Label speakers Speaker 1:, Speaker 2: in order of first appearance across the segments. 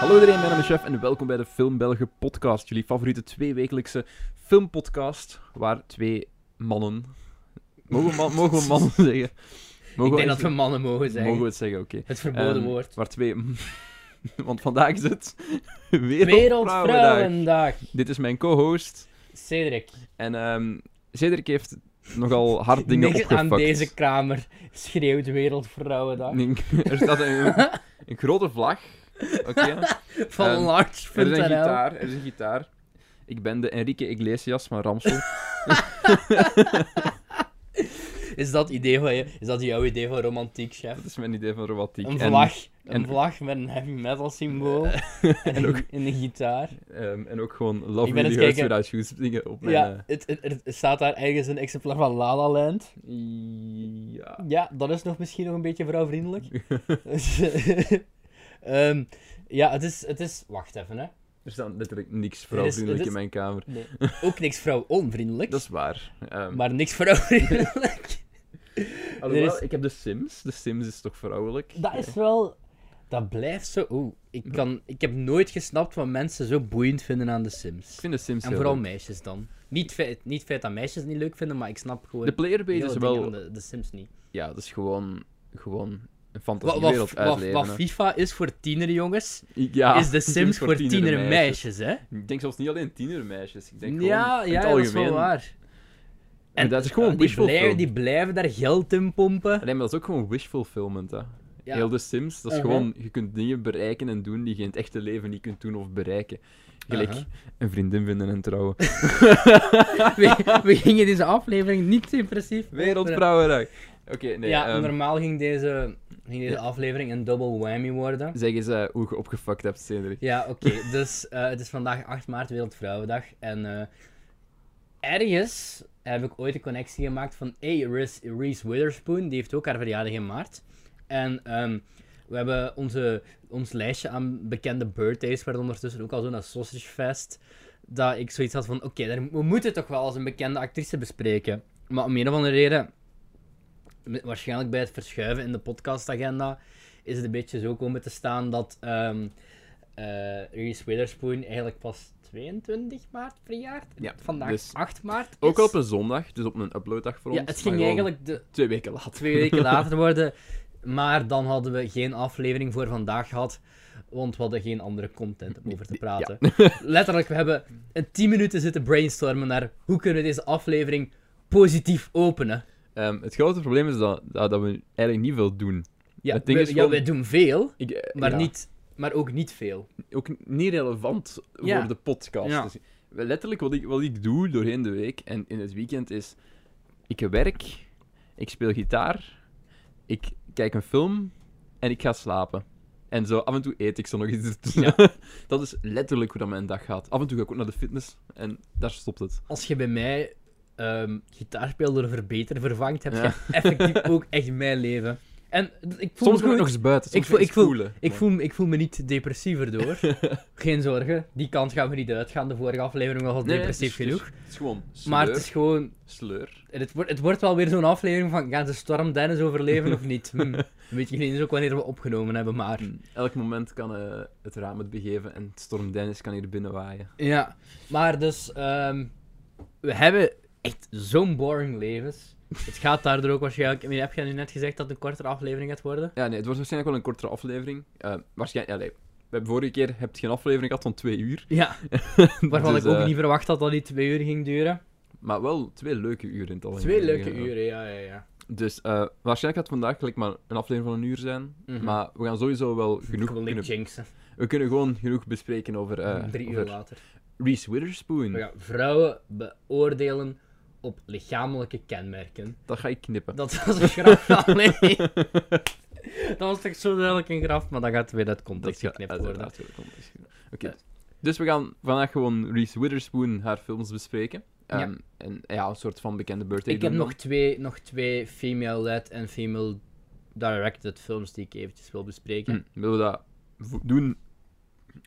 Speaker 1: Hallo iedereen, mijn naam is Chef en welkom bij de Film Belgen podcast. Jullie favoriete tweewekelijkse filmpodcast waar twee mannen... Mogen we, man- mogen we mannen zeggen?
Speaker 2: ik
Speaker 1: Mogen
Speaker 2: denk dat
Speaker 1: echt-
Speaker 2: we mannen mogen zeggen.
Speaker 1: Mogen we het zeggen, oké.
Speaker 2: Het verboden
Speaker 1: Ehm,
Speaker 2: woord.
Speaker 1: Waar twee... Want vandaag is het Wereldvrouwendag.
Speaker 2: Wereldvrouwendag.
Speaker 1: Dit is mijn co-host
Speaker 2: Cedric,
Speaker 1: en ehm Cedric heeft nogal hard dingen
Speaker 2: niks
Speaker 1: opgefuckt.
Speaker 2: aan deze kamer schreeuwt Wereldvrouwendag.
Speaker 1: Nee, er staat een, een grote vlag. Oké.
Speaker 2: Van
Speaker 1: Ehm, Er is een
Speaker 2: large.nl.
Speaker 1: gitaar, er is een gitaar. Ik ben de Enrique Iglesias van Ramsel.
Speaker 2: Is dat, idee van je, is dat jouw idee van romantiek, chef?
Speaker 1: Dat is mijn idee van romantiek.
Speaker 2: Een
Speaker 1: En,
Speaker 2: vlag, een
Speaker 1: en-
Speaker 2: vlag met een heavy metal symbool en,
Speaker 1: en ook-
Speaker 2: een- en een gitaar.
Speaker 1: ehm, en ook gewoon Love
Speaker 2: Ik ben
Speaker 1: Really Hurts
Speaker 2: eens kijken.
Speaker 1: Without Shoes dingen op mijn...
Speaker 2: Ja, het, het- er staat daar ergens een exemplaar van La La Land.
Speaker 1: eh, ja.
Speaker 2: Ja, dat is nog misschien nog een beetje vrouwvriendelijk. Ehm, ja, het is, het is... Wacht even, hè.
Speaker 1: Er staat letterlijk niks
Speaker 2: dit
Speaker 1: vrouwvriendelijk
Speaker 2: is-
Speaker 1: in mijn kamer.
Speaker 2: Nee. Ook niks vrouw-onvriendelijk,
Speaker 1: Dat is waar. Ehm,
Speaker 2: maar niks vrouwvriendelijk.
Speaker 1: alhoewel,
Speaker 2: er is-
Speaker 1: ik heb de Sims. De Sims is toch vrouwelijk?
Speaker 2: Dat is wel... Dat blijft zo... Oeh, ik, kan... ik heb nooit gesnapt wat mensen zo boeiend vinden aan The Sims.
Speaker 1: Ik vind de Sims
Speaker 2: En
Speaker 1: heel
Speaker 2: vooral
Speaker 1: leuk.
Speaker 2: meisjes dan. Niet feit, niet feit dat meisjes het niet leuk vinden, maar ik snap gewoon...
Speaker 1: De playerbase
Speaker 2: hele
Speaker 1: is
Speaker 2: dingen
Speaker 1: wel...
Speaker 2: van de, de Sims niet.
Speaker 1: Ja, dat is gewoon... Gewoon een
Speaker 2: Wat, wat,
Speaker 1: fantasiewereld
Speaker 2: wat,
Speaker 1: uitleven.
Speaker 2: wat
Speaker 1: hè.
Speaker 2: FIFA is voor tienerjongens,
Speaker 1: Ik- ja,
Speaker 2: is The Sims voor
Speaker 1: tienermeisjes.
Speaker 2: tienermeisjes, hè?
Speaker 1: Ik denk zelfs niet alleen tienermeisjes. Ik denk gewoon
Speaker 2: Ja,
Speaker 1: in
Speaker 2: ja,
Speaker 1: het
Speaker 2: dat
Speaker 1: algemeen.
Speaker 2: is wel waar.
Speaker 1: En dat is gewoon
Speaker 2: die
Speaker 1: wishful
Speaker 2: blijven-
Speaker 1: film.
Speaker 2: Die blijven daar geld in pompen.
Speaker 1: Nee, maar dat is ook gewoon wish fulfillment, hè.
Speaker 2: Ja.
Speaker 1: Heel de Sims, dat is
Speaker 2: Uh-huh.
Speaker 1: gewoon... Je kunt dingen bereiken en doen die je in het echte leven niet kunt doen of bereiken. Gelijk
Speaker 2: Uh-huh.
Speaker 1: een vriendin vinden en trouwen.
Speaker 2: we, we gingen deze aflevering niet depressief.
Speaker 1: Wereldvrouwendag! Oké, nee.
Speaker 2: ja,
Speaker 1: ehm,
Speaker 2: normaal ging deze, ging deze aflevering een double whammy worden.
Speaker 1: Zeg eens eh, hoe je opgefuckt hebt, Cedric.
Speaker 2: Ja, oké. dus eh, het is vandaag 8 maart, Wereldvrouwendag. En eh, ergens heb ik ooit een connectie gemaakt van... Hey, Reese, Reese Witherspoon, die heeft ook haar verjaardag in maart. En ehm, we hebben onze, ons lijstje aan bekende birthdays, werd ondertussen ook al zo'n sausage fest. Dat ik zoiets had van, oké, daar- we moeten toch wel als een bekende actrice bespreken. Maar om een of andere reden, wa- waarschijnlijk bij het verschuiven in de podcastagenda, is het een beetje zo komen te staan dat ehm eh, Reese Witherspoon eigenlijk pas 22 maart verjaart. en
Speaker 1: Ja,
Speaker 2: Vandaag
Speaker 1: dus
Speaker 2: 8 maart.
Speaker 1: Ook
Speaker 2: is.
Speaker 1: al op een zondag, dus op een uploaddag voor
Speaker 2: Ja,
Speaker 1: ons.
Speaker 2: het
Speaker 1: maar
Speaker 2: ging
Speaker 1: gewoon
Speaker 2: eigenlijk de,
Speaker 1: Twee weken later.
Speaker 2: twee weken later worden. Maar dan hadden we geen aflevering voor vandaag gehad. Want we hadden geen andere content om over te praten. Letterlijk, we hebben een 10 minuten zitten brainstormen naar hoe kunnen we deze aflevering positief openen.
Speaker 1: Ehm, het grote probleem is dat, dat, dat we eigenlijk niet veel doen.
Speaker 2: Ja,
Speaker 1: Het ding
Speaker 2: we-
Speaker 1: is
Speaker 2: ja,
Speaker 1: gewoon-
Speaker 2: wij doen veel,
Speaker 1: Ik, eh,
Speaker 2: maar,
Speaker 1: ja,
Speaker 2: niet, maar ook niet veel.
Speaker 1: Ook niet relevant
Speaker 2: Ja.
Speaker 1: voor de podcast.
Speaker 2: Ja.
Speaker 1: Dus letterlijk wat ik, wat ik doe doorheen de week en in het weekend is... Ik werk, ik speel gitaar, ik kijk een film en ik ga slapen. En zo af en toe eet ik zo nog iets. dat is letterlijk hoe dat mijn dag gaat. Af en toe ga ik ook naar de fitness en daar stopt het.
Speaker 2: Als je bij mij ehm gitaarspeler door verbeter vervangt, heb je
Speaker 1: Ja.
Speaker 2: effectief ook echt mijn leven. En ik voel
Speaker 1: Soms ga
Speaker 2: me
Speaker 1: ik
Speaker 2: goed.
Speaker 1: nog eens buiten. soms
Speaker 2: Ik voel-
Speaker 1: ga
Speaker 2: ik
Speaker 1: eens
Speaker 2: voel-
Speaker 1: voelen.
Speaker 2: Ik
Speaker 1: Maar-
Speaker 2: voel, ik voel me niet depressiever door. Geen zorgen, die kant gaan we niet uitgaan. De vorige aflevering was al
Speaker 1: Nee, nee, het is-
Speaker 2: depressief
Speaker 1: het is-
Speaker 2: genoeg.
Speaker 1: Het is gewoon sleur.
Speaker 2: Maar het is gewoon.
Speaker 1: sleur.
Speaker 2: Het wordt, het wordt wel weer zo'n aflevering van. Gaan ze Storm Dennis overleven of niet? Hm, Weet je niet eens ook wanneer we opgenomen hebben, maar.
Speaker 1: Elk moment kan eh, het raam het begeven en Storm Dennis kan hier binnen waaien.
Speaker 2: Ja, maar dus. ehm, we hebben echt zo'n boring levens. Het gaat daardoor ook waarschijnlijk. Ik bedoel, heb jij nu net gezegd dat het een kortere aflevering gaat worden?
Speaker 1: Ja, nee, het wordt waarschijnlijk wel een kortere aflevering. waarschijnlijk, ja, nee. We hebben vorige keer heb je geen aflevering gehad van twee uur.
Speaker 2: Ja, waarvan
Speaker 1: Dus,
Speaker 2: ik ook
Speaker 1: eh,
Speaker 2: niet verwacht had dat die twee uur ging duren.
Speaker 1: Maar wel twee leuke uren in het algemeen.
Speaker 2: Twee leuke
Speaker 1: Ja.
Speaker 2: uren, ja, ja, ja.
Speaker 1: Dus eh, waarschijnlijk gaat het vandaag gelijk maar een aflevering van een uur zijn.
Speaker 2: Mhm.
Speaker 1: Maar we gaan sowieso wel
Speaker 2: Ik
Speaker 1: genoeg
Speaker 2: wil
Speaker 1: kunnen...
Speaker 2: niet jinxen.
Speaker 1: We kunnen gewoon genoeg bespreken over... eh, hm.
Speaker 2: Drie uur
Speaker 1: over
Speaker 2: later.
Speaker 1: Reese Witherspoon.
Speaker 2: We gaan vrouwen beoordelen op lichamelijke kenmerken.
Speaker 1: Dat ga ik knippen.
Speaker 2: Dat was een graf. Allee. Dat was toch zo duidelijk een graf, maar dat gaat weer uit
Speaker 1: Dat
Speaker 2: context
Speaker 1: gaat
Speaker 2: geknipt worden.
Speaker 1: uiteraard wel komen. Oké. Dus we gaan vandaag gewoon Reese Witherspoon haar films bespreken. Ehm,
Speaker 2: Ja.
Speaker 1: En ja, een soort van bekende birthday.
Speaker 2: Ik heb
Speaker 1: doen
Speaker 2: nog
Speaker 1: dan.
Speaker 2: twee, nog twee female-led en female-directed films die ik eventjes wil bespreken.
Speaker 1: Hm, Willen we dat vo- doen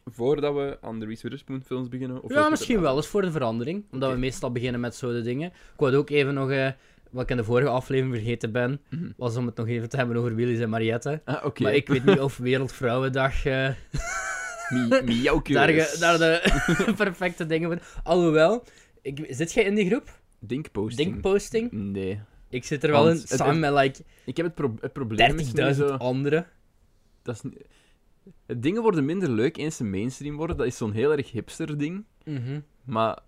Speaker 1: voordat we aan de Reese Witherspoon films beginnen? Of wil
Speaker 2: ja,
Speaker 1: je
Speaker 2: misschien
Speaker 1: dat-
Speaker 2: wel eens voor de verandering. Omdat
Speaker 1: Oké.
Speaker 2: we meestal beginnen met zo'n dingen. Ik wou ook even nog, eh, wat ik in de vorige aflevering vergeten ben,
Speaker 1: Mhm.
Speaker 2: was om het nog even te hebben over Willys en Mariette.
Speaker 1: Ah, oké.
Speaker 2: Maar ik weet niet of Wereldvrouwendag eh,
Speaker 1: Mi- Miauwkeus.
Speaker 2: Daar, ge- daar de perfecte dingen voor. Alhoewel, ik, zit jij in die groep?
Speaker 1: Denkposting.
Speaker 2: Denkposting?
Speaker 1: Nee.
Speaker 2: Ik zit er wel
Speaker 1: Want
Speaker 2: in,
Speaker 1: het-
Speaker 2: samen met like
Speaker 1: Ik heb het, pro- het probleem is nu
Speaker 2: 30.000
Speaker 1: zo...
Speaker 2: anderen.
Speaker 1: Dat is niet- het dingen worden minder leuk eens ze mainstream worden. Dat is zo'n heel erg hipster ding.
Speaker 2: Mhm.
Speaker 1: Maar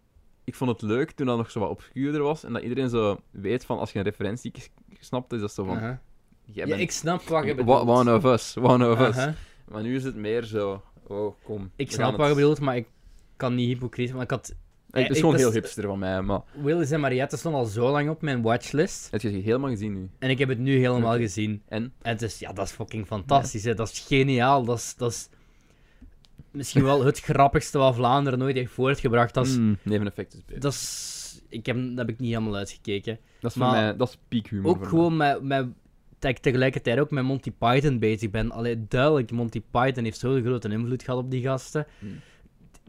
Speaker 1: ik vond het leuk toen dat nog zo wat obscuurder was. En dat iedereen zo weet van, als je een referentie k- snapt, is dat zo van...
Speaker 2: Aha.
Speaker 1: Jij
Speaker 2: Ja,
Speaker 1: bent
Speaker 2: ik snap wat je
Speaker 1: wa-
Speaker 2: bedoelt.
Speaker 1: one of us, one of
Speaker 2: Aha.
Speaker 1: us. Maar nu is het meer zo... Oh, kom.
Speaker 2: Ik
Speaker 1: we
Speaker 2: snap
Speaker 1: gaan
Speaker 2: wat je
Speaker 1: het-
Speaker 2: bedoelt, maar ik kan niet hypocriet. Want ik had
Speaker 1: Eh, Het
Speaker 2: ik-
Speaker 1: is gewoon
Speaker 2: dat
Speaker 1: heel
Speaker 2: is-
Speaker 1: hipster van mij, maar...
Speaker 2: Willis en Mariette stond al zo lang op mijn watchlist.
Speaker 1: Het is helemaal gezien nu.
Speaker 2: En ik heb het nu helemaal
Speaker 1: Oké.
Speaker 2: gezien.
Speaker 1: En?
Speaker 2: En het is, ja, dat is fucking fantastisch. Hè. Dat is geniaal. Dat is, dat is misschien wel het grappigste wat Vlaanderen nooit heeft voortgebracht. Dat is,
Speaker 1: Mm, neveneffect is beter.
Speaker 2: Hmm. dat is, ik heb, dat heb ik niet helemaal uitgekeken.
Speaker 1: Dat is voor
Speaker 2: Maar-
Speaker 1: mij... Dat is piekhumor
Speaker 2: Ook
Speaker 1: voor mij.
Speaker 2: gewoon met, met, dat ik tegelijkertijd ook met Monty Python bezig ben. Allee, duidelijk, Monty Python heeft zo'n grote invloed gehad op die gasten.
Speaker 1: Mm.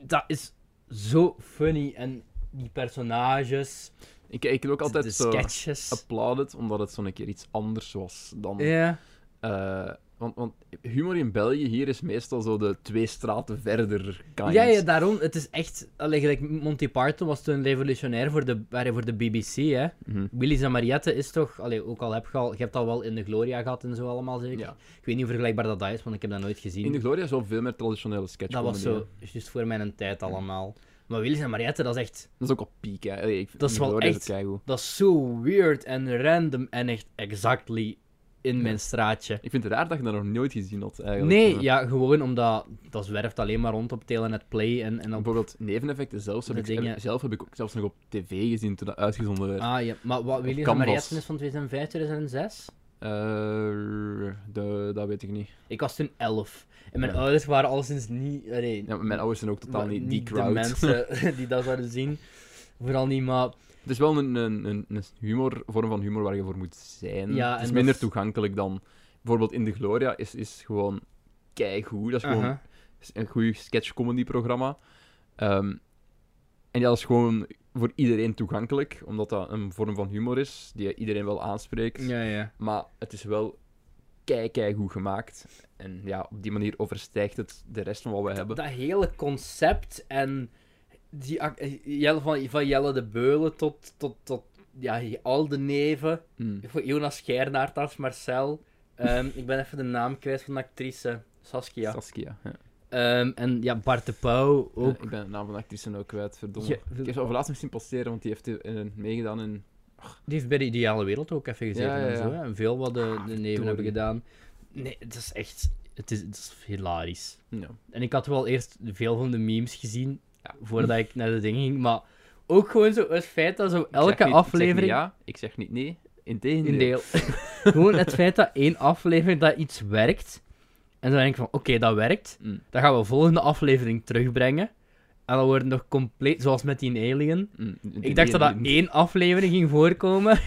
Speaker 2: Dat is zo funny. En die personages,
Speaker 1: Ik, ik heb ook altijd
Speaker 2: de
Speaker 1: zo...
Speaker 2: sketches.
Speaker 1: applauded, omdat het zo'n keer iets anders was dan...
Speaker 2: Ja.
Speaker 1: eh, want, want humor in België hier is meestal zo de twee straten verder kind.
Speaker 2: Ja, ja, daarom. Het is echt... Allee, gelijk Monty Python was toen revolutionair voor de, waren voor de BBC, hè.
Speaker 1: Mhm.
Speaker 2: Willy's en Mariette is toch... Allee, ook al heb je al... Je hebt al wel in de Gloria gehad en zo allemaal, zeker?
Speaker 1: Ja.
Speaker 2: Ik weet niet hoe vergelijkbaar dat is, want ik heb dat nooit gezien.
Speaker 1: In de Gloria is wel veel meer traditionele sketch
Speaker 2: dat was
Speaker 1: comedy,
Speaker 2: zo
Speaker 1: hè.
Speaker 2: juist voor mijn tijd allemaal. Maar Willy's en Mariette, dat is echt...
Speaker 1: Dat is ook op piek, hè. Allee, ik,
Speaker 2: Dat is
Speaker 1: in de
Speaker 2: wel
Speaker 1: Gloria
Speaker 2: echt-
Speaker 1: het keigoed.
Speaker 2: Dat is zo weird en random en echt exactly in mijn straatje.
Speaker 1: Ik vind het raar dat je dat nog nooit gezien had, eigenlijk.
Speaker 2: Nee,
Speaker 1: Eh,
Speaker 2: ja, gewoon omdat... Dat zwerft alleen maar rond op Telenet Play en, en op...
Speaker 1: Bijvoorbeeld neveneffecten zelfs heb,
Speaker 2: De
Speaker 1: ik, heb-
Speaker 2: dingen-
Speaker 1: zelf heb ik ook zelfs nog op tv gezien toen dat uitgezonden werd.
Speaker 2: Ah ja, maar wat Willy's en
Speaker 1: Canvas.
Speaker 2: Mariette is van 2005, 2006?
Speaker 1: Eh, de, dat weet ik niet.
Speaker 2: Ik was toen elf. En mijn
Speaker 1: Ja.
Speaker 2: ouders waren alleszins niet... allee,
Speaker 1: Ja, mijn ouders zijn ook totaal
Speaker 2: wa-
Speaker 1: niet die
Speaker 2: de
Speaker 1: crowd.
Speaker 2: mensen die dat zouden zien. Vooral niet, maar...
Speaker 1: Het is wel een, een, een, een humor, vorm van humor waar je voor moet zijn.
Speaker 2: Ja,
Speaker 1: het is
Speaker 2: en
Speaker 1: minder
Speaker 2: dat-
Speaker 1: toegankelijk dan... Bijvoorbeeld in de Gloria is, is gewoon keigoed. Dat is gewoon
Speaker 2: Aha.
Speaker 1: een goed sketch-comedy-programma. Ehm, en ja, dat is gewoon voor iedereen toegankelijk, omdat dat een vorm van humor is die iedereen wel aanspreekt.
Speaker 2: Ja, ja.
Speaker 1: Maar het is wel kei, kei goed gemaakt. En ja, op die manier overstijgt het de rest van wat we hebben.
Speaker 2: Dat hele concept en... Die, ac- eh, Jelle van, van Jelle de Beulen tot... tot, tot ja, al de neven.
Speaker 1: Mm.
Speaker 2: Voor Jonas Geirnaert als Marcel. Ehm, ik ben even de naam kwijt van de actrice. Saskia.
Speaker 1: Saskia. Ja.
Speaker 2: Ehm, en ja, Bart de Pauw ook.
Speaker 1: Ja, ik ben de naam van de actrice ook kwijt, verdomme.
Speaker 2: Je-
Speaker 1: ik heb ze over laatst nog zien passeren, want die heeft eh, meegedaan in...
Speaker 2: Die heeft bij de Ideale Wereld ook even gezeten
Speaker 1: Ja, ja,
Speaker 2: en zo.
Speaker 1: ja.
Speaker 2: hè. En veel wat de, de neven
Speaker 1: verdorie.
Speaker 2: hebben gedaan. Nee, het is echt... Het is, het is hilarisch.
Speaker 1: hm, Ja.
Speaker 2: En ik had wel eerst veel van de memes gezien, voordat ik naar de dingen ging. Maar ook gewoon zo het feit dat zo
Speaker 1: Ik zeg
Speaker 2: elke
Speaker 1: niet-
Speaker 2: aflevering...
Speaker 1: Ik zeg niet ja, ik zeg niet nee. Integendeel.
Speaker 2: in deel. gewoon het feit dat één aflevering dat iets werkt. En dan denk ik van, oké, dat werkt.
Speaker 1: Mm,
Speaker 2: Dan gaan we volgende aflevering terugbrengen. En dan wordt het nog compleet, zoals met die alien.
Speaker 1: mm,
Speaker 2: Ik dacht dat dat
Speaker 1: integendeel.
Speaker 2: één aflevering ging voorkomen.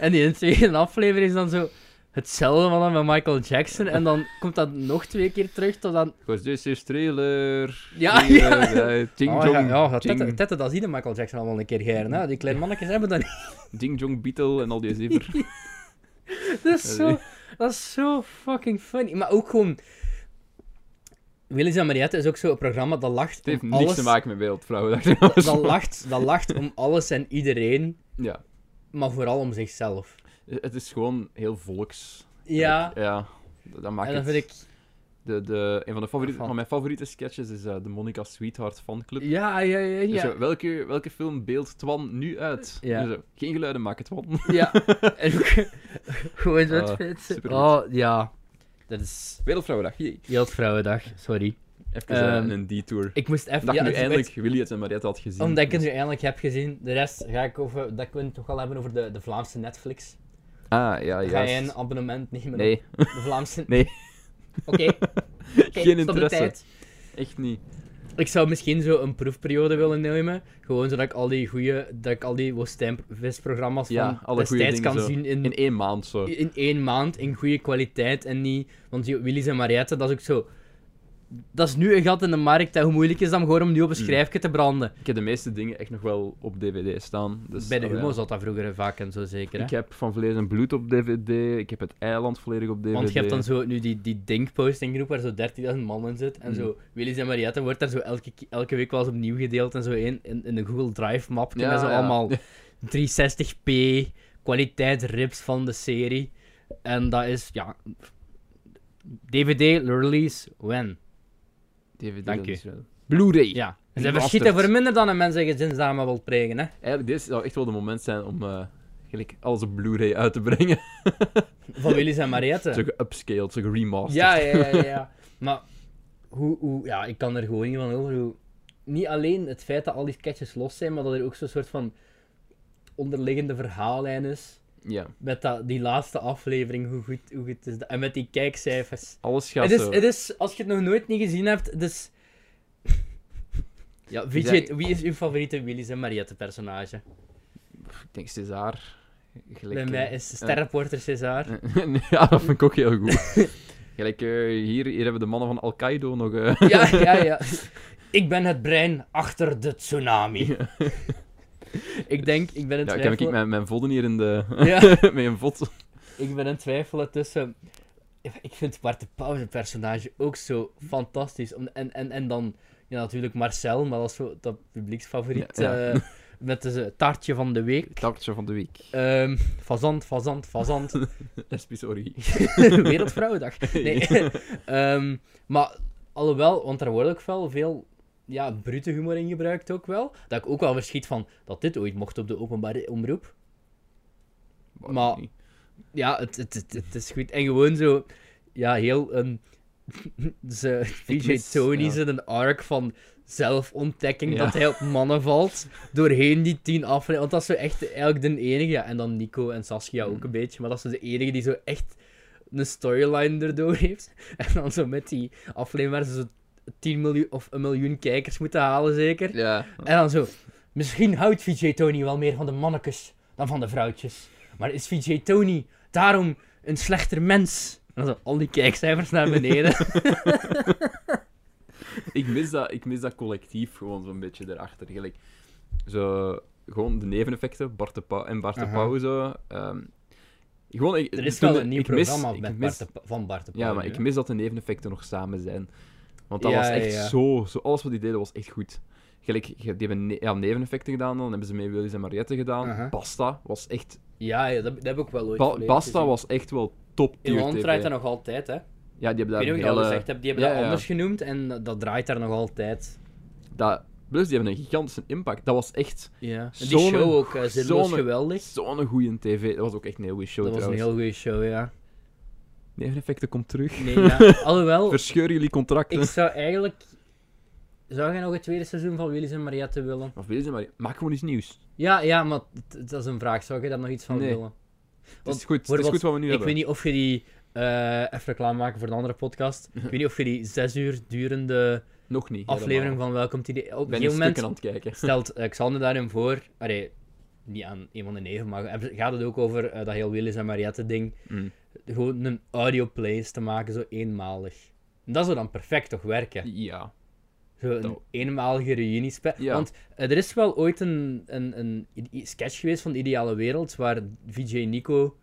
Speaker 2: En die tweede aflevering is dan zo hetzelfde van dat met Michael Jackson. En dan komt dat nog twee keer terug tot dan...
Speaker 1: Goes, This is trailer.
Speaker 2: Ja,
Speaker 1: Trailer, eh, Ding
Speaker 2: Oh,
Speaker 1: Jong.
Speaker 2: ja, ja, gaat
Speaker 1: ding,
Speaker 2: Tette, Tette, dat zie je Michael Jackson allemaal een keer geren. hè. Die kleine mannetjes hebben dat niet.
Speaker 1: ding Jong Beetle en al die zever.
Speaker 2: Dat is zo, dat is zo fucking funny. Maar ook gewoon... Willis en Mariette is ook zo'n programma dat lacht
Speaker 1: Het heeft
Speaker 2: om
Speaker 1: niks
Speaker 2: alles.
Speaker 1: te maken met wereldvrouwen. Dacht ik wel eens.
Speaker 2: Dat lacht, dat lacht om alles en iedereen,
Speaker 1: Ja.
Speaker 2: maar vooral om zichzelf.
Speaker 1: Het is gewoon heel volks.
Speaker 2: Ja,
Speaker 1: Ik- ja. Dat dat maakt
Speaker 2: en dan
Speaker 1: het-
Speaker 2: vind ik...
Speaker 1: De, de, een van, de favoriete,
Speaker 2: Van-
Speaker 1: van mijn favoriete sketches is eh, de Monica Sweetheart fanclub.
Speaker 2: Ja, ja, ja,
Speaker 1: Dus
Speaker 2: ja.
Speaker 1: zo, welke, welke film beeldt Twan nu uit?
Speaker 2: Ja.
Speaker 1: En zo, geen geluiden maken, Twan.
Speaker 2: Ja, en ook gewoon zo het
Speaker 1: Ah,
Speaker 2: feit-
Speaker 1: supergoed.
Speaker 2: Oh, ja. Dat is
Speaker 1: Wereldvrouwendag, jee.
Speaker 2: Jeldvrouwendag, sorry.
Speaker 1: Even eh,
Speaker 2: Ehm,
Speaker 1: een detour.
Speaker 2: Ik moest even...
Speaker 1: Ik dacht
Speaker 2: ja,
Speaker 1: nu
Speaker 2: het is
Speaker 1: eindelijk Willy het en Mariette had gezien.
Speaker 2: Omdat ik het nu eindelijk heb gezien. De rest ga ik over... Dat kunnen we toch wel hebben over de, de Vlaamse Netflix.
Speaker 1: Ah, ja,
Speaker 2: Ga je een
Speaker 1: juist.
Speaker 2: abonnement nemen op
Speaker 1: Nee,
Speaker 2: de Vlaamse...
Speaker 1: Nee.
Speaker 2: Oké. Oké,
Speaker 1: Geen
Speaker 2: stop de
Speaker 1: interesse.
Speaker 2: tijd.
Speaker 1: echt niet.
Speaker 2: Ik zou misschien zo een proefperiode willen nemen. Gewoon zodat ik al die goede... Dat ik al die woestijnvisprogramma's
Speaker 1: Ja,
Speaker 2: van
Speaker 1: alle goede
Speaker 2: destijds
Speaker 1: dingen
Speaker 2: kan
Speaker 1: zo.
Speaker 2: zien in,
Speaker 1: In één maand zo.
Speaker 2: in één maand in goede kwaliteit en niet. Want die Willys en Mariette, dat is ook zo. dat is nu een gat in de markt. Hè. Hoe moeilijk is dat om gewoon om nu
Speaker 1: Hmm.
Speaker 2: op een schrijfje te branden?
Speaker 1: Ik heb de meeste dingen echt nog wel op DVD staan. Dus,
Speaker 2: Bij de humo
Speaker 1: allee,
Speaker 2: zat dat vroeger vaak en zo zeker. Hè?
Speaker 1: Ik heb Van Vlees en Bloed op DVD. Ik heb Het Eiland volledig op DVD.
Speaker 2: Want je hebt dan zo nu die, die Dink-postinggroep waar zo 13.000 man in zit. En
Speaker 1: Mm.
Speaker 2: zo Willys en Mariette wordt daar zo elke, ke- elke week wel eens opnieuw gedeeld. En zo in, in, in een Google Drive-map.
Speaker 1: Ja,
Speaker 2: en zo
Speaker 1: ja.
Speaker 2: allemaal 360p kwaliteit rips van de serie. En dat is, ja... DVD release when?
Speaker 1: DVD,
Speaker 2: Dank
Speaker 1: dat
Speaker 2: je.
Speaker 1: is wel- Blu-ray.
Speaker 2: Ja. En ze
Speaker 1: Remastered.
Speaker 2: verschieten voor minder dan een mens zijn gezinsdame wil pregen, hè.
Speaker 1: Eigenlijk, dit zou echt wel de moment zijn om eh, gelijk alles op Blu-ray uit te brengen.
Speaker 2: Van Willys en
Speaker 1: Zo
Speaker 2: Mariette.
Speaker 1: geupscaled, zo geremasterd.
Speaker 2: Ja, ja, ja, ja, ja. Maar hoe, hoe, ja, ik kan er gewoon niet van over. Hoe, niet alleen het feit dat al die sketches los zijn, maar dat er ook zo'n soort van onderliggende verhaallijn is.
Speaker 1: Ja.
Speaker 2: Met dat, die laatste aflevering, hoe goed, hoe goed is dat? En met die kijkcijfers.
Speaker 1: Alles gaat
Speaker 2: Het is,
Speaker 1: zo.
Speaker 2: het is, als je het nog nooit niet gezien hebt, het is... Ja,
Speaker 1: Ik
Speaker 2: wie,
Speaker 1: denk-
Speaker 2: wie is uw favoriete Willys en Mariette personage?
Speaker 1: Ik denk César. Gelijk,
Speaker 2: Bij
Speaker 1: eh,
Speaker 2: mij is Sterrenporter César.
Speaker 1: ja, dat vind ik ook heel goed. Gelijk, eh, hier, hier hebben de mannen van Al-Qaeda nog... eh,
Speaker 2: Ja, ja, ja. Ik ben het brein achter de tsunami. ik denk, ik ben in
Speaker 1: ja, ik heb
Speaker 2: twijfel...
Speaker 1: ik mijn, mijn vodden hier in de...
Speaker 2: Ja.
Speaker 1: met een vod.
Speaker 2: ik ben in twijfel tussen... Ik vind Bart de Pauw zijn personage ook zo fantastisch. Om- En, en, en dan ja, natuurlijk Marcel, maar dat is zo dat publieksfavoriet.
Speaker 1: Ja, ja.
Speaker 2: eh, met het taartje van de week.
Speaker 1: Taartje van de week.
Speaker 2: Ehm fazant, fazant, fazant.
Speaker 1: Lesbisch orgie.
Speaker 2: Wereldvrouwendag. Nee. Ehm, maar alhoewel, want er wordt ook wel veel ja, brute humor in gebruikt ook wel. Dat ik ook wel verschiet van dat dit ooit mocht op de openbare omroep.
Speaker 1: Wou ik
Speaker 2: Maar-
Speaker 1: niet.
Speaker 2: Ja, het, het, het, het is goed. En gewoon zo, ja, heel een... Ze,
Speaker 1: Ik
Speaker 2: VJ
Speaker 1: mis-
Speaker 2: Tony
Speaker 1: ja.
Speaker 2: zit een arc van zelfontdekking,
Speaker 1: Ja.
Speaker 2: dat hij op mannen valt, doorheen die tien afleveringen. Want dat is zo echt eigenlijk de enige, ja, en dan Nico en Saskia
Speaker 1: Mm.
Speaker 2: ook een beetje, maar dat is zo de enige die zo echt een storyline erdoor heeft. En dan zo met die aflevering waar ze zo 10 miljoen of een miljoen kijkers moeten halen, zeker.
Speaker 1: Ja.
Speaker 2: En dan zo, misschien houdt VJ Tony wel meer van de mannetjes dan van de vrouwtjes. Maar is VJ Tony daarom een slechter mens? En dan zo, al die kijkcijfers naar beneden.
Speaker 1: ik, mis dat, ik mis dat collectief gewoon zo'n beetje erachter. Gelijk, zo, gewoon de neveneffecten, Bart de Pauw en Bart de
Speaker 2: Aha.
Speaker 1: Pauw zo. ehm, gewoon, ik,
Speaker 2: er is
Speaker 1: toen-
Speaker 2: wel een nieuw
Speaker 1: ik mis-
Speaker 2: programma
Speaker 1: ik
Speaker 2: met
Speaker 1: mis-
Speaker 2: Bart de Pa- van Bart de
Speaker 1: Ja,
Speaker 2: Pauw
Speaker 1: maar
Speaker 2: nu,
Speaker 1: ik
Speaker 2: hè.
Speaker 1: mis dat de neveneffecten nog samen zijn. Want dat
Speaker 2: Ja,
Speaker 1: was
Speaker 2: ja,
Speaker 1: echt
Speaker 2: ja.
Speaker 1: Zo, zo... Alles wat die deden was echt goed. Gelijk, ge- die hebben ne- ja, neveneffecten gedaan, dan hebben ze mee Willys en Mariette gedaan.
Speaker 2: Aha.
Speaker 1: Pasta was echt...
Speaker 2: Ja, ja dat, dat heb ik wel ooit
Speaker 1: Ba-
Speaker 2: volledig
Speaker 1: Pasta
Speaker 2: gezien.
Speaker 1: was echt wel top
Speaker 2: In
Speaker 1: tier
Speaker 2: Holland
Speaker 1: TV.
Speaker 2: draait dat nog altijd, hè.
Speaker 1: Ja, die hebben daar
Speaker 2: Ik weet
Speaker 1: een
Speaker 2: niet of ik dat al
Speaker 1: hele...
Speaker 2: gezegd heb, die hebben
Speaker 1: Ja,
Speaker 2: dat
Speaker 1: ja.
Speaker 2: anders genoemd en dat- dat draait daar nog altijd.
Speaker 1: Dat... Plus, die hebben een gigantische impact. Dat was echt
Speaker 2: Ja. En die
Speaker 1: Zo'n-
Speaker 2: show ook, eh, zinloos
Speaker 1: zo'n-
Speaker 2: geweldig.
Speaker 1: zo'n goede tv. Dat was ook echt een heel goede show,
Speaker 2: Dat was een
Speaker 1: trouwens.
Speaker 2: heel goede show, ja.
Speaker 1: Neveneffecten komt terug.
Speaker 2: Nee, ja. Alhoewel,
Speaker 1: Verscheur jullie contracten.
Speaker 2: Ik zou eigenlijk. Zou jij nog het tweede seizoen van Willys en Mariette willen?
Speaker 1: Of Willys en Mariette... Maak gewoon iets nieuws.
Speaker 2: Ja, ja, maar t- t- dat is een vraag. Zou jij daar nog iets van
Speaker 1: Nee.
Speaker 2: willen?
Speaker 1: Het is
Speaker 2: Want
Speaker 1: goed, het
Speaker 2: wordt
Speaker 1: is
Speaker 2: wat-
Speaker 1: goed wat we nu
Speaker 2: ik
Speaker 1: hebben.
Speaker 2: weet niet of je die. eh, even reclame maken voor een andere podcast. ik weet niet of je die zes uur durende
Speaker 1: Nog niet.
Speaker 2: aflevering
Speaker 1: helemaal.
Speaker 2: van Welkom TD. Op
Speaker 1: Ik
Speaker 2: een
Speaker 1: ben in
Speaker 2: gegeven
Speaker 1: stukken
Speaker 2: moment
Speaker 1: aan het kijken.
Speaker 2: stelt eh, Xander daarin voor. Allee, niet aan een van de neven, maar heb- gaat het ook over eh, dat heel Willys en Mariette ding.
Speaker 1: Mm.
Speaker 2: Gewoon een audioplays te maken, zo eenmalig. En dat zou dan perfect toch werken?
Speaker 1: Ja.
Speaker 2: Zo een
Speaker 1: Dat-
Speaker 2: eenmalige reuniespel.
Speaker 1: Ja.
Speaker 2: Want eh, er is wel ooit een, een, een i- i- sketch geweest van de Ideale Wereld, waar VJ Nico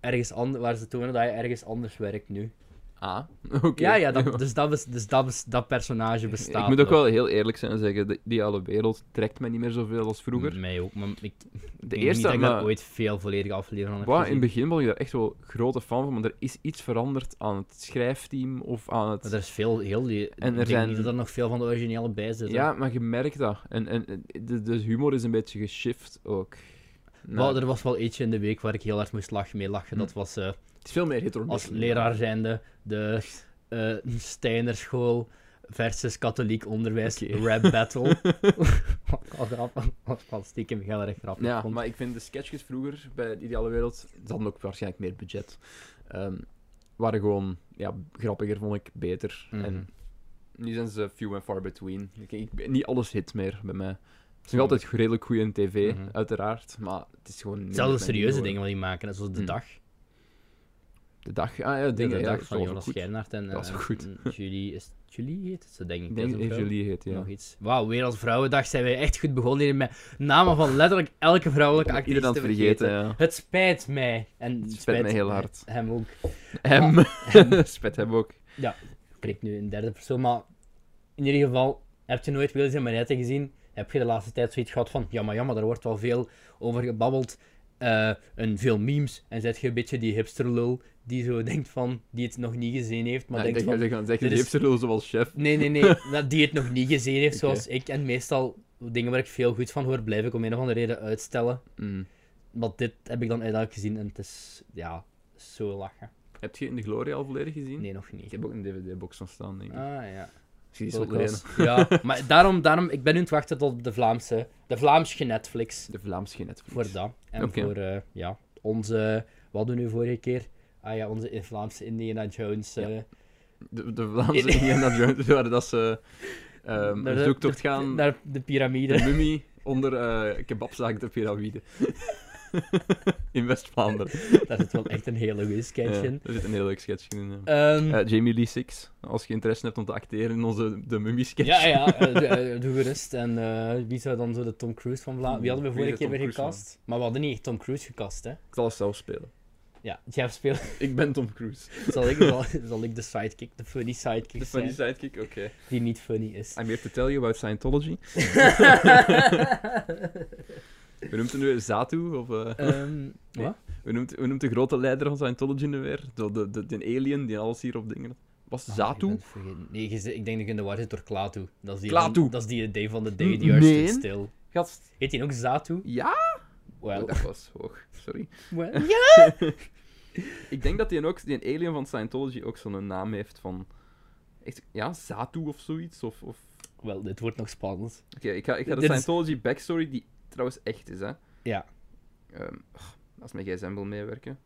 Speaker 2: ergens anders, waar ze tonen dat hij ergens anders werkt nu.
Speaker 1: Ah, oké.
Speaker 2: Ja, ja, dat, dus, dat, bes- dus dat, bes- dat personage bestaat.
Speaker 1: ik moet ook
Speaker 2: nog.
Speaker 1: wel heel eerlijk zijn en zeggen, de ideale wereld trekt mij niet meer zoveel als vroeger.
Speaker 2: Mij ook, maar ik denk
Speaker 1: De
Speaker 2: niet dat
Speaker 1: eerste,
Speaker 2: Mm. ik daar
Speaker 1: maar
Speaker 2: ooit veel volledige afleveringen van heb
Speaker 1: Wow, in het
Speaker 2: gezien.
Speaker 1: begin was ik daar echt wel grote fan van, want er is iets veranderd aan het schrijfteam of aan het...
Speaker 2: Maar er is veel, heel die...
Speaker 1: er
Speaker 2: ik denk
Speaker 1: zijn-
Speaker 2: niet dat er nog veel van de originele bij zitten.
Speaker 1: Ja, maar je merkt dat. En, en, en de, de humor is een beetje geshift ook. Nou,
Speaker 2: Wel, er was wel eentje in de week waar ik heel hard moest lachen, mee lachen.
Speaker 1: Hm.
Speaker 2: Dat was eh,
Speaker 1: Het is veel meer hetero.
Speaker 2: als leraar zijnde de eh Steinerschool versus katholiek onderwijs
Speaker 1: Oké.
Speaker 2: rap battle. Wat ik al grappig, wat ik al stiekem heel erg grappig
Speaker 1: Ja,
Speaker 2: vond.
Speaker 1: maar ik vind de sketches vroeger bij de ideale wereld, ze hadden ook waarschijnlijk meer budget, ehm, waren gewoon ja, grappiger, vond ik, beter.
Speaker 2: Mhm.
Speaker 1: En nu zijn ze few and far between. Ik, ik- niet alles hit meer bij mij. Het is nog
Speaker 2: Snap
Speaker 1: altijd redelijk goed in tv,
Speaker 2: Mhm.
Speaker 1: uiteraard, maar het is gewoon... minder
Speaker 2: Zelfs de
Speaker 1: mijn
Speaker 2: serieuze
Speaker 1: ding
Speaker 2: dingen wat die maken, hè, zoals De
Speaker 1: Mm.
Speaker 2: Dag.
Speaker 1: geworden. De dag, ah ja,
Speaker 2: De,
Speaker 1: dingen, ja,
Speaker 2: Dag
Speaker 1: dat
Speaker 2: van
Speaker 1: was
Speaker 2: Jonas
Speaker 1: ook goed.
Speaker 2: Schijnaert en,
Speaker 1: Dat was
Speaker 2: eh,
Speaker 1: ook goed.
Speaker 2: en Julie is Julie heet het, zo denk ik.
Speaker 1: Ik
Speaker 2: hè,
Speaker 1: denk
Speaker 2: zo'n
Speaker 1: dat het
Speaker 2: vrouw.
Speaker 1: Julie heet, ja.
Speaker 2: Nog iets. Wauw, Wereldvrouwendag zijn wij echt goed begonnen hier met namen van letterlijk elke vrouwelijke
Speaker 1: Om Iedereen
Speaker 2: activist
Speaker 1: aan
Speaker 2: te
Speaker 1: het
Speaker 2: vergeten.
Speaker 1: vergeten, ja.
Speaker 2: Het spijt mij. En het
Speaker 1: spijt mij heel hard.
Speaker 2: Hem ook.
Speaker 1: Hem. Spet hem ook.
Speaker 2: Ik kreeg nu een derde persoon, maar in ieder geval, heb je nooit Wilson Manette gezien? Heb je de laatste tijd zoiets gehad van, ja maar ja, maar daar wordt wel veel over gebabbeld. eh, en veel memes. En zet je een beetje die hipsterlul die zo denkt van, die het nog niet gezien heeft, maar
Speaker 1: Maar ik
Speaker 2: denkt
Speaker 1: denk
Speaker 2: van,
Speaker 1: dat je zegt,
Speaker 2: dit
Speaker 1: die
Speaker 2: is-
Speaker 1: heeft ze zoals chef.
Speaker 2: Nee, nee, nee. dat Die het nog niet gezien heeft,
Speaker 1: Oké.
Speaker 2: zoals ik. En meestal, dingen waar ik veel goed van hoor, blijf ik om een of andere reden uitstellen.
Speaker 1: Mm.
Speaker 2: Want dit heb ik dan uiteindelijk gezien en het is, ja, zo lachen.
Speaker 1: Heb je In de Glory al volledig gezien?
Speaker 2: Nee, nog
Speaker 1: Ik
Speaker 2: niet.
Speaker 1: heb ook een DVD-box van staan, denk ik.
Speaker 2: Ah, ja.
Speaker 1: Misschien is het ook
Speaker 2: Holocaust.
Speaker 1: alleen-
Speaker 2: Ja, maar daarom, daarom, ik ben nu aan het wachten tot de Vlaamse, de Vlaamse Netflix.
Speaker 1: De Vlaams geen Netflix.
Speaker 2: Voor dat. En
Speaker 1: Oké.
Speaker 2: voor, eh, ja, onze, wat doen we nu vorige keer? Ah ja, onze Vlaamse Indiana Jones.
Speaker 1: Ja.
Speaker 2: eh,
Speaker 1: De, de Vlaamse Indiana Jones, waar dat ze ehm
Speaker 2: naar
Speaker 1: een
Speaker 2: de-
Speaker 1: zoektocht
Speaker 2: de-
Speaker 1: gaan.
Speaker 2: Naar de piramide.
Speaker 1: De mummie onder eh kebabzaak de piramide. in West-Vlaanderen.
Speaker 2: Daar zit wel echt een hele goede sketch
Speaker 1: Ja,
Speaker 2: in.
Speaker 1: daar zit een heel leuk sketchje in. ja.
Speaker 2: Ehm,
Speaker 1: Eh, Jamie Lee Six, als je interesse hebt om te acteren in onze De Mummy-sketch.
Speaker 2: Ja, ja, eh, doe- eh, doe gerust. En eh, wie zou dan zo de Tom Cruise van Vlaanderen... Wie hadden we
Speaker 1: Wie
Speaker 2: vorige
Speaker 1: is de
Speaker 2: keer weer
Speaker 1: Tom Cruise van?
Speaker 2: gecast? Maar we hadden niet echt Tom Cruise gecast, hè?
Speaker 1: Ik zal het zelf spelen.
Speaker 2: Ja, Jeff speelt...
Speaker 1: Ik ben Tom Cruise.
Speaker 2: zal, ik, zal, zal ik de sidekick, de funny sidekick
Speaker 1: De
Speaker 2: zijn,
Speaker 1: funny sidekick, oké.
Speaker 2: die niet funny is.
Speaker 1: I'm here to tell you about Scientology. We noemt hem nu Zatu, of... eh,
Speaker 2: Ehm,
Speaker 1: Nee.
Speaker 2: Wat?
Speaker 1: Hoe noemt, hoe noemt de grote leider van Scientology nu weer? Zo de, de, de alien die alles hier op dingen... Was het
Speaker 2: Ah,
Speaker 1: Zatu?
Speaker 2: ik ben het vergeten. Nee, je zit- ik denk dat je in de war zit door Klaatu. Dat is die
Speaker 1: Klaatu.
Speaker 2: Van, dat is die Day van de Day,
Speaker 1: N-
Speaker 2: die juist
Speaker 1: nee.
Speaker 2: zit stil.
Speaker 1: Gast.
Speaker 2: Heet die ook Zatu?
Speaker 1: Ja?
Speaker 2: Wel.
Speaker 1: Dat was hoog, sorry.
Speaker 2: Wel.
Speaker 1: Ik denk dat die, ook, die alien van Scientology ook zo'n naam heeft van... Echt, ja, Zatu of zoiets, of... of...
Speaker 2: Wel, dit wordt nog spannend.
Speaker 1: Oké, ik ga, ik ga de
Speaker 2: Dit is-
Speaker 1: Scientology backstory, die trouwens echt is, hè.
Speaker 2: Ja.
Speaker 1: Ehm, oh, als mijn gsm wil meewerken.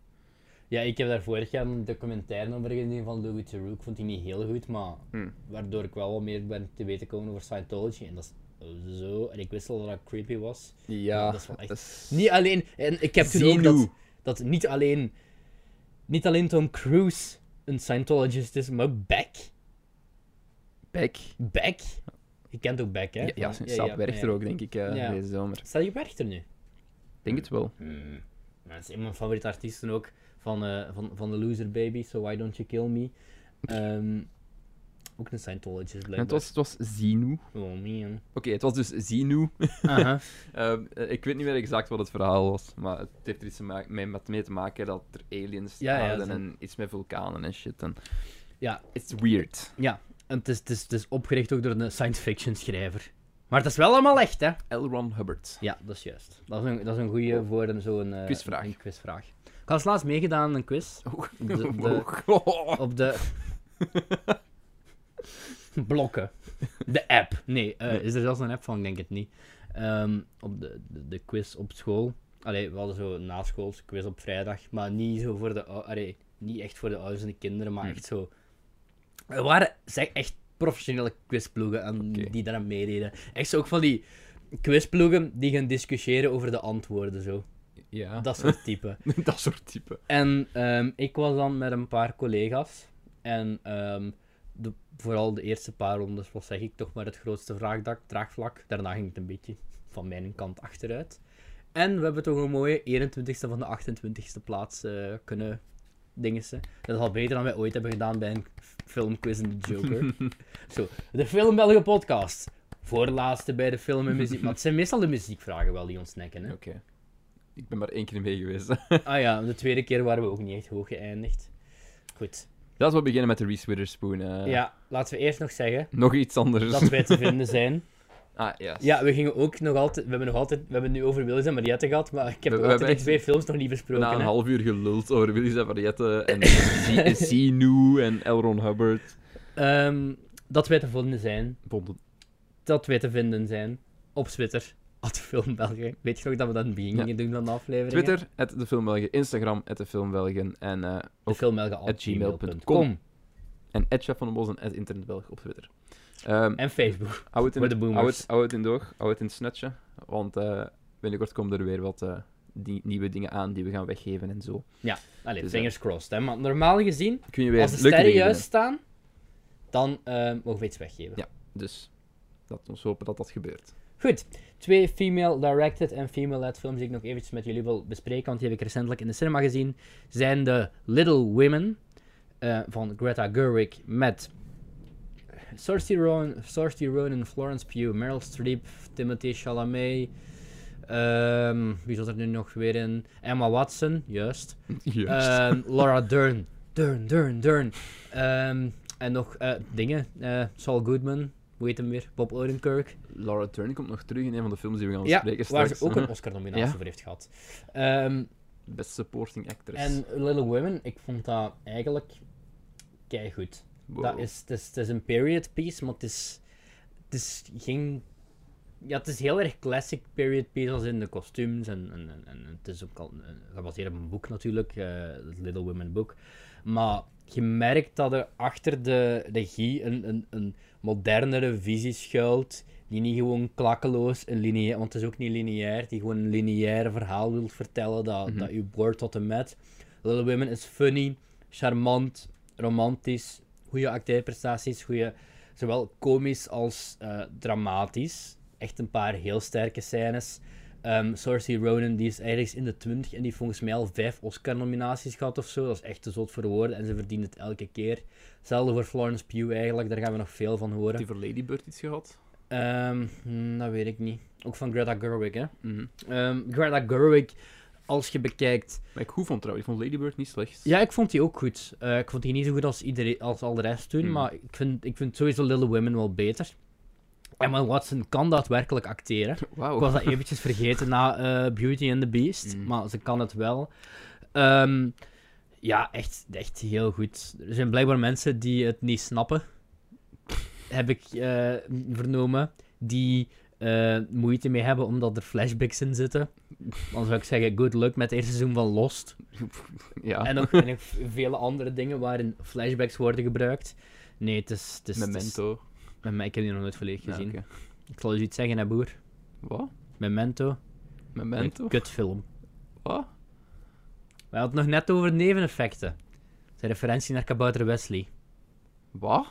Speaker 2: Ja, ik heb daar vorig jaar een documentaire over gezien van Louis Theroux. Ik vond die niet heel goed, maar
Speaker 1: Hmm.
Speaker 2: waardoor ik wel wat meer ben te weten komen over Scientology. En dat is zo... En ik wist al dat dat creepy was.
Speaker 1: Ja,
Speaker 2: dat is wel echt-
Speaker 1: dat is-
Speaker 2: Niet alleen... En ik heb toen ook dat,
Speaker 1: Xenu.
Speaker 2: dat niet alleen... Niet alleen Tom Cruise een Scientologist is, maar ook Beck.
Speaker 1: Beck.
Speaker 2: Beck? Je kent ook Beck, hè?
Speaker 1: Ja, ja,
Speaker 2: Van-
Speaker 1: zijn stap werkt er
Speaker 2: ja.
Speaker 1: ook, denk ik, eh,
Speaker 2: Ja.
Speaker 1: deze zomer.
Speaker 2: Staat je werkt er nu?
Speaker 1: Ik denk het wel.
Speaker 2: Hmm. Dat is een van mijn favoriete artiesten ook. Van, eh, van, van de Loser Baby, So Why Don't You Kill Me. Ehm, ook een Scientologist,
Speaker 1: En het
Speaker 2: blijkbaar.
Speaker 1: was, het was Zinu.
Speaker 2: Oh man.
Speaker 1: Oké, het was dus Zinu.
Speaker 2: Aha.
Speaker 1: Ehm, eh, ik weet niet meer exact wat het verhaal was, maar het heeft er iets te ma- mee, met- mee te maken dat er aliens
Speaker 2: Ja, ja,
Speaker 1: aarden
Speaker 2: zo.
Speaker 1: en iets met vulkanen en shit. En...
Speaker 2: Ja.
Speaker 1: It's weird.
Speaker 2: Ja, en het is, het, is, het is opgericht ook door een science fiction schrijver. Maar het is wel allemaal echt, hè?
Speaker 1: L. Ron Hubbard.
Speaker 2: Ja, dat is juist. Dat is een, dat is een goede voor een- zo'n eh,
Speaker 1: Oh. Quizvraag.
Speaker 2: Een quizvraag. Ik had laatst meegedaan aan een quiz.
Speaker 1: Oh,
Speaker 2: de-
Speaker 1: oh.
Speaker 2: Op de. Blokken. De app. Nee, eh, is er zelfs een app van? Ik denk het niet. Ehm, op de, de, de quiz op school. Allee, we hadden zo na school quiz op vrijdag. Maar niet zo voor de. ou- Allee, niet echt voor de ouders en de kinderen, maar
Speaker 1: Hmm.
Speaker 2: echt zo. Er waren zeg, echt professionele quizploegen aan,
Speaker 1: Oké.
Speaker 2: die daaraan meededen. Echt zo ook van die quizploegen die gaan discussiëren over de antwoorden. Zo.
Speaker 1: Ja,
Speaker 2: Dat soort typen.
Speaker 1: dat soort type.
Speaker 2: En ehm, ik was dan met een paar collega's. En ehm, de, vooral de eerste paar rondes was zeg ik toch maar het grootste vraagdak, draagvlak. Daarna ging het een beetje van mijn kant achteruit. En we hebben toch een mooie 21ste van de 28ste plaats eh, kunnen dingessen. Dat is al beter dan wij ooit hebben gedaan bij een f- filmquiz in de Joker. Zo, de Film Belgen podcast. Voorlaatste bij de film en muziek. Maar het zijn meestal de muziekvragen wel die ons nekken. Hè?
Speaker 1: Oké. Ik ben maar één keer mee geweest.
Speaker 2: Ah ja, de tweede keer waren we ook niet echt hoog geëindigd. Goed.
Speaker 1: Laten we beginnen met de Reese Witherspoon. eh.
Speaker 2: Ja, laten we eerst nog zeggen
Speaker 1: Nog iets anders.
Speaker 2: dat wij te vinden zijn.
Speaker 1: Ah, yes.
Speaker 2: Ja, we gingen ook nog altijd... We hebben, nog altijd, we hebben het nu over Willis en Mariette gehad, maar ik heb
Speaker 1: We-
Speaker 2: nog
Speaker 1: we
Speaker 2: altijd die
Speaker 1: hebben
Speaker 2: twee films nog niet
Speaker 1: Na
Speaker 2: besproken.
Speaker 1: een
Speaker 2: hè.
Speaker 1: half uur geluld over Willis en Variette en Zinu en L. Ron Hubbard.
Speaker 2: Ehm, dat wij te vinden zijn.
Speaker 1: Vond het-
Speaker 2: Dat wij te vinden zijn. Op Twitter. At Filmbelgen. Weet je nog dat we dat in het begin
Speaker 1: Ja.
Speaker 2: gingen doen van de aflevering?
Speaker 1: Twitter, het de Filmbelgen. Instagram, het de Filmbelgen. En eh, ook at gmail.com. En Edja van den Bos en het internetbelg op Twitter. Ehm
Speaker 2: En Facebook.
Speaker 1: hou het in
Speaker 2: voor de boomers.
Speaker 1: Hou het, hou het in doog, hou het in het snetje. Want eh, binnenkort komen er weer wat eh, die, nieuwe dingen aan die we gaan weggeven en zo.
Speaker 2: Allee,
Speaker 1: Dus, eh,
Speaker 2: fingers crossed. Hè. Maar normaal gezien,
Speaker 1: Kun je weer
Speaker 2: als de
Speaker 1: leuke
Speaker 2: sterren
Speaker 1: dingen
Speaker 2: juist staan, dan eh, mogen we iets weggeven.
Speaker 1: Ja. Dus laten we hopen dat dat gebeurt.
Speaker 2: Goed, twee female-directed en female-led films die ik nog eventjes met jullie wil bespreken, want die heb ik recentelijk in de cinema gezien, zijn de Little Women eh, van Greta Gerwig met Saoirse Ronan, Saoirse Ronan, Florence Pugh, Meryl Streep, Timothée Chalamet, ehm, wie zat er nu nog weer in? Emma Watson, juist.
Speaker 1: Juist.
Speaker 2: Ehm, Laura Dern, Dern, Dern, Dern. Ehm, en nog eh, dingen, eh, Saul Goodman, hoe heet hem weer? Bob Odenkirk.
Speaker 1: Laura Turner komt nog terug in een van de films die we gaan
Speaker 2: Ja,
Speaker 1: bespreken
Speaker 2: waar
Speaker 1: straks.
Speaker 2: ze ook een Oscar-nominatie
Speaker 1: Ja.
Speaker 2: voor heeft gehad. Ehm,
Speaker 1: Best Supporting Actress.
Speaker 2: en Little Women, ik vond dat eigenlijk keigoed.
Speaker 1: Wow.
Speaker 2: Dat is, het, is, het is een period piece, maar het is, het is geen... Ja, het is heel erg classic period piece, als in de kostuums. En, en, en, en het is ook al een- gebaseerd op een boek natuurlijk, eh, het Little Women boek. Maar je merkt dat er achter de regie een, een, een modernere visie schuilt, die niet gewoon klakkeloos een lineair... Want het is ook niet lineair, die gewoon een lineair verhaal wil vertellen, dat, dat u boort tot en met. Little Women is funny, charmant, romantisch, goede acteerprestaties, goede, zowel komisch als eh, dramatisch. Echt een paar heel sterke scènes. Ehm Saoirse Ronan die is ergens in de 20 en die heeft volgens mij al vijf Oscar-nominaties gehad of zo. Dat is echt te zot voor woorden en ze verdient het elke keer. Hetzelfde voor Florence Pugh eigenlijk, daar gaan we nog veel van horen.
Speaker 1: Die voor Lady Bird iets gehad?
Speaker 2: Ehm, hmm, dat weet ik niet. Ook van Greta Gerwig, hè.
Speaker 1: Mhm.
Speaker 2: Ehm, Greta Gerwig, als je bekijkt,
Speaker 1: Maar ik goed vond trouwens. Ik vond Lady Bird niet slecht.
Speaker 2: ja, ik vond die ook goed. Eh, ik vond die niet zo goed als, iedereen, als al de rest toen,
Speaker 1: Hmm.
Speaker 2: maar ik vind, ik vind sowieso Little Women wel beter. Emma Watson kan daadwerkelijk acteren.
Speaker 1: Wauw.
Speaker 2: Ik was dat eventjes vergeten na eh, Beauty and the Beast,
Speaker 1: Mm.
Speaker 2: maar ze kan het wel. Ehm, ja, echt, echt heel goed. Er zijn blijkbaar mensen die het niet snappen, heb ik eh, vernomen, die eh, moeite mee hebben omdat er flashbacks in zitten. Dan zou ik zeggen, good luck met het eerste seizoen van Lost.
Speaker 1: Ja.
Speaker 2: En nog, en nog vele andere dingen waarin flashbacks worden gebruikt. Nee, het is... Het is het is-
Speaker 1: Memento.
Speaker 2: Mem- ik heb die nog nooit volledig
Speaker 1: Ja,
Speaker 2: dus- gezien.
Speaker 1: oké.
Speaker 2: Ik zal eens iets zeggen, hè, boer.
Speaker 1: Wat?
Speaker 2: Memento.
Speaker 1: Memento?
Speaker 2: Een kutfilm.
Speaker 1: Wat?
Speaker 2: We hadden het nog net over neveneffecten. Zijn referentie naar Kabouter Wesley.
Speaker 1: Wat?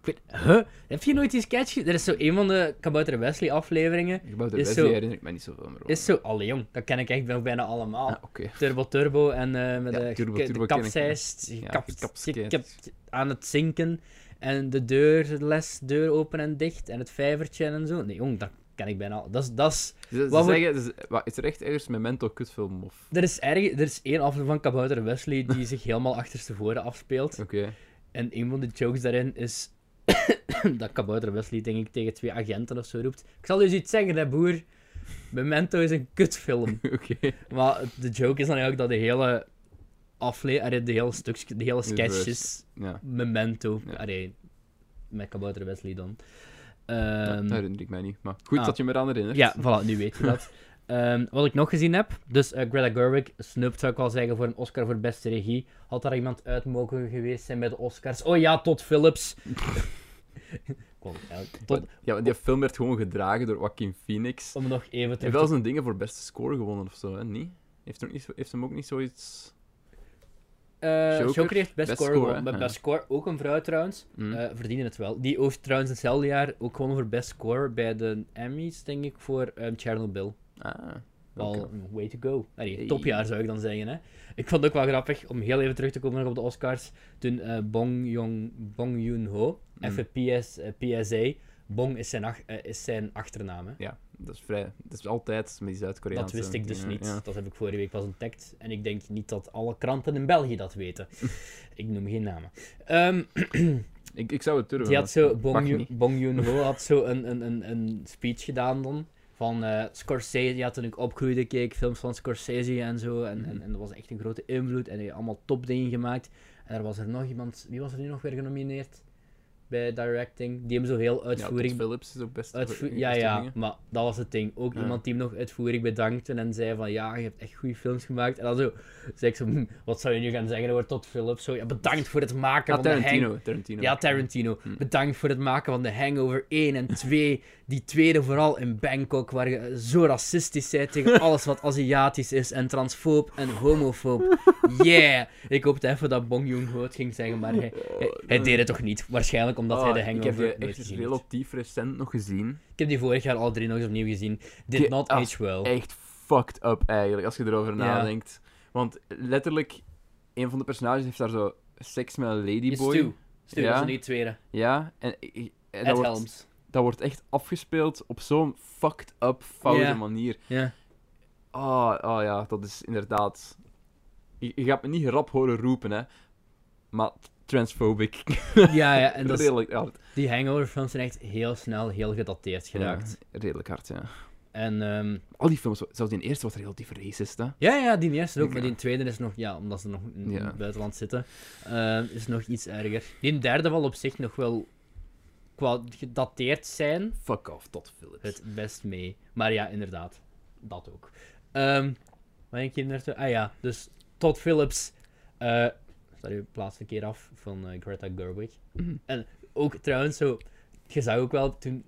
Speaker 2: Ik weet- Huh? Heb je nooit die sketch... ge- Er is zo een van de Kabouter Wesley afleveringen.
Speaker 1: Gebouwde
Speaker 2: Is
Speaker 1: Wesley
Speaker 2: zo-
Speaker 1: herinner ik me niet zoveel meer over.
Speaker 2: Is zo... Allee, jong. Dat ken ik echt wel bijna allemaal.
Speaker 1: Ah, oké.
Speaker 2: Turbo Turbo en eh, met
Speaker 1: Ja,
Speaker 2: de,
Speaker 1: Turbo
Speaker 2: ge-
Speaker 1: Turbo
Speaker 2: de
Speaker 1: ken ik, ja.
Speaker 2: kapseist, gekapt-
Speaker 1: gekapsekeerd.
Speaker 2: gekapt- aan het zinken en de deur, de lesdeur open en dicht en het vijvertje en zo. Nee, jong, dat ken ik bijna al. Dat is, dat is,
Speaker 1: Ze, ze
Speaker 2: Wat we-
Speaker 1: zeggen, ze- wa- is er echt ergens Memento kutfilm of...
Speaker 2: er, is erg, er is één aflevering van Kabouter Wesley die zich helemaal achterstevoren afspeelt.
Speaker 1: Oké.
Speaker 2: En een van de jokes daarin is dat Kabouter Wesley, denk ik, tegen twee agenten of zo roept. Ik zal u eens iets zeggen, hè, boer. Memento is een kutfilm.
Speaker 1: Oké.
Speaker 2: Maar de joke is dan eigenlijk dat de hele aflevering, de hele stukje, de hele sketch
Speaker 1: Reversed.
Speaker 2: is
Speaker 1: Ja.
Speaker 2: Memento.
Speaker 1: Ja.
Speaker 2: Allee, met Kabouter Wesley dan.
Speaker 1: Ja,
Speaker 2: Ehm,
Speaker 1: dat herinner ik mij niet. Maar goed
Speaker 2: ah.
Speaker 1: dat je me eraan herinnert.
Speaker 2: ja, voilà, nu weet je dat. Ehm, wat ik nog gezien heb, dus eh, Greta Gerwig, Snoop zou ik wel zeggen voor een Oscar voor beste regie. Had daar iemand uit mogen geweest zijn bij de Oscars? Oh ja, Todd Phillips. Kon eigenlijk-
Speaker 1: Maar-
Speaker 2: Todd,
Speaker 1: Ja, want die film werd gewoon gedragen door Joaquin Phoenix. Hij
Speaker 2: om nog even
Speaker 1: heeft
Speaker 2: terug
Speaker 1: wel
Speaker 2: te...
Speaker 1: zijn dingen voor beste score gewonnen of zo, hè? Niet? Heeft, er ook niet zo- heeft hem ook niet zoiets...
Speaker 2: Eh,
Speaker 1: Joker?
Speaker 2: Joker heeft best,
Speaker 1: Best
Speaker 2: score,
Speaker 1: score,
Speaker 2: gewonnen.
Speaker 1: hè?
Speaker 2: Bij
Speaker 1: Ja.
Speaker 2: Best score, ook een vrouw trouwens.
Speaker 1: Hm?
Speaker 2: eh verdienen het wel. Die heeft trouwens hetzelfde jaar ook gewonnen voor Best Score bij de Emmys, denk ik, voor ehm, Chernobyl.
Speaker 1: ah,
Speaker 2: Wel,
Speaker 1: oké.
Speaker 2: een way to go. Allee,
Speaker 1: Hey.
Speaker 2: topjaar zou ik dan zeggen. Hè. Ik vond het ook wel grappig, om heel even terug te komen nog op de Oscars, toen eh Bong, Jong, Bong Joon-ho,
Speaker 1: Mm.
Speaker 2: even PS, eh, PSA, Bong is zijn, ach- eh, is zijn achternaam. hè.
Speaker 1: Ja, dat is vrij... Dat is altijd met die
Speaker 2: Dat
Speaker 1: Zuid-Koreaanse...
Speaker 2: wist ik dus
Speaker 1: dingen,
Speaker 2: niet.
Speaker 1: Ja.
Speaker 2: Dat heb ik vorige week pas ontdekt. En ik denk niet dat alle kranten in België dat weten. ik noem geen namen. Ehm,
Speaker 1: Ik, ik zou het durven.
Speaker 2: Die had
Speaker 1: maar
Speaker 2: zo,
Speaker 1: dat mag
Speaker 2: Bong, Joon-
Speaker 1: niet.
Speaker 2: Bong Joon-ho had zo een, een, een, een speech gedaan dan. Van eh, Scorsese, ja, toen ik opgroeide keek ik films van Scorsese en zo. En,
Speaker 1: Mhm.
Speaker 2: en, en dat was echt een grote invloed. En hij had allemaal topdingen gemaakt. En er was er nog iemand, wie was er nu nog weer genomineerd? Bij directing. Die hem zo heel
Speaker 1: Ja,
Speaker 2: uitvoerig...
Speaker 1: Todd Phillips is ook best...
Speaker 2: uitvoer-
Speaker 1: best
Speaker 2: ja, ja,
Speaker 1: dingen.
Speaker 2: maar dat was het ding. Ook
Speaker 1: Ja.
Speaker 2: iemand die hem nog uitvoerig bedankte en zei van, ja, je hebt echt goede films gemaakt. En dan zo, zei ik zo, "Hm, wat zou je nu gaan zeggen over Todd Phillips? Zo, ja, bedankt voor het maken
Speaker 1: Ja,
Speaker 2: van de Hangover.
Speaker 1: Ah, Tarantino. Tarantino.
Speaker 2: Ja, Tarantino.
Speaker 1: Hm.
Speaker 2: Bedankt voor het maken van de Hangover 1 en 2. Die tweede vooral in Bangkok, waar je zo racistisch bent tegen alles wat Aziatisch is en transfoob en homofoob. Yeah! Ik hoopte even dat Bong Joon-ho het ging zeggen, maar hij, hij, hij deed het toch niet? Waarschijnlijk eigenlijk omdat hij de
Speaker 1: Ah, ik heb
Speaker 2: hangover
Speaker 1: die
Speaker 2: nooit
Speaker 1: echt
Speaker 2: gezien heeft.
Speaker 1: relatief recent nog gezien.
Speaker 2: Ik heb die vorig jaar al drie nog eens opnieuw gezien. Did
Speaker 1: Die-
Speaker 2: not
Speaker 1: ah,
Speaker 2: age well.
Speaker 1: Echt fucked up eigenlijk, als je erover nadenkt. Want letterlijk, een van de personages heeft daar zo seks met een
Speaker 2: Is
Speaker 1: ladyboy.
Speaker 2: Stu. Stu
Speaker 1: Ja.
Speaker 2: was niet tweede.
Speaker 1: Ja, en ik- ik- en
Speaker 2: Ed
Speaker 1: dat wordt,
Speaker 2: Helms.
Speaker 1: dat wordt echt afgespeeld op zo'n fucked up, foute
Speaker 2: Ja.
Speaker 1: manier.
Speaker 2: Ja.
Speaker 1: Oh, oh ja, dat is inderdaad. Je, je gaat me niet rap horen roepen, hè? Maar transphobic.
Speaker 2: ja, ja, en dat is-
Speaker 1: redelijk hard.
Speaker 2: die hangover-films zijn echt heel snel heel gedateerd geraakt.
Speaker 1: Ja, redelijk hard, ja.
Speaker 2: En ehm,
Speaker 1: Al die films, zelfs die eerste was relatief racist, hè?
Speaker 2: ja, ja, die eerste ook, maar
Speaker 1: Ja.
Speaker 2: die tweede is nog, ja, omdat ze nog in
Speaker 1: Ja.
Speaker 2: in het buitenland zitten, ehm, is nog iets erger. Die derde wel op zich nog wel qua gedateerd zijn,
Speaker 1: Fuck off, tot Phillips.
Speaker 2: het best mee. Maar ja, inderdaad, dat ook. Ehm wat denk je naartoe? Ah ja, dus Todd Phillips. eh staat uw laatste keer af van eh, Greta Gerwig.
Speaker 1: Mhm.
Speaker 2: En ook trouwens, zo, je zag ook wel toen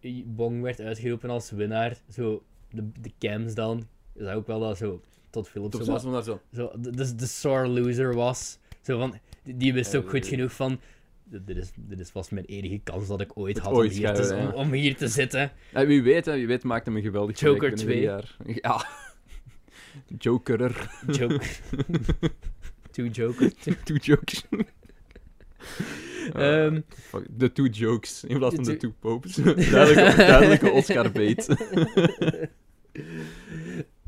Speaker 2: eh, Bong werd uitgeroepen als winnaar, zo de, de cams dan. Je zag ook wel dat zo Todd Phillips
Speaker 1: Tot
Speaker 2: zo
Speaker 1: was
Speaker 2: was.
Speaker 1: van daar zo.
Speaker 2: Zo, de, dus de, de sore loser was. Zo van, die, die wist ook goed
Speaker 1: Eh.
Speaker 2: genoeg van. Dit is, dit is vast mijn enige kans dat ik ooit
Speaker 1: Het
Speaker 2: had
Speaker 1: ooit
Speaker 2: om, hier
Speaker 1: gaan,
Speaker 2: te,
Speaker 1: ja.
Speaker 2: om, om hier te zitten.
Speaker 1: Ja, wie weet, hè, wie weet maakt hem een geweldig
Speaker 2: Joker
Speaker 1: comeback binnen drie jaar. Ja. Jokerer.
Speaker 2: Joker. Two Joker.
Speaker 1: two jokes. Ah,
Speaker 2: Ehm,
Speaker 1: fuck, de two jokes in plaats van
Speaker 2: de
Speaker 1: de two popes. duidelijke, duidelijke Oscar bait.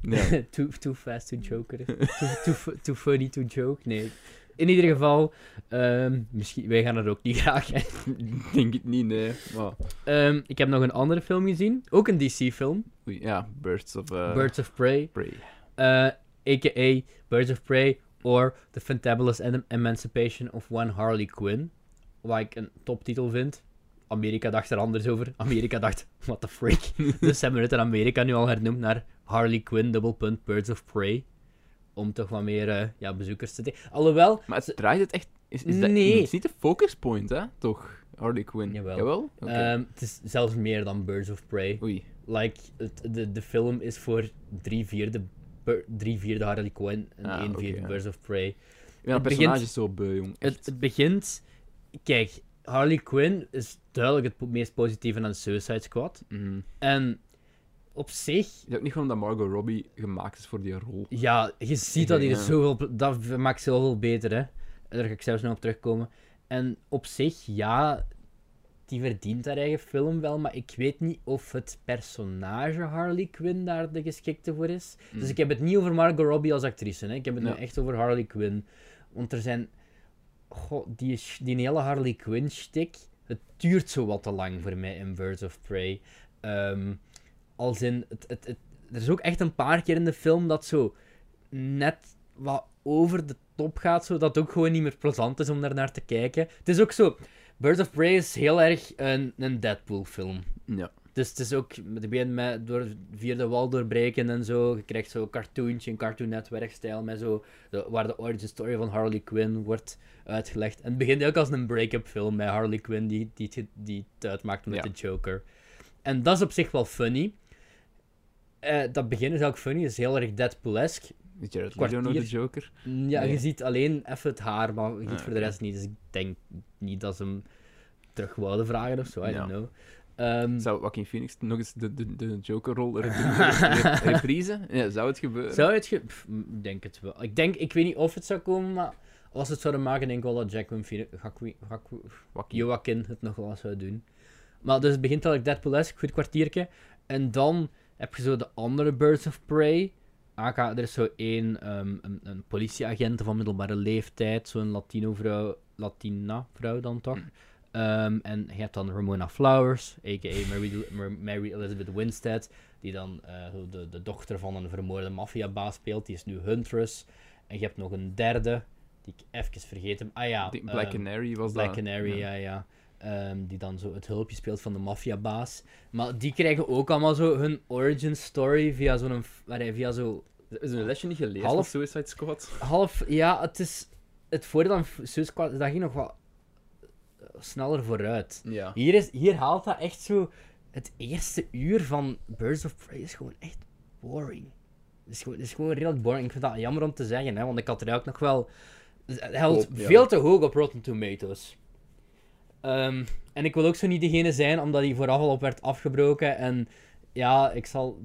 Speaker 1: ja.
Speaker 2: too, too fast to joker. too, too, fu- too funny to joke. Nee. In ieder geval, ehm, misschien, wij gaan het ook niet graag. hè.
Speaker 1: Ik Denk het niet, nee. Maar,
Speaker 2: Ehm, ik heb nog een andere film gezien. Ook een DC-film.
Speaker 1: oei, ja, Birds of eh,
Speaker 2: Birds of Prey.
Speaker 1: Prey.
Speaker 2: eh, A.k.a. Birds of Prey. Or The Fantabulous Em- Emancipation of One Harley Quinn. Wat ik een toptitel vind. Amerika dacht er anders over. Amerika dacht, what the freak. dus ze hebben het in Amerika nu al hernoemd naar Harley Quinn, dubbel punt, Birds of Prey. Om toch wat meer eh, ja, bezoekers te trekken. Alhoewel,
Speaker 1: Maar het draait het echt... Is, is
Speaker 2: Nee.
Speaker 1: Dat, is niet de focus point, hè? Toch? Harley Quinn.
Speaker 2: Jawel.
Speaker 1: Oké.
Speaker 2: Ehm, het is zelfs meer dan Birds of Prey.
Speaker 1: Oei.
Speaker 2: Like, het, de, de film is voor drie vierde, Bur- drie vierde Harley Quinn en
Speaker 1: Ah,
Speaker 2: één
Speaker 1: oké,
Speaker 2: vierde
Speaker 1: ja.
Speaker 2: Birds of Prey.
Speaker 1: Ja,
Speaker 2: Het
Speaker 1: het
Speaker 2: begint-
Speaker 1: personage is zo beu, jong.
Speaker 2: Het,
Speaker 1: Echt.
Speaker 2: het begint... Kijk, Harley Quinn is duidelijk het po- meest positieve aan Suicide Squad.
Speaker 1: Mhm.
Speaker 2: En op zich,
Speaker 1: Is ook niet gewoon dat Margot Robbie gemaakt is voor die rol.
Speaker 2: ja, je ziet dat hier
Speaker 1: Ja.
Speaker 2: zoveel... pl- Dat v- maakt zoveel beter, hè. Daar ga ik zelfs nog op terugkomen. En op zich, ja... Die verdient haar eigen film wel, maar ik weet niet of het personage Harley Quinn daar de geschikte voor is. Dus ik heb het niet over Margot Robbie als actrice. Hè. Ik heb het
Speaker 1: Ja.
Speaker 2: nu echt over Harley Quinn. Want er zijn... Goh, die, sch- die hele Harley Quinn-shtick... Het duurt zo wat te lang voor mij in Birds of Prey. Ehm, als in... Het, het, het, er is ook echt een paar keer in de film dat zo net wat over de top gaat. Zodat het ook gewoon niet meer plezant is om daar naar te kijken. Het is ook zo... Birds of Prey is heel erg een, een Deadpool-film.
Speaker 1: Ja.
Speaker 2: Dus het is ook, het begint met door, via de wal doorbreken en zo. Je krijgt zo'n cartoontje, een cartoon netwerkstijl, met zo, de- waar de origin story van Harley Quinn wordt uitgelegd. En het begint ook als een break-up film met Harley Quinn die, die, het- die het uitmaakt met
Speaker 1: Ja.
Speaker 2: de Joker. En dat is op zich wel funny. Eh, dat begin is ook funny, is heel erg Deadpool-esque.
Speaker 1: Is Jared Leto
Speaker 2: Kwartier.
Speaker 1: nog de Joker?
Speaker 2: Mm, Ja, je
Speaker 1: Nee.
Speaker 2: ziet alleen even het haar, maar je ziet
Speaker 1: Ah,
Speaker 2: voor de
Speaker 1: oké.
Speaker 2: rest niet. Dus ik denk niet dat ze hem terug wouden vragen of zo, I
Speaker 1: Ja.
Speaker 2: don't know. Ehm,
Speaker 1: Zou Joaquin Phoenix nog eens de, de, de Joker-rol repri- reprise? Ja, zou het gebeuren?
Speaker 2: Zou het... ge- Pff, m, ik denk het wel. Ik denk... Ik weet niet of het zou komen, maar... Als ze het zouden maken, denk ik wel dat Jacqueline Phoenix... Joaquin- Joaquin-
Speaker 1: Joaquin.
Speaker 2: Joaquin het nog wel zou doen. Maar dus het begint al ik Deadpool-esque, goed kwartiertje. En dan heb je zo de andere Birds of Prey. Aka, er is zo één, ehm, een, een politieagent van middelbare leeftijd. Zo'n Latino-vrouw, Latina-vrouw dan toch.
Speaker 1: Mm.
Speaker 2: Ehm, en je hebt dan Ramona Flowers, a.k.a. Mary, Mary Elizabeth Winstead. Die dan eh, zo de, de dochter van een vermoorde maffiabaas speelt. Die is nu Huntress. En je hebt nog een derde, die ik even vergeten heb. Ah ja,
Speaker 1: Die Black
Speaker 2: ehm,
Speaker 1: Canary was
Speaker 2: Black
Speaker 1: dat.
Speaker 2: Canary,
Speaker 1: ja.
Speaker 2: ja, ja. Ehm, die dan zo het hulpje speelt van de maffiabaas. Maar die krijgen ook allemaal zo hun origin story via zo'n... f- allee, Via zo
Speaker 1: Is een lesje niet geleerd
Speaker 2: Half-
Speaker 1: van Suicide Squad?
Speaker 2: half... Ja, het is... Het voordeel aan Suicide Squad is dat ging nog wat eh, sneller vooruit.
Speaker 1: Ja.
Speaker 2: Hier, is, hier haalt dat echt zo... Het eerste uur van Birds of Prey is gewoon echt boring. Het is gewoon, het is gewoon redelijk boring. Ik vind dat jammer om te zeggen, hè, want ik had er ook nog wel... Het held
Speaker 1: Op, ja.
Speaker 2: veel te hoog op Rotten Tomatoes. Ehm, en ik wil ook zo niet degene zijn, omdat hij vooraf al op werd afgebroken. En ja, ik, zal,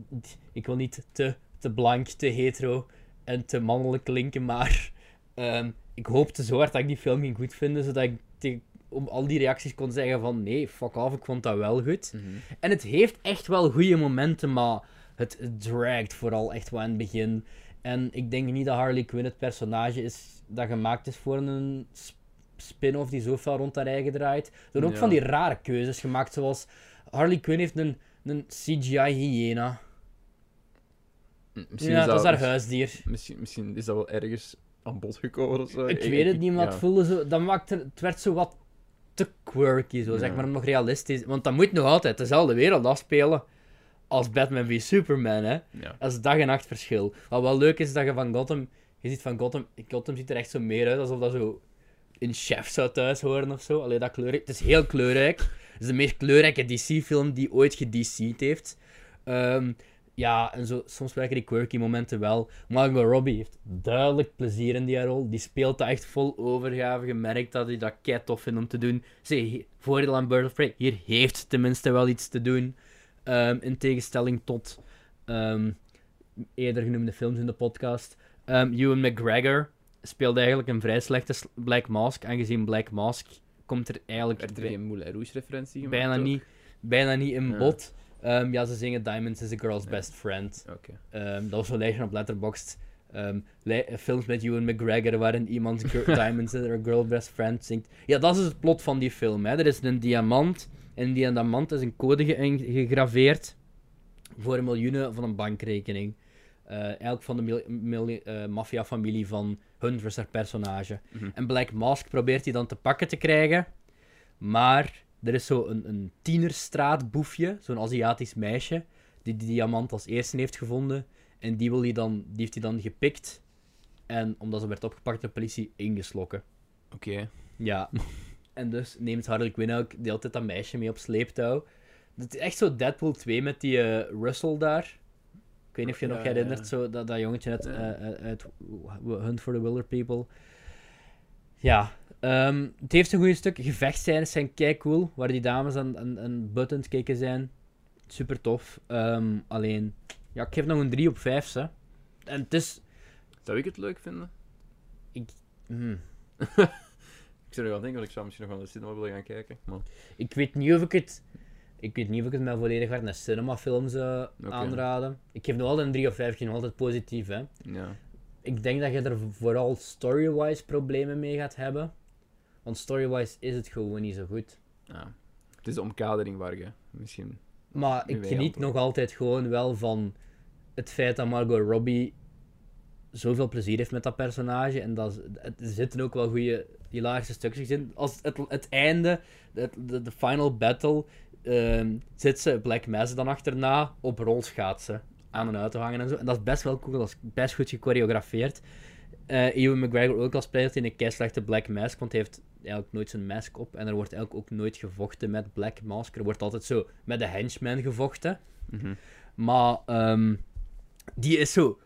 Speaker 2: ik wil niet te, te blank, te hetero en te mannelijk klinken, maar ehm, ik hoopte zo hard dat ik die film ging goed vinden, zodat ik tegen- om al die reacties kon zeggen van nee, fuck off, ik vond dat wel goed.
Speaker 1: Mhm.
Speaker 2: En het heeft echt wel goede momenten, maar het dragged vooral echt wel in het begin. En ik denk niet dat Harley Quinn het personage is dat gemaakt is voor een sp- spin-off die zo veel rond haar eigen draait. Er ook
Speaker 1: Ja.
Speaker 2: van die rare keuzes gemaakt, zoals Harley Quinn heeft een, een CGI-hyena.
Speaker 1: Misschien
Speaker 2: Ja,
Speaker 1: is
Speaker 2: dat is haar
Speaker 1: misschien-
Speaker 2: huisdier.
Speaker 1: Misschien, misschien is dat wel ergens aan bod gekomen of zo.
Speaker 2: Ik weet het niet, maar het
Speaker 1: ja.
Speaker 2: voelde zo... Dat maakte, het werd zo wat te quirky, zo, zeg
Speaker 1: Ja.
Speaker 2: maar, om nog realistisch... Want dat moet nog altijd dezelfde wereld afspelen als Batman v Superman, hè.
Speaker 1: Ja.
Speaker 2: Dat is dag en nacht verschil. Wat wel leuk is, dat je van Gotham... Je ziet van Gotham... Gotham ziet er echt zo meer uit, alsof dat zo in chef zou thuis horen of zo. Allee, dat kleurrijk... Het is heel kleurrijk. Het is de meest kleurrijke DC-film die ooit gedC'd heeft. Ehm, ja, en zo, soms werken die quirky momenten wel. Margot Robbie heeft duidelijk plezier in die rol. Die speelt dat echt vol overgave. Je merkt dat hij dat kei tof vindt om te doen. Zie, voordeel aan Bird of Prey. Hier heeft tenminste wel iets te doen. Ehm, in tegenstelling tot ehm, eerder genoemde films in de podcast. Ehm Ewan McGregor speelde eigenlijk een vrij slechte sl- Black Mask. Aangezien Black Mask komt er eigenlijk
Speaker 1: Werd er
Speaker 2: bij-
Speaker 1: geen Moulin Rouge referentie gemaakt?
Speaker 2: bijna
Speaker 1: ook?
Speaker 2: niet, bijna niet in
Speaker 1: Ja.
Speaker 2: bod. Ehm, ja, ze zingen Diamonds is a Girl's
Speaker 1: Ja.
Speaker 2: Best Friend.
Speaker 1: Oké.
Speaker 2: Ehm, dat was een lijstje op Letterboxd. Ehm, li- eh, films met Ewan McGregor waarin iemand gir- Diamonds is a Girl's Best Friend zingt. Ja, dat is het plot van die film. Hè. Er is een diamant en in die diamant is een code ge- in- gegraveerd voor miljoenen van een bankrekening. Eh elk van de mil- mil- eh, maffiafamilie van hun was haar personage.
Speaker 1: Mhm.
Speaker 2: En Black Mask probeert hij dan te pakken te krijgen. Maar er is zo een, een tienerstraatboefje, zo'n Aziatisch meisje, die die diamant als eerste heeft gevonden. En die, wil hij dan, die heeft hij dan gepikt. En omdat ze werd opgepakt, door de politie ingeslokken.
Speaker 1: Oké.
Speaker 2: Ja. en dus neemt Harley Quinn ook de hele tijd dat meisje mee op sleeptouw. Het is echt zo Deadpool 2 met die eh, Russell daar. Ik weet niet of je
Speaker 1: Ja,
Speaker 2: nog
Speaker 1: ja,
Speaker 2: herinnert,
Speaker 1: ja.
Speaker 2: Zo, dat, dat jongetje uit,
Speaker 1: Ja.
Speaker 2: eh, eh, uit Hunt for the Wilder People. Ja. ehm, het heeft een goede stuk. Gevechtscènes zijn kei cool, waar die dames aan, aan, aan buttons kijken zijn. Super tof. Ehm, alleen, ja, ik geef nog een 3 op 5. En het is.
Speaker 1: Zou ik het leuk vinden?
Speaker 2: hmm.
Speaker 1: Ik zou er wel denken, want ik zou misschien nog wel naar de cinema willen gaan kijken. Maar...
Speaker 2: Ik weet niet of ik het. Ik weet niet of ik het mij volledig hard naar cinemafilms zou
Speaker 1: Oké.
Speaker 2: aanraden. Ik geef nog altijd een 3 of 5, ik geef nog altijd positief. Hè.
Speaker 1: Ja.
Speaker 2: Ik denk dat je er vooral story-wise problemen mee gaat hebben. Want story-wise is het gewoon niet zo goed.
Speaker 1: ja. Ah. Het is de omkadering waar je misschien...
Speaker 2: Maar
Speaker 1: Nu
Speaker 2: ik
Speaker 1: wij
Speaker 2: geniet
Speaker 1: antwoorden.
Speaker 2: nog altijd gewoon wel van het feit dat Margot Robbie zoveel plezier heeft met dat personage. En dat, is- het- er zitten ook wel goede hilarische stukjes in. Als het, het einde, het, de, de final battle, ehm, zit ze Black Mass dan achterna op rolschaatsen. Aan en uit te hangen en zo. En dat is best wel cool, dat is best goed gechoreografeerd. Eh Ewan McGregor ook al speelt in een keislechte Black Mask, want hij heeft eigenlijk nooit zijn mask op. En er wordt eigenlijk ook nooit gevochten met Black Mask. Er wordt altijd zo met de henchman gevochten.
Speaker 1: Mhm.
Speaker 2: Maar ehm, die is zo...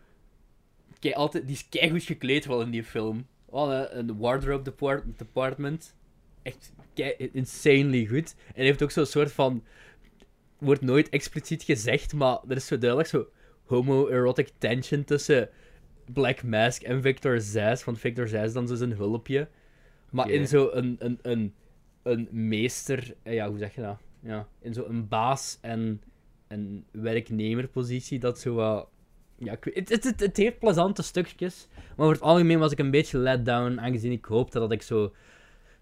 Speaker 2: Kei, altijd, die is keigoed gekleed wel in die film. Wat een- een wardrobe depart- department. Echt kei, insanely goed. En hij heeft ook zo'n soort van... Wordt nooit expliciet gezegd, maar er is zo duidelijk zo homoerotic tension tussen Black Mask en Victor Zsasz. Want Victor Zsasz is dan zo zijn hulpje. Maar
Speaker 1: Oké.
Speaker 2: in zo'n een, een, een, een meester... eh, Ja, hoe zeg je dat? Ja, in zo'n baas en een werknemerpositie dat zo wat... Ja, ik weet- het, het, het, het heeft plezante stukjes, maar over het algemeen was ik een beetje let down, aangezien ik hoopte dat ik zo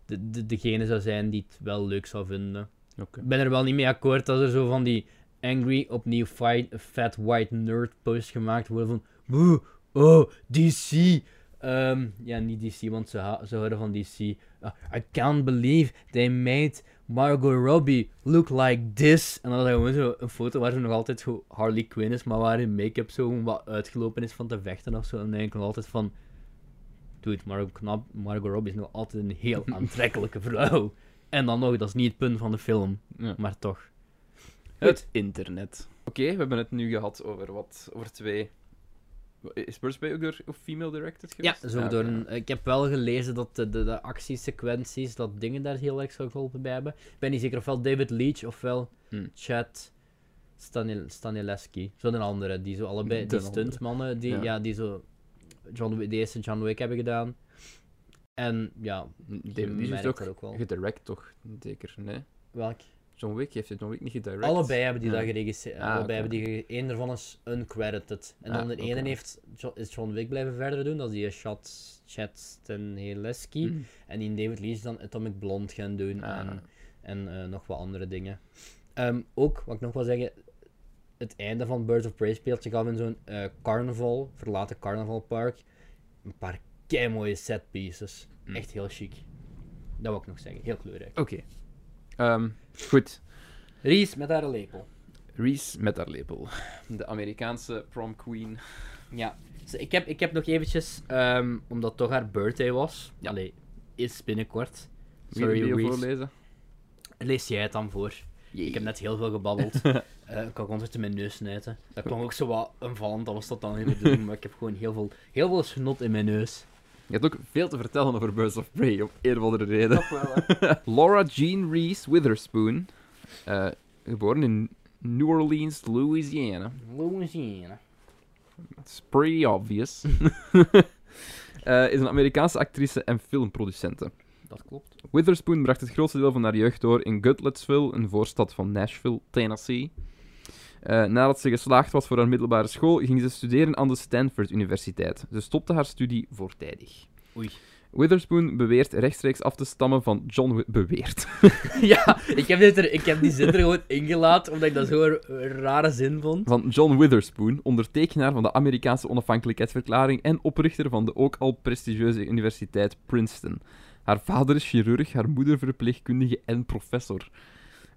Speaker 2: de, de, degene zou zijn die het wel leuk zou vinden.
Speaker 1: Oké.
Speaker 2: Ik ben er wel niet mee akkoord dat er zo van die angry, opnieuw fight, fat white nerd posts gemaakt worden van Boe, oh, DC. Ehm, ja, niet DC, want ze, ha- ze houden van DC. Ah, I can't believe they made Margot Robbie look like this. En dan is dat gewoon zo een foto waar ze nog altijd zo Harley Quinn is, maar waar hun make-up zo gewoon wat uitgelopen is van te vechten of zo. En dan denk ik nog altijd van... Dude, Margot, Knab- Margot Robbie is nog altijd een heel aantrekkelijke vrouw. En dan nog, dat is niet het punt van de film.
Speaker 1: Ja.
Speaker 2: Maar toch.
Speaker 1: Het internet. Oké, we hebben het nu gehad over wat... Over twee Is Birds Bay ook door of female directed
Speaker 2: Ja,
Speaker 1: geweest?
Speaker 2: dat is ook
Speaker 1: Ah,
Speaker 2: door
Speaker 1: oké.
Speaker 2: een, ik heb wel gelezen dat de, de, de actiesequenties, dat dingen daar heel erg zo geholpen bij hebben. Ik ben niet zeker ofwel David Leach ofwel
Speaker 1: Hmm.
Speaker 2: Chad Stanil, Stanileski. Zo'n andere, die zo allebei, die
Speaker 1: De andere.
Speaker 2: stuntmannen, die, ja.
Speaker 1: Ja.
Speaker 2: die zo John, Wick- de eerste John Wick hebben gedaan. En ja,
Speaker 1: David Leitch
Speaker 2: merkt
Speaker 1: heeft dus ook
Speaker 2: dat ook wel.
Speaker 1: gedirect, toch? Zeker, nee?
Speaker 2: welk?
Speaker 1: John Wick heeft het John Wick niet gedirect.
Speaker 2: Allebei hebben die
Speaker 1: Ja.
Speaker 2: dat geregisseerd.
Speaker 1: Ah,
Speaker 2: allebei
Speaker 1: oké.
Speaker 2: hebben die ge- Eén daarvan is uncredited. En dan
Speaker 1: Ah,
Speaker 2: de ene
Speaker 1: oké.
Speaker 2: heeft Jo- is John Wick blijven verder doen, dat is die Chad, Chad Stanileski.
Speaker 1: Hm.
Speaker 2: En die David Lee is dan Atomic Blonde gaan doen.
Speaker 1: Ah.
Speaker 2: En, en eh, nog wat andere dingen. Ehm, ook, wat ik nog wil zeggen. Het einde van Birds of Prey speelt zich af in zo'n eh, carnaval. Verlaten carnavalpark. Een paar kei mooie set pieces.
Speaker 1: Mm.
Speaker 2: Echt heel chic. Dat wil ik nog zeggen. Heel kleurrijk.
Speaker 1: Oké. Ehm, goed.
Speaker 2: Ries met haar lepel.
Speaker 1: Reese met haar lepel. De Amerikaanse prom queen.
Speaker 2: Ja. Dus ik, heb, ik heb nog eventjes, ehm, omdat toch haar birthday was.
Speaker 1: Ja.
Speaker 2: Allee, is binnenkort.
Speaker 1: Wie wil
Speaker 2: Sorry,
Speaker 1: je
Speaker 2: Reese.
Speaker 1: voorlezen?
Speaker 2: Lees jij het dan voor? Ik heb net heel veel gebabbeld. Eh, ik kan gewoon tussen mijn neus snijden. Dat kwam ook zo wat aanvallend, dat was dat dan niet de bedoeling, maar ik heb gewoon heel veel, heel veel snot in mijn neus.
Speaker 1: Je hebt ook veel te vertellen over Birds of Prey, om een of andere reden.
Speaker 2: wel,
Speaker 1: Laura Jean Reese Witherspoon, eh, geboren in New Orleans, Louisiana.
Speaker 2: Louisiana.
Speaker 1: It's pretty obvious. Eh, is een Amerikaanse actrice en filmproducente.
Speaker 2: Dat klopt.
Speaker 1: Witherspoon bracht het grootste deel van haar jeugd door in Gutletsville, een voorstad van Nashville, Tennessee. Eh, nadat ze geslaagd was voor haar middelbare school, ging ze studeren aan de Stanford Universiteit. Ze stopte haar studie voortijdig.
Speaker 2: Oei.
Speaker 1: Witherspoon beweert rechtstreeks af te stammen van John... Wi- beweert.
Speaker 2: ja, ik heb, dit er, ik heb die zin er gewoon ingelaten, omdat ik dat zo'n rare zin vond.
Speaker 1: Van John Witherspoon, ondertekenaar van de Amerikaanse onafhankelijkheidsverklaring en oprichter van de ook al prestigieuze universiteit Princeton. Haar vader is chirurg, haar moeder verpleegkundige en professor.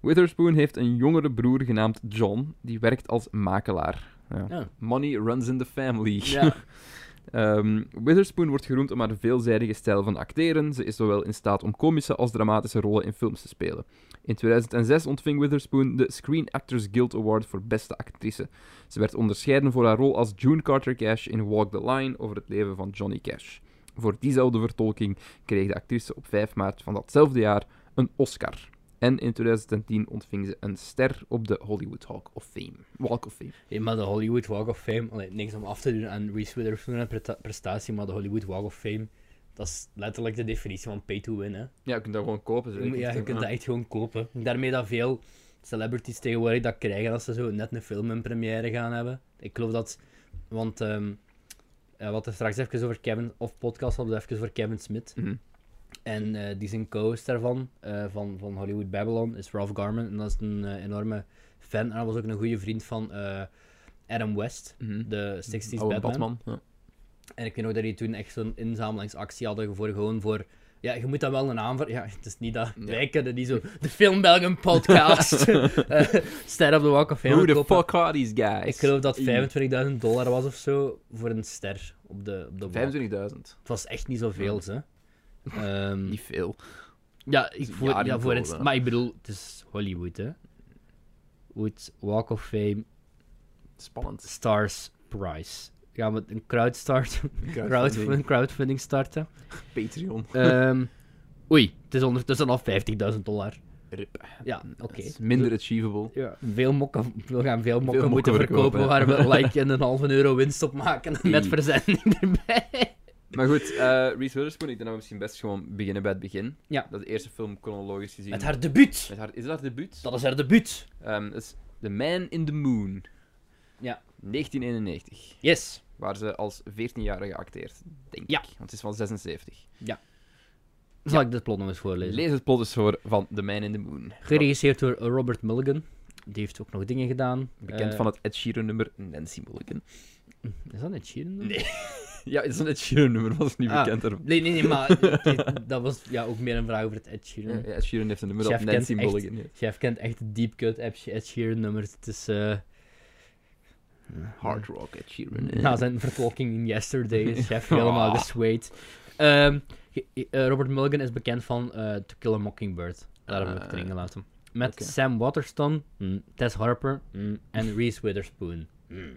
Speaker 1: Witherspoon heeft een jongere broer genaamd John, die werkt als makelaar. Ja.
Speaker 2: Ja.
Speaker 1: Money runs in the family.
Speaker 2: Ja.
Speaker 1: Ehm, Witherspoon wordt geroemd om haar veelzijdige stijl van acteren. Ze is zowel in staat om komische als dramatische rollen in films te spelen. In 2006 ontving Witherspoon de Screen Actors Guild Award voor beste actrice. Ze werd onderscheiden voor haar rol als June Carter Cash in Walk the Line over het leven van Johnny Cash. Voor diezelfde vertolking kreeg de actrice op 5 maart van datzelfde jaar een Oscar. En in 2010 ontving ze een ster op de Hollywood Walk of Fame. Walk of Fame.
Speaker 2: Hey, maar de Hollywood Walk of Fame, allee, niks om af te doen aan Reese Witherspoon en preta- prestatie, maar de Hollywood Walk of Fame, dat is letterlijk de definitie van pay to win, hè.
Speaker 1: Ja, je kunt dat gewoon kopen.
Speaker 2: Je moet- Ja, je kunt dat echt gewoon kopen. Daarmee dat veel celebrities tegenwoordig dat krijgen als ze zo net een film in première gaan hebben. Ik geloof dat, want ehm eh, wat er straks even over Kevin, of podcast hadden we even over Kevin Smith.
Speaker 1: Mhm.
Speaker 2: En eh, die zijn co-host daarvan, eh, van, van Hollywood Babylon, is Ralph Garman. En dat is een eh, enorme fan. En hij was ook een goede vriend van eh, Adam West,
Speaker 1: Mhm.
Speaker 2: de 60s
Speaker 1: Oude
Speaker 2: Batman.
Speaker 1: Ja.
Speaker 2: En ik weet nog dat die toen echt zo'n inzamelingsactie hadden voor gewoon voor. Ja, je moet dan wel een aanvraag. Ja, het is niet dat
Speaker 1: Ja.
Speaker 2: wij kunnen die zo. De Film Belgium podcast. eh ster op de Walk of Fame.
Speaker 1: Who the
Speaker 2: kopen.
Speaker 1: fuck are these guys?
Speaker 2: Ik geloof dat
Speaker 1: Ie.
Speaker 2: 25.000 dollar was of zo voor een ster op de, op de walk.
Speaker 1: 25.000.
Speaker 2: Het was echt niet zoveel, hè. Ehm,
Speaker 1: Niet veel.
Speaker 2: ja, ik
Speaker 1: een
Speaker 2: voor,
Speaker 1: jaar
Speaker 2: ja,
Speaker 1: in
Speaker 2: voor
Speaker 1: Polen.
Speaker 2: het, maar ik bedoel, het is Hollywood, hè. Wood Walk of Fame
Speaker 1: Spannend.
Speaker 2: Stars Prize. Gaan we een crowd starten? Crowdfunding.
Speaker 1: Crowdfunding.
Speaker 2: crowdfunding starten?
Speaker 1: Patreon.
Speaker 2: Ehm, oei, het is ondertussen al 50.000 dollar.
Speaker 1: Rip.
Speaker 2: Ja, oké.
Speaker 1: Dat is Minder achievable.
Speaker 2: Ja, veel mokken, we gaan veel mokken,
Speaker 1: mokken
Speaker 2: moeten verkopen,
Speaker 1: verkopen,
Speaker 2: waar
Speaker 1: ja.
Speaker 2: we like en een halve euro winst op maken en met
Speaker 1: Ie.
Speaker 2: verzending erbij.
Speaker 1: Maar goed, eh Reese Witherspoon, ik denk dat we misschien best gewoon beginnen bij het begin.
Speaker 2: Ja.
Speaker 1: Dat is de eerste film chronologisch gezien.
Speaker 2: Met haar debuut.
Speaker 1: Met haar- is dat haar debuut?
Speaker 2: Dat is haar debuut.
Speaker 1: Ehm, dat is The Man in the Moon.
Speaker 2: Ja.
Speaker 1: 1991.
Speaker 2: Yes.
Speaker 1: Waar ze als 14-jarige acteert, denk
Speaker 2: Ja.
Speaker 1: ik. Want het is van 76.
Speaker 2: Zal ik dit plot nog eens voorlezen?
Speaker 1: Lees het plot eens voor van The Man in the Moon.
Speaker 2: Geregisseerd door Robert Mulligan. Die heeft ook nog dingen gedaan.
Speaker 1: Bekend
Speaker 2: Eh,
Speaker 1: van het Ed Sheeran nummer Nancy Mulligan.
Speaker 2: Is dat niet Sheeran? dan?
Speaker 1: Nee. Ja, het is een Ed Sheeran nummer, was niet
Speaker 2: Ah.
Speaker 1: bekend daarvan.
Speaker 2: Nee, nee, nee, maar dit- dat was ja, ook meer een vraag over het Ed
Speaker 1: Ja,
Speaker 2: Sheeran.
Speaker 1: ja, Ed Sheeran heeft een nummer
Speaker 2: Chef
Speaker 1: dat
Speaker 2: kent
Speaker 1: Nancy
Speaker 2: echt-
Speaker 1: Mulligan heeft.
Speaker 2: Chef kent echt de deep cut Ed Sheeran nummers. Het is... eh,
Speaker 1: Hard rock Ed Sheeran. eh.
Speaker 2: Na zijn vertolking in Yesterday is Chef helemaal
Speaker 1: Ah.
Speaker 2: gesweet. Ehm, ge- eh, Robert Mulligan is bekend van eh, To Kill a Mockingbird. Daar hebben we het
Speaker 1: Ah,
Speaker 2: erin gelaten. Met
Speaker 1: oké.
Speaker 2: Sam Waterston, mm, Tess Harper mm, en Reese Witherspoon. Mm.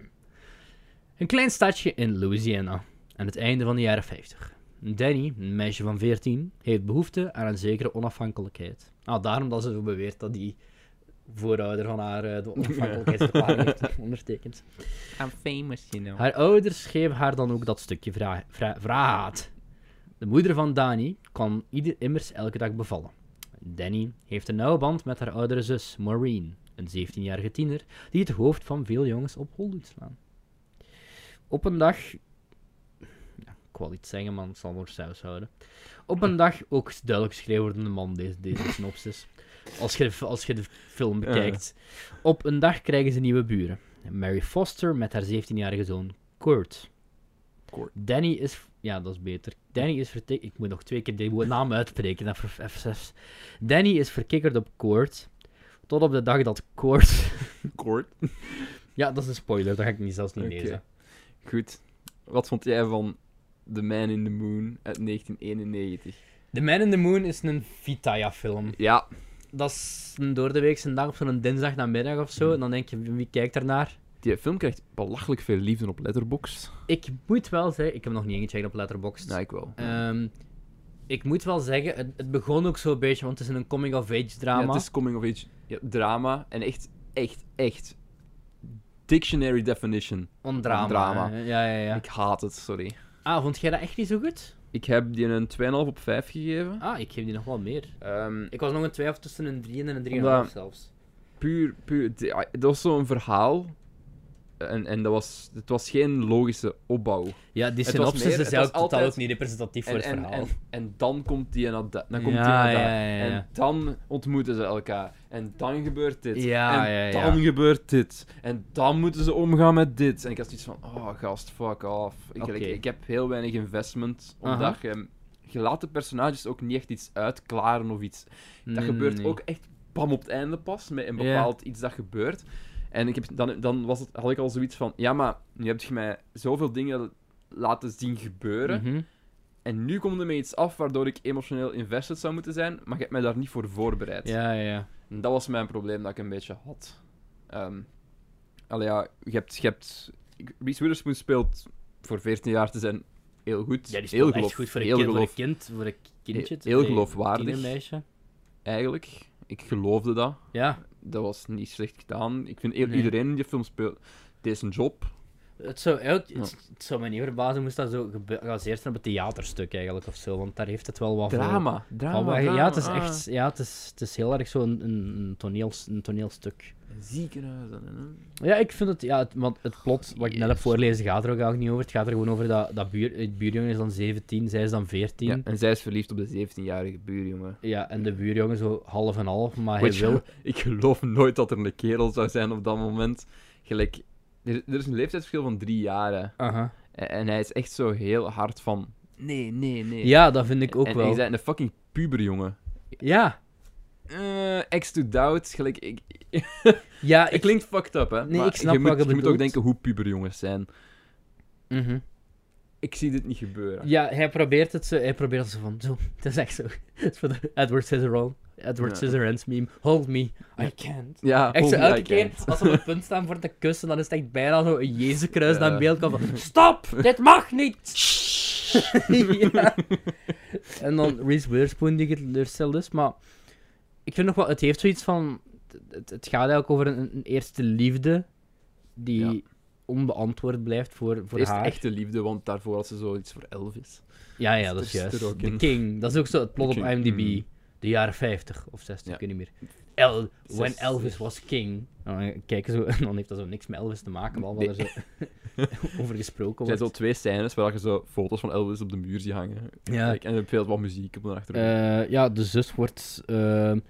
Speaker 2: Een klein stadje in Louisiana, aan het einde van de jaren 50. Danny, een meisje van 14, heeft behoefte aan een zekere onafhankelijkheid. Ah, daarom dat ze zo beweert dat die voorouder van haar eh, de onafhankelijkheidsverklaring heeft ondertekend.
Speaker 1: I'm famous, you know.
Speaker 2: Haar ouders geven haar dan ook dat stukje vra- vra- vraat. De moeder van Dani kan ieder immers elke dag bevallen. Danny heeft een nauwe band met haar oudere zus, Maureen, een 17-jarige tiener die het hoofd van veel jongens op hol doet slaan. Op een dag. Ja, ik wil iets zeggen, maar ik zal voor saus houden. Op een dag ook duidelijk geschreeuwerdende man, deze, deze synopsis. Als je, als je de film
Speaker 1: Ja.
Speaker 2: bekijkt. Op een dag krijgen ze nieuwe buren. Mary Foster met haar 17-jarige zoon Kurt.
Speaker 1: Kurt.
Speaker 2: Danny is. Ja, dat is beter. Danny is vertik. Ik moet nog twee keer de naam uitspreken. Dat ver- even- even- Danny is verkikkerd op Kurt. Tot op de dag dat Kurt.
Speaker 1: Kort.
Speaker 2: ja, dat is een spoiler. Dat ga ik niet, zelfs niet
Speaker 1: Oké.
Speaker 2: lezen.
Speaker 1: Goed. Wat vond jij van The Man in the Moon uit 1991?
Speaker 2: The Man in the Moon is een Vitaya-film.
Speaker 1: Ja,
Speaker 2: Dat is een door de weekse dag op zo'n dinsdag namiddag of zo. En dan denk je, wie kijkt ernaar?
Speaker 1: die film krijgt belachelijk veel liefde op Letterboxd.
Speaker 2: Ik moet wel zeggen, ik heb hem nog niet ingecheckt op Letterboxd.
Speaker 1: Ja, ik wel.
Speaker 2: Ehm, ik moet wel zeggen, het, het begon ook zo'n beetje, want het is een coming-of-age drama.
Speaker 1: Ja, het is coming of age ja, drama en echt, echt, echt dictionary definition.
Speaker 2: een drama.
Speaker 1: een drama.
Speaker 2: hè. Ja, ja, ja.
Speaker 1: Ik haat het, sorry.
Speaker 2: Ah, vond jij dat echt niet zo goed?
Speaker 1: Ik heb die een 2,5 op 5 gegeven.
Speaker 2: Ah, ik geef die nog wel meer.
Speaker 1: Ehm,
Speaker 2: Ik was nog een twijfel tussen een 3 en een 3,5
Speaker 1: Omdat-
Speaker 2: zelfs.
Speaker 1: puur, puur, d- ja, dat was zo'n verhaal. En, en dat was, het was geen logische opbouw.
Speaker 2: Ja, die
Speaker 1: was
Speaker 2: synopsis
Speaker 1: meer,
Speaker 2: is
Speaker 1: het was
Speaker 2: eigenlijk totaal
Speaker 1: altijd-
Speaker 2: ook niet representatief voor
Speaker 1: En, en,
Speaker 2: het verhaal.
Speaker 1: en, en dan komt die en dat- dat- dan komt
Speaker 2: Ja,
Speaker 1: die en dat.
Speaker 2: ja, ja, ja.
Speaker 1: En dan ontmoeten ze elkaar. En dan gebeurt dit.
Speaker 2: Ja,
Speaker 1: en
Speaker 2: ja, ja.
Speaker 1: dan gebeurt dit. En dan moeten ze omgaan met dit. En ik had zoiets van, oh gast, fuck off. Ik,
Speaker 2: Oké.
Speaker 1: ik, ik heb heel weinig investment. Omdat
Speaker 2: Aha.
Speaker 1: je, je laat de personages ook niet echt iets uitklaren of iets. Dat
Speaker 2: Nee,
Speaker 1: gebeurt
Speaker 2: nee.
Speaker 1: ook echt bam op het einde pas, met een
Speaker 2: Ja.
Speaker 1: bepaald iets dat gebeurt. En ik heb, dan, dan was het, had ik al zoiets van, ja, maar nu heb je mij zoveel dingen laten zien gebeuren.
Speaker 2: Mhm.
Speaker 1: En nu komt er mee iets af waardoor ik emotioneel invested zou moeten zijn, maar je hebt mij daar niet voor voorbereid.
Speaker 2: Ja, ja, ja.
Speaker 1: En dat was mijn probleem dat ik een beetje had. Ehm allee, ja, je hebt... Je hebt ik- Reese Witherspoon speelt voor 14 jaar te zijn heel goed.
Speaker 2: Ja, die
Speaker 1: heel
Speaker 2: speelt echt
Speaker 1: geloof-
Speaker 2: goed voor een,
Speaker 1: heel
Speaker 2: kind, voor een
Speaker 1: geloof-
Speaker 2: kind, voor een kindje. te-
Speaker 1: Heel
Speaker 2: nee,
Speaker 1: geloofwaardig.
Speaker 2: een tienermeisje.
Speaker 1: Eigenlijk, ik geloofde dat.
Speaker 2: Ja,
Speaker 1: Dat was niet slecht gedaan. Ik vind i-
Speaker 2: Nee.
Speaker 1: iedereen in die film speelt deze job.
Speaker 2: het zou, eigenlijk-
Speaker 1: Ja.
Speaker 2: het, het zou me niet verbazen moest dat zo gebe- gebaseerd zijn op een theaterstuk eigenlijk of zo, want daar heeft het wel wat voor-
Speaker 1: Drama. Drama,
Speaker 2: van wat-
Speaker 1: drama,
Speaker 2: ja, het is
Speaker 1: ah.
Speaker 2: echt, ja, het is, het is heel erg zo'n een, een, toneels, een toneelstuk.
Speaker 1: Ah, Ziekenhuizen. hè.
Speaker 2: Ja, ik vind het, ja, het, want het plot wat ik net heb
Speaker 1: Jezus.
Speaker 2: voorlezen gaat er ook eigenlijk niet over. Het gaat er gewoon over dat, dat buur, het buurjongen is dan 17, zij is dan 14.
Speaker 1: Ja,
Speaker 2: Ja.
Speaker 1: en zij is verliefd op de 17-jarige buurjongen.
Speaker 2: en de buurjongen zo half en half, maar hij
Speaker 1: Weet je,
Speaker 2: wil...
Speaker 1: Ah, Ik geloof nooit dat er een kerel zou zijn op dat moment. Gelijk, er, er is een leeftijdsverschil van drie jaren.
Speaker 2: Aha.
Speaker 1: En, en hij is echt zo heel hard van... Nee, nee, nee.
Speaker 2: Ja, dat vind ik ook
Speaker 1: en, En
Speaker 2: wel.
Speaker 1: je bent een fucking puberjongen.
Speaker 2: Ja,
Speaker 1: Eh, ex to doubt, gelijk... Ik,
Speaker 2: ja,
Speaker 1: het
Speaker 2: ik...
Speaker 1: klinkt fucked up, hè.
Speaker 2: Nee,
Speaker 1: maar
Speaker 2: ik snap
Speaker 1: je
Speaker 2: wat
Speaker 1: moet, Je
Speaker 2: je
Speaker 1: moet
Speaker 2: bedoelt.
Speaker 1: ook denken hoe puberjongens zijn.
Speaker 2: Mhm.
Speaker 1: Ik zie dit niet gebeuren.
Speaker 2: Ja, hij probeert het zo. Hij probeert het zo van. Zo, het is echt zo. Het is voor de Edward Scissorhands, Edward
Speaker 1: Ja.
Speaker 2: Scissorhands meme. Hold me, I can't.
Speaker 1: Ja,
Speaker 2: Echt zo
Speaker 1: holy
Speaker 2: elke
Speaker 1: I
Speaker 2: keer
Speaker 1: can't.
Speaker 2: als we op het punt staan voor te kussen, dan is het echt bijna zo een Jezuskruis dat in
Speaker 1: Ja.
Speaker 2: beeld komt van Stop! Dit mag niet! Ja. En dan Reese Witherspoon die teleurgesteld is, maar ik vind nog wel, het heeft zoiets van, het, het gaat eigenlijk over een, een eerste liefde die
Speaker 1: Ja.
Speaker 2: onbeantwoord blijft voor, voor
Speaker 1: Eerst
Speaker 2: haar.
Speaker 1: echte liefde, want daarvoor had ze zoiets voor Elvis.
Speaker 2: Ja, ja,
Speaker 1: Dus Dat
Speaker 2: dat is
Speaker 1: zit er
Speaker 2: juist.
Speaker 1: ook
Speaker 2: The
Speaker 1: in.
Speaker 2: King. Dat is ook zo het plot
Speaker 1: The
Speaker 2: op
Speaker 1: King,
Speaker 2: IMDb.
Speaker 1: mm.
Speaker 2: De jaren 50 of 60,
Speaker 1: Ja.
Speaker 2: ik weet niet meer. El When
Speaker 1: 60.
Speaker 2: Elvis was king. En dan kijken zo, en dan heeft dat zo niks met Elvis te maken, maar wat er zo over gesproken
Speaker 1: Er zijn
Speaker 2: wordt.
Speaker 1: zo twee scènes waar je zo foto's van Elvis op de muur ziet hangen.
Speaker 2: Ja.
Speaker 1: Kijk, En er speelt wat muziek op de achtergrond.
Speaker 2: Eh, ja, de zus wordt. eh,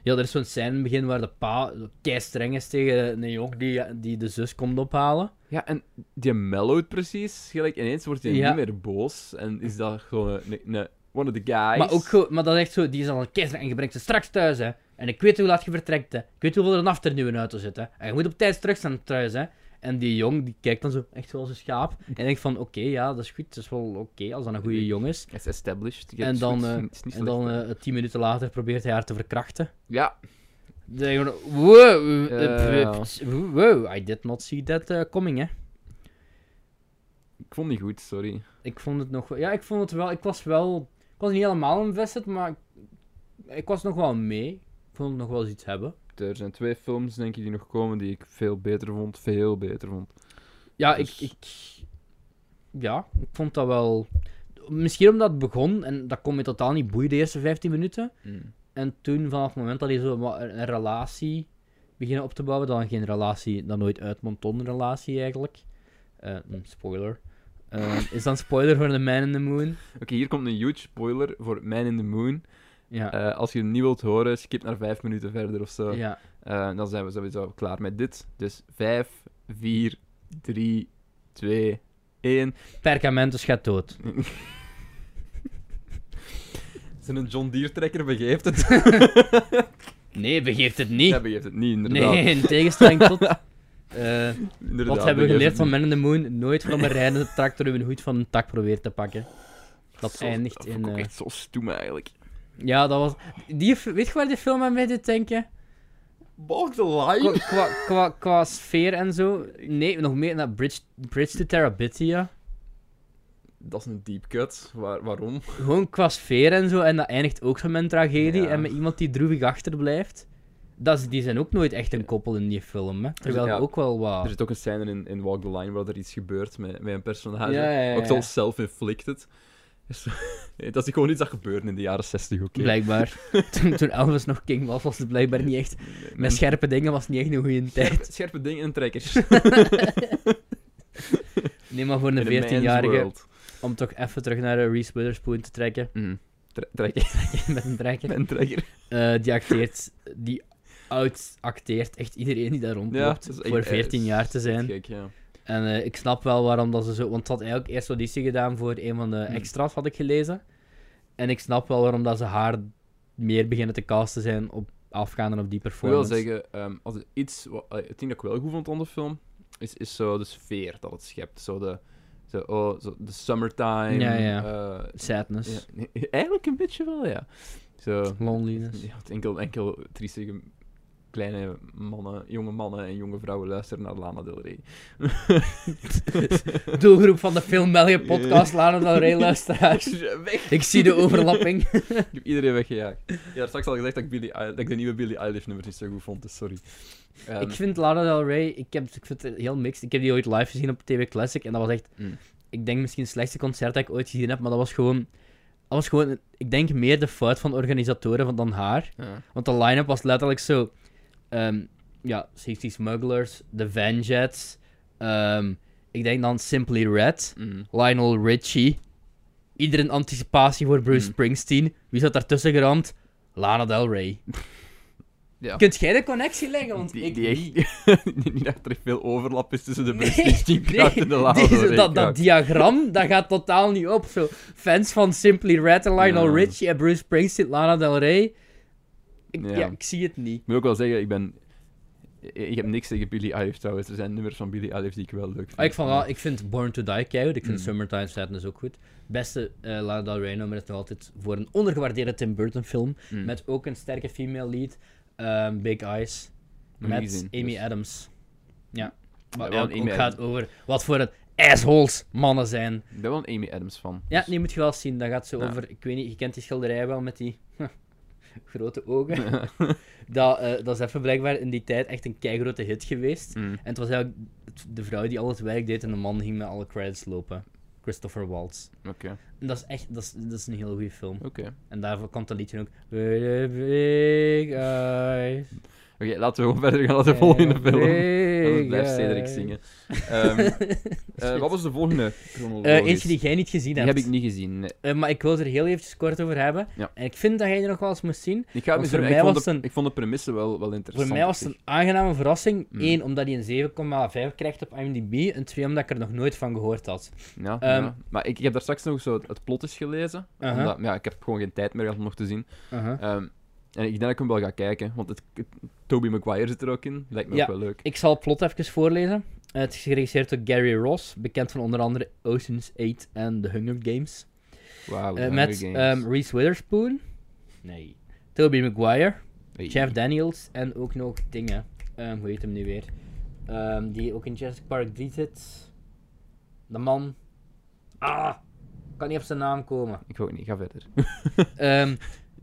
Speaker 2: ja, er is zo'n scène in het begin waar de pa kei streng is tegen een jong die, die de zus komt ophalen.
Speaker 1: Ja, en die mellowt precies. Gelijk, ineens wordt hij
Speaker 2: Ja.
Speaker 1: niet meer boos. En is dat gewoon een, een- een- one of the guys.
Speaker 2: Maar, ook, gewoon- maar dat is echt zo, die is al een keizer en je brengt ze straks thuis, hè. En ik weet hoe laat je vertrekt, hè. Ik weet hoeveel er een afternoon in de auto zit, hè. En je moet op tijd terug zijn thuis, hè. En die jong, die kijkt dan zo echt zoals een schaap. En denkt van, oké, ja, dat is goed. Dat is wel oké, als dat een goede jong is.
Speaker 1: Hij is established. Ja, het
Speaker 2: En
Speaker 1: is
Speaker 2: dan,
Speaker 1: goed.
Speaker 2: eh,
Speaker 1: Het is niet
Speaker 2: en
Speaker 1: slecht,
Speaker 2: dan
Speaker 1: hè.
Speaker 2: eh, tien minuten later probeert hij haar te verkrachten.
Speaker 1: Ja,
Speaker 2: Dan denk je van, wow, eh,
Speaker 1: Ja.
Speaker 2: wow, I did not see that eh, coming, hè.
Speaker 1: Ik vond die goed, sorry.
Speaker 2: Ik vond het nog wel... Ja, ik vond het wel... Ik was wel... Ik was niet helemaal invested, maar ik, ik was nog wel mee. Ik vond het nog wel eens iets hebben.
Speaker 1: Er zijn twee films, denk ik, die nog komen die ik veel beter vond. Veel beter vond.
Speaker 2: Ja,
Speaker 1: Dus-
Speaker 2: ik, ik... Ja, ik vond dat wel... Misschien omdat het begon, en dat kon me totaal niet boeien de eerste 15 minuten. En toen, vanaf het moment dat hij zo wat een, een relatie beginnen op te bouwen, dan geen relatie, dan nooit uitmondt tot een relatie eigenlijk. Eh, mm, spoiler. Eh, is dan spoiler voor The Man in the Moon?
Speaker 1: Oké, hier komt een huge spoiler voor Man in the Moon.
Speaker 2: Ja.
Speaker 1: Eh, als je hem niet wilt horen, skip naar vijf minuten verder of zo.
Speaker 2: ja.
Speaker 1: Eh, dan zijn we sowieso klaar met dit. Dus vijf, vier, drie, twee, één.
Speaker 2: Perkamentus gaat dood.
Speaker 1: Zijn John Deere trekker begeeft het.
Speaker 2: Nee, begeeft het niet.
Speaker 1: Ja, begeeft het niet, inderdaad.
Speaker 2: nee, in tegenstelling tot... eh,
Speaker 1: Inderdaad,
Speaker 2: wat hebben we
Speaker 1: begeeft
Speaker 2: geleerd
Speaker 1: het
Speaker 2: van
Speaker 1: niet.
Speaker 2: Man in the Moon? Nooit van een rijdende tractor hun hoed van een tak probeert te pakken. Dat
Speaker 1: Zo-
Speaker 2: eindigt
Speaker 1: vond ik
Speaker 2: in,
Speaker 1: ook
Speaker 2: eh,
Speaker 1: echt zo stoem eigenlijk.
Speaker 2: Ja, dat was... Die, fi- weet je waar die film aan mij deed denken?
Speaker 1: Balk the
Speaker 2: Qua,
Speaker 1: line?
Speaker 2: qua, qua, qua sfeer en zo. Nee, nog meer naar Bridge, Bridge to Terabithia.
Speaker 1: Dat is een deep cut. Waar, waarom?
Speaker 2: Gewoon qua sfeer en zo. En dat eindigt ook zo met een tragedie.
Speaker 1: Ja.
Speaker 2: En met iemand die droevig achterblijft. Dat is, die zijn ook nooit echt een koppel in die film. Hè. Terwijl
Speaker 1: Dus ja.
Speaker 2: ook wel wat...
Speaker 1: Er zit ook een scène in, in Walk the Line waar er iets gebeurt met, met een personage.
Speaker 2: Ja, ja, ja,
Speaker 1: Ook zo
Speaker 2: ja.
Speaker 1: self-inflicted. Dus- dat is gewoon iets dat gebeurde in de jaren 60, oké?
Speaker 2: Blijkbaar. toen, toen Elvis nog king was, was het blijkbaar niet echt...
Speaker 1: Mm.
Speaker 2: Met scherpe dingen was het niet echt een goede tijd.
Speaker 1: Scherpe, scherpe dingen en trekkers.
Speaker 2: Nee, maar voor
Speaker 1: In
Speaker 2: een
Speaker 1: a man's
Speaker 2: 14-jarige...
Speaker 1: world.
Speaker 2: Om toch even terug naar eh, Reese Witherspoon te trekken.
Speaker 1: Mm. Tre- trekker.
Speaker 2: met een trekker.
Speaker 1: Een trekker.
Speaker 2: Eh, die acteert, die oud acteert echt iedereen die daar rondloopt.
Speaker 1: dat is echt-
Speaker 2: voor
Speaker 1: eh,
Speaker 2: 14 jaar te
Speaker 1: dat is echt
Speaker 2: zijn.
Speaker 1: Gek, ja.
Speaker 2: En eh, ik snap wel waarom dat ze zo. Want ze had eigenlijk eerst auditie gedaan voor een van de
Speaker 1: Hmm.
Speaker 2: extra's, had ik gelezen. En ik snap wel waarom dat ze haar meer beginnen te casten zijn op afgaande op die
Speaker 1: Ik wil
Speaker 2: performance.
Speaker 1: zeggen, ehm, als er iets wat eh, het ding dat ik wel goed vond aan de film, is, is zo de sfeer dat het schept. Zo de, zo, oh, zo de summertime.
Speaker 2: Ja, ja.
Speaker 1: eh,
Speaker 2: Sadness,
Speaker 1: ja, nee, eigenlijk een beetje wel, ja. Zo,
Speaker 2: loneliness.
Speaker 1: ja, het enkel, enkel triestige kleine mannen, jonge mannen en jonge vrouwen luisteren naar Lana Del Rey.
Speaker 2: Doelgroep van de Film België podcast, Lana Del Rey luisteraars.
Speaker 1: Weg!
Speaker 2: Ik zie de overlapping.
Speaker 1: Ik heb iedereen weggejaagd. Ja, straks al gezegd dat ik, Billie Eil- dat ik de nieuwe Billie Eilish nummer niet zo goed vond, dus sorry. Ehm,
Speaker 2: Ik vind Lana Del Rey, ik, heb, ik vind het heel mixed. Ik heb die ooit live gezien op TV Classic en dat was echt,
Speaker 1: Mm.
Speaker 2: ik denk misschien het slechtste concert dat ik ooit gezien heb, maar dat was gewoon, dat was gewoon ik denk meer de fout van de organisatoren van, dan haar.
Speaker 1: ja.
Speaker 2: Want de line-up was letterlijk zo, ehm, ja, 60 Smugglers, The Vanjets, ehm, ik denk dan Simply Red,
Speaker 1: Mm.
Speaker 2: Lionel Richie, iedereen in anticipatie voor Bruce
Speaker 1: Mm.
Speaker 2: Springsteen. Wie zat daartussen geramd? Lana Del Rey.
Speaker 1: Ja.
Speaker 2: Kunt jij de connectie leggen? Want
Speaker 1: die,
Speaker 2: ik
Speaker 1: die
Speaker 2: niet.
Speaker 1: echt, die- niet dat er veel overlap is tussen de
Speaker 2: Nee,
Speaker 1: Bruce nee, kracht en de Lana
Speaker 2: deze-
Speaker 1: Del Rey
Speaker 2: dat, dat
Speaker 1: kracht.
Speaker 2: diagram, dat gaat totaal niet op. Zo, fans van Simply Red en Lionel
Speaker 1: Ja.
Speaker 2: Richie en Bruce Springsteen, Lana Del Rey. Ik, ja.
Speaker 1: Ja.
Speaker 2: ik zie het niet.
Speaker 1: Ik moet ook wel zeggen, ik ben... Ik ik heb niks tegen Billie Eilish trouwens. Er zijn nummers van Billie Eilish die ik wel leuk vind.
Speaker 2: Ah, ik, vond, wel- ik vind Born to Die keihard. Ik vind
Speaker 1: Mm.
Speaker 2: Summertime Sadness ook goed. Beste eh Lana Del Rey nummer is nog altijd voor een ondergewaardeerde Tim Burton film.
Speaker 1: Mm.
Speaker 2: Met ook een sterke female lead. ehm, Big Eyes.
Speaker 1: Nog niet
Speaker 2: met
Speaker 1: gezien,
Speaker 2: Amy
Speaker 1: dus-
Speaker 2: Adams. Ja. Wat
Speaker 1: wel een
Speaker 2: ook
Speaker 1: Amy
Speaker 2: gaat over wat voor een assholes mannen zijn.
Speaker 1: Ik ben wel een Amy Adams van.
Speaker 2: Ja, die moet je wel zien. Dat gaat zo
Speaker 1: Dus- Ja.
Speaker 2: over. Ik weet niet, je kent die schilderij wel met die grote ogen. dat, eh, dat is even blijkbaar in die tijd echt een keigrote hit geweest.
Speaker 1: Mm.
Speaker 2: En het was eigenlijk het- de vrouw die al het werk deed en de man ging met alle credits lopen. Christopher Waltz.
Speaker 1: Oké,
Speaker 2: En dat is echt dat is, dat is een heel goede film.
Speaker 1: oké.
Speaker 2: En daarvoor komt dat liedje ook. With a Big eyes.
Speaker 1: Oké, laten we gewoon verder gaan naar de volgende
Speaker 2: and
Speaker 1: film.
Speaker 2: big
Speaker 1: Anders blijft Cedric
Speaker 2: eyes.
Speaker 1: zingen. Ehm, eh, wat was de volgende?
Speaker 2: Eh,
Speaker 1: chronologisch?
Speaker 2: eentje die jij niet gezien
Speaker 1: Die
Speaker 2: hebt.
Speaker 1: heb ik niet gezien. nee.
Speaker 2: Eh, maar ik wil het er heel eventjes kort over hebben.
Speaker 1: Ja.
Speaker 2: En ik vind dat jij er nog wel eens moest zien.
Speaker 1: Ik, ga het
Speaker 2: Want
Speaker 1: niet
Speaker 2: voor
Speaker 1: zeggen, ik,
Speaker 2: mij
Speaker 1: vond de,
Speaker 2: was het een-
Speaker 1: ik vond de premisse wel, wel
Speaker 2: Voor
Speaker 1: interessant.
Speaker 2: mij was het een aangename verrassing.
Speaker 1: Mm.
Speaker 2: Eén, omdat hij een 7,5 krijgt op IMDb. En twee, omdat ik er nog nooit van gehoord had.
Speaker 1: Ja,
Speaker 2: Ehm,
Speaker 1: ja. maar ik, ik heb daar straks nog zo het, het plot eens gelezen.
Speaker 2: Uh-huh.
Speaker 1: omdat, ja, ik heb gewoon geen tijd meer gehad om nog te zien. Ehm, en ik denk dat ik hem wel ga kijken, want het, het- Tobey Maguire zit er ook in. Lijkt me
Speaker 2: Ja.
Speaker 1: ook wel leuk.
Speaker 2: Ik zal het plot even voorlezen. Eh, Het is geregisseerd door Gary Ross, bekend van onder andere Ocean's 8 en The Hunger Games.
Speaker 1: Wauw,
Speaker 2: Eh,
Speaker 1: Oh, Hunger
Speaker 2: met
Speaker 1: Games.
Speaker 2: ehm, Reese Witherspoon. Nee. Toby Maguire.
Speaker 1: Hey.
Speaker 2: Jeff Daniels. En ook nog dingen. Ehm, hoe heet hem nu weer? Ehm, die ook in Jurassic Park 3 zit. De man Ah, kan niet op zijn naam komen.
Speaker 1: Ik ook niet, ga verder.
Speaker 2: Ehm,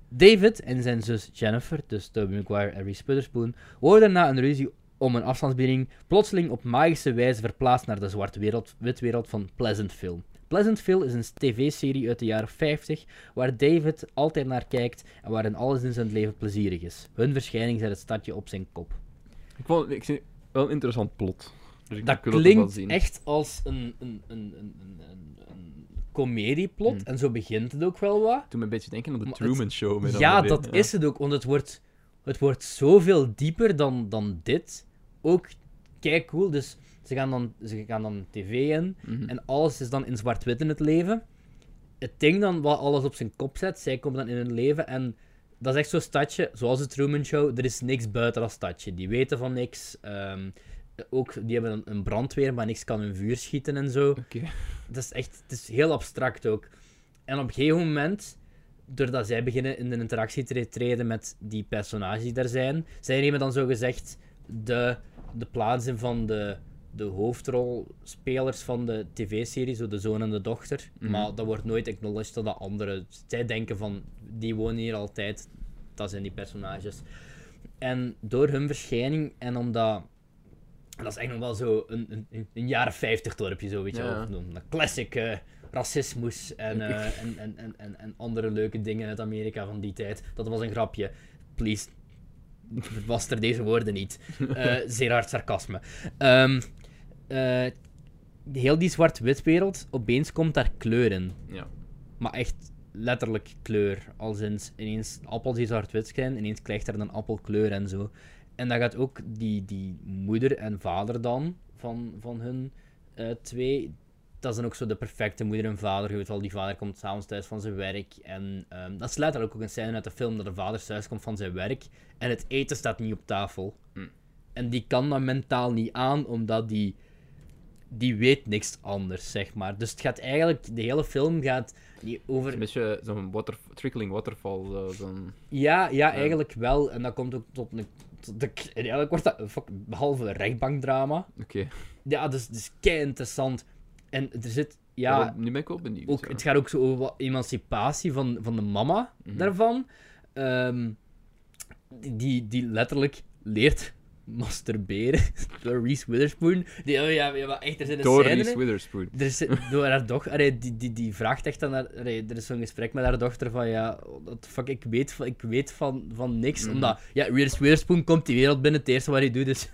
Speaker 2: David en zijn zus Jennifer, dus Tobey Maguire en Reese Witherspoon, worden na een ruzie om een afstandsbediening plotseling op magische wijze verplaatst naar de zwarte wereld, witwereld van Pleasantville. Pleasantville is een tv-serie uit de jaren 50 waar David altijd naar kijkt en waarin alles in zijn leven plezierig is. Hun verschijning zet het stadje op zijn kop.
Speaker 1: ik vond ik zie- wel een interessant plot. Dus ik
Speaker 2: Dat
Speaker 1: wil ook wel
Speaker 2: klinkt
Speaker 1: zien.
Speaker 2: echt als een, een, een, een, een, een, een comedieplot
Speaker 1: Mm.
Speaker 2: en zo begint het ook wel wat.
Speaker 1: Toen me een beetje denken aan de
Speaker 2: Maar het-
Speaker 1: Truman Show. met
Speaker 2: Ja,
Speaker 1: andere-
Speaker 2: dat is het ook, want het wordt, het wordt zoveel dieper dan, dan dit. Ook kijk cool, dus ze gaan dan, ze gaan dan tv in
Speaker 1: Mhm.
Speaker 2: en alles is dan in zwart-wit in het leven. Het ding dan wat alles op zijn kop zet, zij komt dan in hun leven en dat is echt zo'n stadje, zoals het Truman Show, er is niks buiten dat stadje. Die weten van niks. ehm, ook, die hebben een- een brandweer, maar niks kan hun vuur schieten en zo.
Speaker 1: Oké.
Speaker 2: Het is echt het is heel abstract ook. En op een gegeven moment, doordat zij beginnen in de interactie te treden met die personages die daar zijn, zij nemen dan zogezegd de, de plaats in van de, de hoofdrolspelers van de tv-serie, zo de zoon en de dochter.
Speaker 1: Mhm.
Speaker 2: Maar dat wordt nooit acknowledged door de anderen. Zij denken van, die wonen hier altijd, dat zijn die personages. En door hun verschijning en omdat... en dat is echt nog wel zo een, een- een, een jaren 50 dorpje, zo weet je
Speaker 1: Ja,
Speaker 2: wel.
Speaker 1: ja.
Speaker 2: Een classic eh, racismus en, eh, en, en, en, en, en andere leuke dingen uit Amerika van die tijd. Dat was een grapje. Please, was er deze woorden niet. Eh, zeer hard sarcasme. Ehm, eh, heel die zwart-wit wereld, opeens komt daar kleur in.
Speaker 1: Ja.
Speaker 2: Maar echt letterlijk kleur. Als in, ineens appels die zwart-wit zijn, ineens krijgt er een appelkleur en zo. En dan gaat ook die, die moeder en vader dan van, van hun eh, twee. Dat is dan ook zo de perfecte moeder en vader. Je weet wel, die vader komt s'avonds thuis van zijn werk. En ehm, dat is letterlijk ook een scène uit de film dat de vader thuis komt van zijn werk. En het eten staat niet op tafel.
Speaker 1: Hmm.
Speaker 2: En die kan dat mentaal niet aan, omdat die, die weet niks anders, zeg maar. Dus het gaat eigenlijk, de hele film gaat niet
Speaker 1: Het
Speaker 2: over
Speaker 1: is Een beetje zo'n water, trickling waterfall. Zo, zo'n-
Speaker 2: ja, ja,
Speaker 1: Ja.
Speaker 2: eigenlijk wel. En dat komt ook tot een. Tot de, en eigenlijk wordt dat. een fuck- behalve een rechtbankdrama.
Speaker 1: Oké.
Speaker 2: Ja, dus, dus kei interessant. En er zit. Ja,
Speaker 1: Ja, nu ben ik wel benieuwd.
Speaker 2: ook,
Speaker 1: ja.
Speaker 2: het gaat ook zo over wat emancipatie van, van de mama
Speaker 1: Mhm.
Speaker 2: daarvan. Ehm, die, die letterlijk leert masturberen door Reese Witherspoon. Die, oh ja, ja, maar echt, er zijn een
Speaker 1: Door
Speaker 2: scène
Speaker 1: Reese
Speaker 2: in-
Speaker 1: Witherspoon.
Speaker 2: er is, door haar dochter, allee, die, die, die vraagt echt aan haar, allee, er is zo'n gesprek met haar dochter van, ja, what the fuck, ik weet, van- ik weet van, van niks,
Speaker 1: Mhm.
Speaker 2: omdat, ja, Reese Witherspoon komt die wereld binnen, het eerste wat hij doet is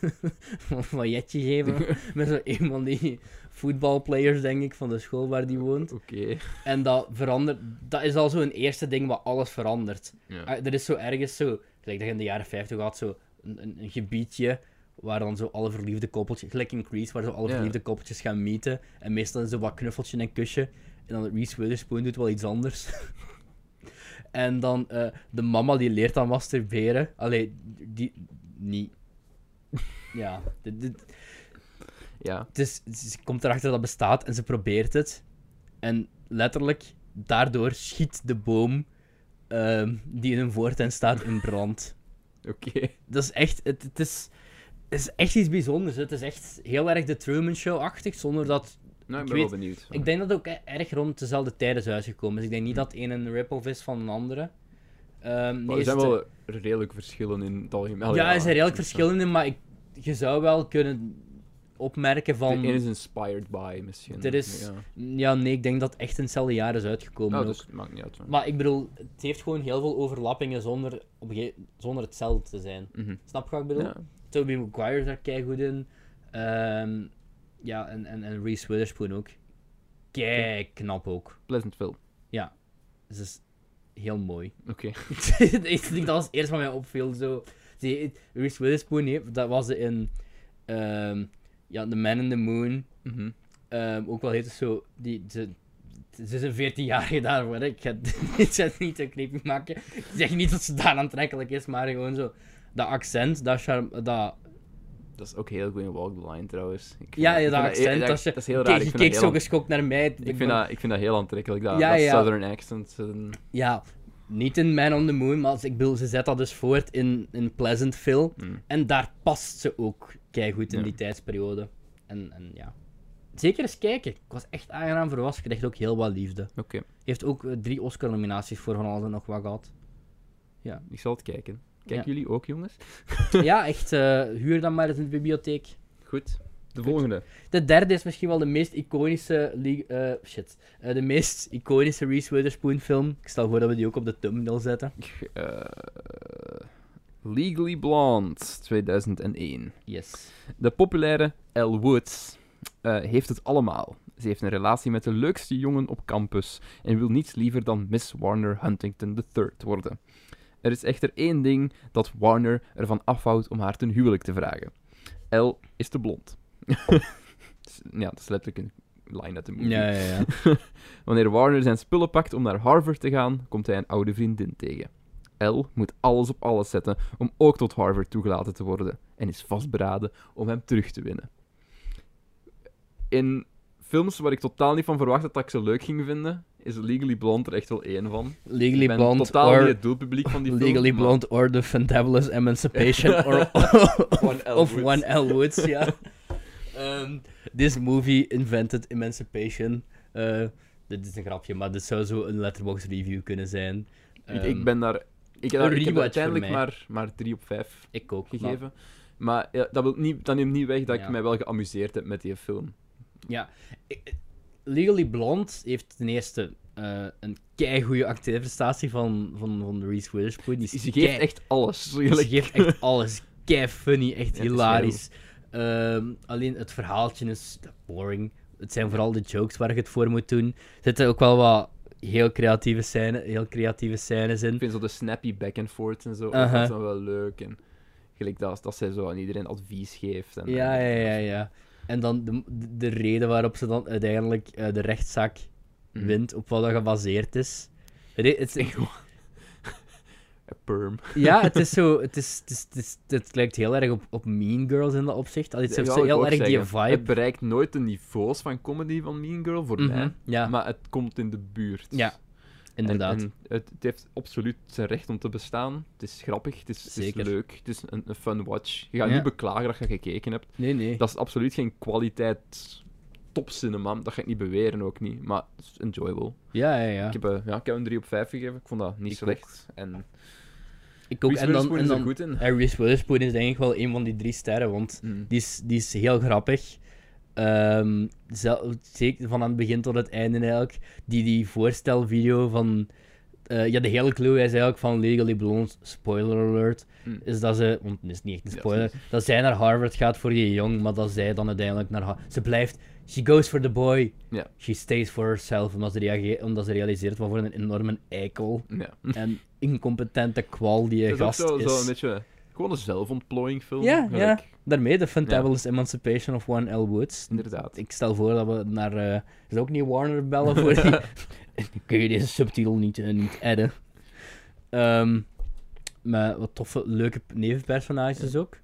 Speaker 2: een pailletje geven met zo een van die voetbalplayers, denk ik, van de school waar die woont.
Speaker 1: Oké.
Speaker 2: En dat verandert, dat is al zo'n eerste ding wat alles verandert.
Speaker 1: Ja.
Speaker 2: Ah, Er is zo ergens zo, gelijk dat je in de jaren 50 had, zo een, een, een gebiedje waar dan zo alle verliefde koppeltjes, gelijk in Grease, waar zo alle
Speaker 1: Ja.
Speaker 2: verliefde koppeltjes gaan meten. En meestal is er wat knuffeltje en kusje. En dan Reese Witherspoon doet wel iets anders. en dan eh, de mama die leert dan masturberen. Allee, die... Niet. Ja, dit, dit-
Speaker 1: ja.
Speaker 2: dus ze komt erachter dat het bestaat en ze probeert het. En letterlijk, daardoor schiet de boom ehm, die in hun voortuin staat in brand.
Speaker 1: Oké.
Speaker 2: Dat is echt, het, het is, het is echt iets bijzonders. Het is echt heel erg de Truman Show-achtig, zonder dat...
Speaker 1: Nou, ik ben
Speaker 2: Ik
Speaker 1: wel
Speaker 2: weet-
Speaker 1: benieuwd.
Speaker 2: Ik denk dat het ook e- erg rond dezelfde tijd is uitgekomen. Dus ik denk niet dat het een een rip-off is van een andere. Ehm, nee,
Speaker 1: Hm. Maar er
Speaker 2: is
Speaker 1: zijn
Speaker 2: het-
Speaker 1: wel redelijk verschillen in het algemeen. Allee,
Speaker 2: Ja, er zijn redelijk
Speaker 1: dus, ja.
Speaker 2: verschillende, maar ik, je zou wel kunnen opmerken
Speaker 1: De
Speaker 2: van...
Speaker 1: ene is inspired by, misschien.
Speaker 2: Er is-
Speaker 1: Mm, Ja,
Speaker 2: Ja, nee, ik denk dat het echt in hetzelfde jaar is uitgekomen.
Speaker 1: Nou,
Speaker 2: ook.
Speaker 1: dus het maakt niet uit. hoor.
Speaker 2: Maar ik bedoel, het heeft gewoon heel veel overlappingen zonder, op een gege- zonder hetzelfde te zijn.
Speaker 1: Mhm.
Speaker 2: Snap je wat ik bedoel?
Speaker 1: Ja.
Speaker 2: Tobey Maguire is daar keigoed in. Ehm, ja, en, en, en Reese Witherspoon ook. Kei knap ook.
Speaker 1: Pleasantville.
Speaker 2: Dus dat is heel mooi.
Speaker 1: Oké.
Speaker 2: ik denk dat was het eerste wat mij opviel. Zo. Die, Reese Witherspoon, heeft, dat was ze in ehm, ja, The Man in the Moon.
Speaker 1: Mhm.
Speaker 2: Ehm, ook wel heet het zo, die, ze, ze is een 14-jarige daarvoor. hè. Ik ga dit zet niet te creepy maken. Ik zeg niet dat ze daar aantrekkelijk is, maar gewoon zo. Dat accent, dat charme. Dat...
Speaker 1: Dat is ook heel goed in Walk the Line trouwens. Ik vind
Speaker 2: Ja,
Speaker 1: ik
Speaker 2: ja,
Speaker 1: vind
Speaker 2: dat
Speaker 1: heel-
Speaker 2: accent. als je...
Speaker 1: Dat is heel
Speaker 2: Kijk,
Speaker 1: raar.
Speaker 2: je
Speaker 1: ik, vind
Speaker 2: keek
Speaker 1: dat
Speaker 2: zo
Speaker 1: heel,
Speaker 2: geschokt naar mij.
Speaker 1: ik, vind dat, ik vind dat heel aantrekkelijk, dat,
Speaker 2: Ja,
Speaker 1: dat
Speaker 2: ja.
Speaker 1: Southern accent. eh,
Speaker 2: Ja, niet in Man on the Moon, maar als ik bedoel, ze zet dat dus voort in, in Pleasantville.
Speaker 1: mm.
Speaker 2: En daar past ze ook keigoed in
Speaker 1: Ja.
Speaker 2: die tijdsperiode. En, en ja. zeker eens kijken. Ik was echt aangenaam verrast. Ik kreeg ook heel wat liefde.
Speaker 1: Oké,
Speaker 2: Heeft ook eh, drie Oscar-nominaties voor van alles en nog wat gehad.
Speaker 1: ik zal het kijken. Kijken
Speaker 2: Ja.
Speaker 1: jullie ook, jongens?
Speaker 2: ja, echt. eh, huur dan maar eens in de bibliotheek.
Speaker 1: Goed. De volgende.
Speaker 2: De derde is misschien wel de meest iconische... li- eh, shit. Eh, de meest iconische Reese Witherspoon film. Ik stel voor dat we die ook op de thumbnail zetten.
Speaker 1: Eh, Legally Blonde, 2001.
Speaker 2: Yes.
Speaker 1: De populaire Elle Woods eh, heeft het allemaal. Ze heeft een relatie met de leukste jongen op campus en wil niets liever dan Miss Warner Huntington III worden. Er is echter één ding dat Warner ervan afhoudt om haar ten huwelijk te vragen. Elle is te blond. ja, dat is letterlijk een line uit de movie.
Speaker 2: Ja, ja, ja.
Speaker 1: Wanneer Warner zijn spullen pakt om naar Harvard te gaan, komt hij een oude vriendin tegen. Elle moet alles op alles zetten om ook tot Harvard toegelaten te worden en is vastberaden om hem terug te winnen. In films waar ik totaal niet van verwacht had dat ik ze leuk ging vinden, is Legally Blonde er echt wel één van.
Speaker 2: Legally
Speaker 1: ik ben
Speaker 2: Blonde
Speaker 1: totaal
Speaker 2: or...
Speaker 1: niet het doelpubliek van die film.
Speaker 2: Legally
Speaker 1: maar
Speaker 2: Blonde or The Fantabulous Emancipation or,
Speaker 1: One Elle
Speaker 2: of
Speaker 1: Woods.
Speaker 2: One L. Woods, ja. Ehm, this movie invented emancipation. Eh, dit is een grapje, maar dit zou zo een letterbox review kunnen zijn.
Speaker 1: ik-
Speaker 2: Ehm,
Speaker 1: Ik ben daar... Ik heb, daar- ik
Speaker 2: een
Speaker 1: heb
Speaker 2: rewatch voor
Speaker 1: uiteindelijk
Speaker 2: mij.
Speaker 1: maar, maar drie op vijf
Speaker 2: ik ook. maar-
Speaker 1: gegeven. Maar ja, dat, wil niet, dat neemt niet weg dat
Speaker 2: Ja.
Speaker 1: ik mij wel geamuseerd heb met die film.
Speaker 2: Ik- Legally Blonde heeft ten eerste eh, een keigoede acteerprestatie van, van, van Reese Witherspoon. Die is
Speaker 1: Ze
Speaker 2: kei-
Speaker 1: geeft echt alles.
Speaker 2: Ze
Speaker 1: Like,
Speaker 2: geeft echt alles. Kei funny, echt
Speaker 1: Ja, het is
Speaker 2: hilarisch. Ehm, alleen het verhaaltje is boring. Het zijn vooral de jokes waar ik het voor moet doen. Er zitten ook wel wat heel creatieve scènes, heel creatieve scènes in.
Speaker 1: Ik vind zo de snappy back and forth en zo.
Speaker 2: Uh-huh.
Speaker 1: Dat is dan wel leuk. En gelijk dat, dat zij zo aan iedereen advies geeft. En,
Speaker 2: Ja,
Speaker 1: en-
Speaker 2: ja, ja, ja. En dan de, de reden waarop ze dan uiteindelijk eh, de rechtszaak
Speaker 1: Mhm.
Speaker 2: wint, op wat dat gebaseerd is. Het i- het is
Speaker 1: Een Perm.
Speaker 2: ja, het is zo. Het, is, het, is, het, is- het lijkt heel erg op, op Mean Girls in dat opzicht. Al, het
Speaker 1: Dat
Speaker 2: heeft
Speaker 1: wou
Speaker 2: zo
Speaker 1: ik
Speaker 2: heel
Speaker 1: ook
Speaker 2: erg die
Speaker 1: zeggen. Het
Speaker 2: vibe.
Speaker 1: bereikt nooit de niveaus van comedy van Mean Girl, voor
Speaker 2: Mhm,
Speaker 1: mij.
Speaker 2: ja,
Speaker 1: Maar het komt in de buurt.
Speaker 2: Ja,
Speaker 1: En-
Speaker 2: inderdaad.
Speaker 1: en het, het heeft absoluut zijn recht om te bestaan. Het is grappig, het is, het is
Speaker 2: Zeker.
Speaker 1: leuk, het is een, een fun watch. Je gaat
Speaker 2: Ja.
Speaker 1: niet beklagen dat je gekeken hebt.
Speaker 2: nee, nee.
Speaker 1: Dat is absoluut geen kwaliteit topcinema. Dat ga ik niet beweren, ook niet. Maar het is enjoyable.
Speaker 2: Ja, ja, ja.
Speaker 1: Ik, heb, eh, ja, ik heb een 3 op 5 gegeven. Ik vond dat niet
Speaker 2: Ik
Speaker 1: slecht. En
Speaker 2: Ik ook.
Speaker 1: Reese
Speaker 2: En dan,
Speaker 1: Witherspoon
Speaker 2: en
Speaker 1: is er
Speaker 2: dan
Speaker 1: goed in.
Speaker 2: en Reese Witherspoon is denk ik wel een van die drie sterren, want
Speaker 1: Mm.
Speaker 2: die is, die is heel grappig. Ehm, zel- zeker van aan het begin tot het einde eigenlijk. Die, die voorstelvideo van... eh, ja, de hele clue is eigenlijk van Legally Blonde, spoiler alert,
Speaker 1: Mm.
Speaker 2: is dat ze... Want het is niet echt een
Speaker 1: Ja,
Speaker 2: spoiler. dat zij naar Harvard gaat voor die jong, maar dat zij dan uiteindelijk naar... Har- Ze blijft... She goes for the boy.
Speaker 1: Ja.
Speaker 2: She stays for herself, omdat ze, reageert, omdat ze realiseert wat voor een enorme eikel
Speaker 1: Ja.
Speaker 2: en incompetente kwal die je
Speaker 1: Het is ook
Speaker 2: gast
Speaker 1: zo,
Speaker 2: is.
Speaker 1: zo een beetje... Gewoon een zelfontplooiing film.
Speaker 2: Ja,
Speaker 1: gelijk.
Speaker 2: ja. Daarmee de Fantabulous Emancipation of One L. Woods.
Speaker 1: Inderdaad.
Speaker 2: Ik stel voor dat we naar... eh, is ook niet Warner bellen voor die... Kun je deze subtitel niet, eh, niet adden? Ehm, maar wat toffe, leuke nevenpersonages ook.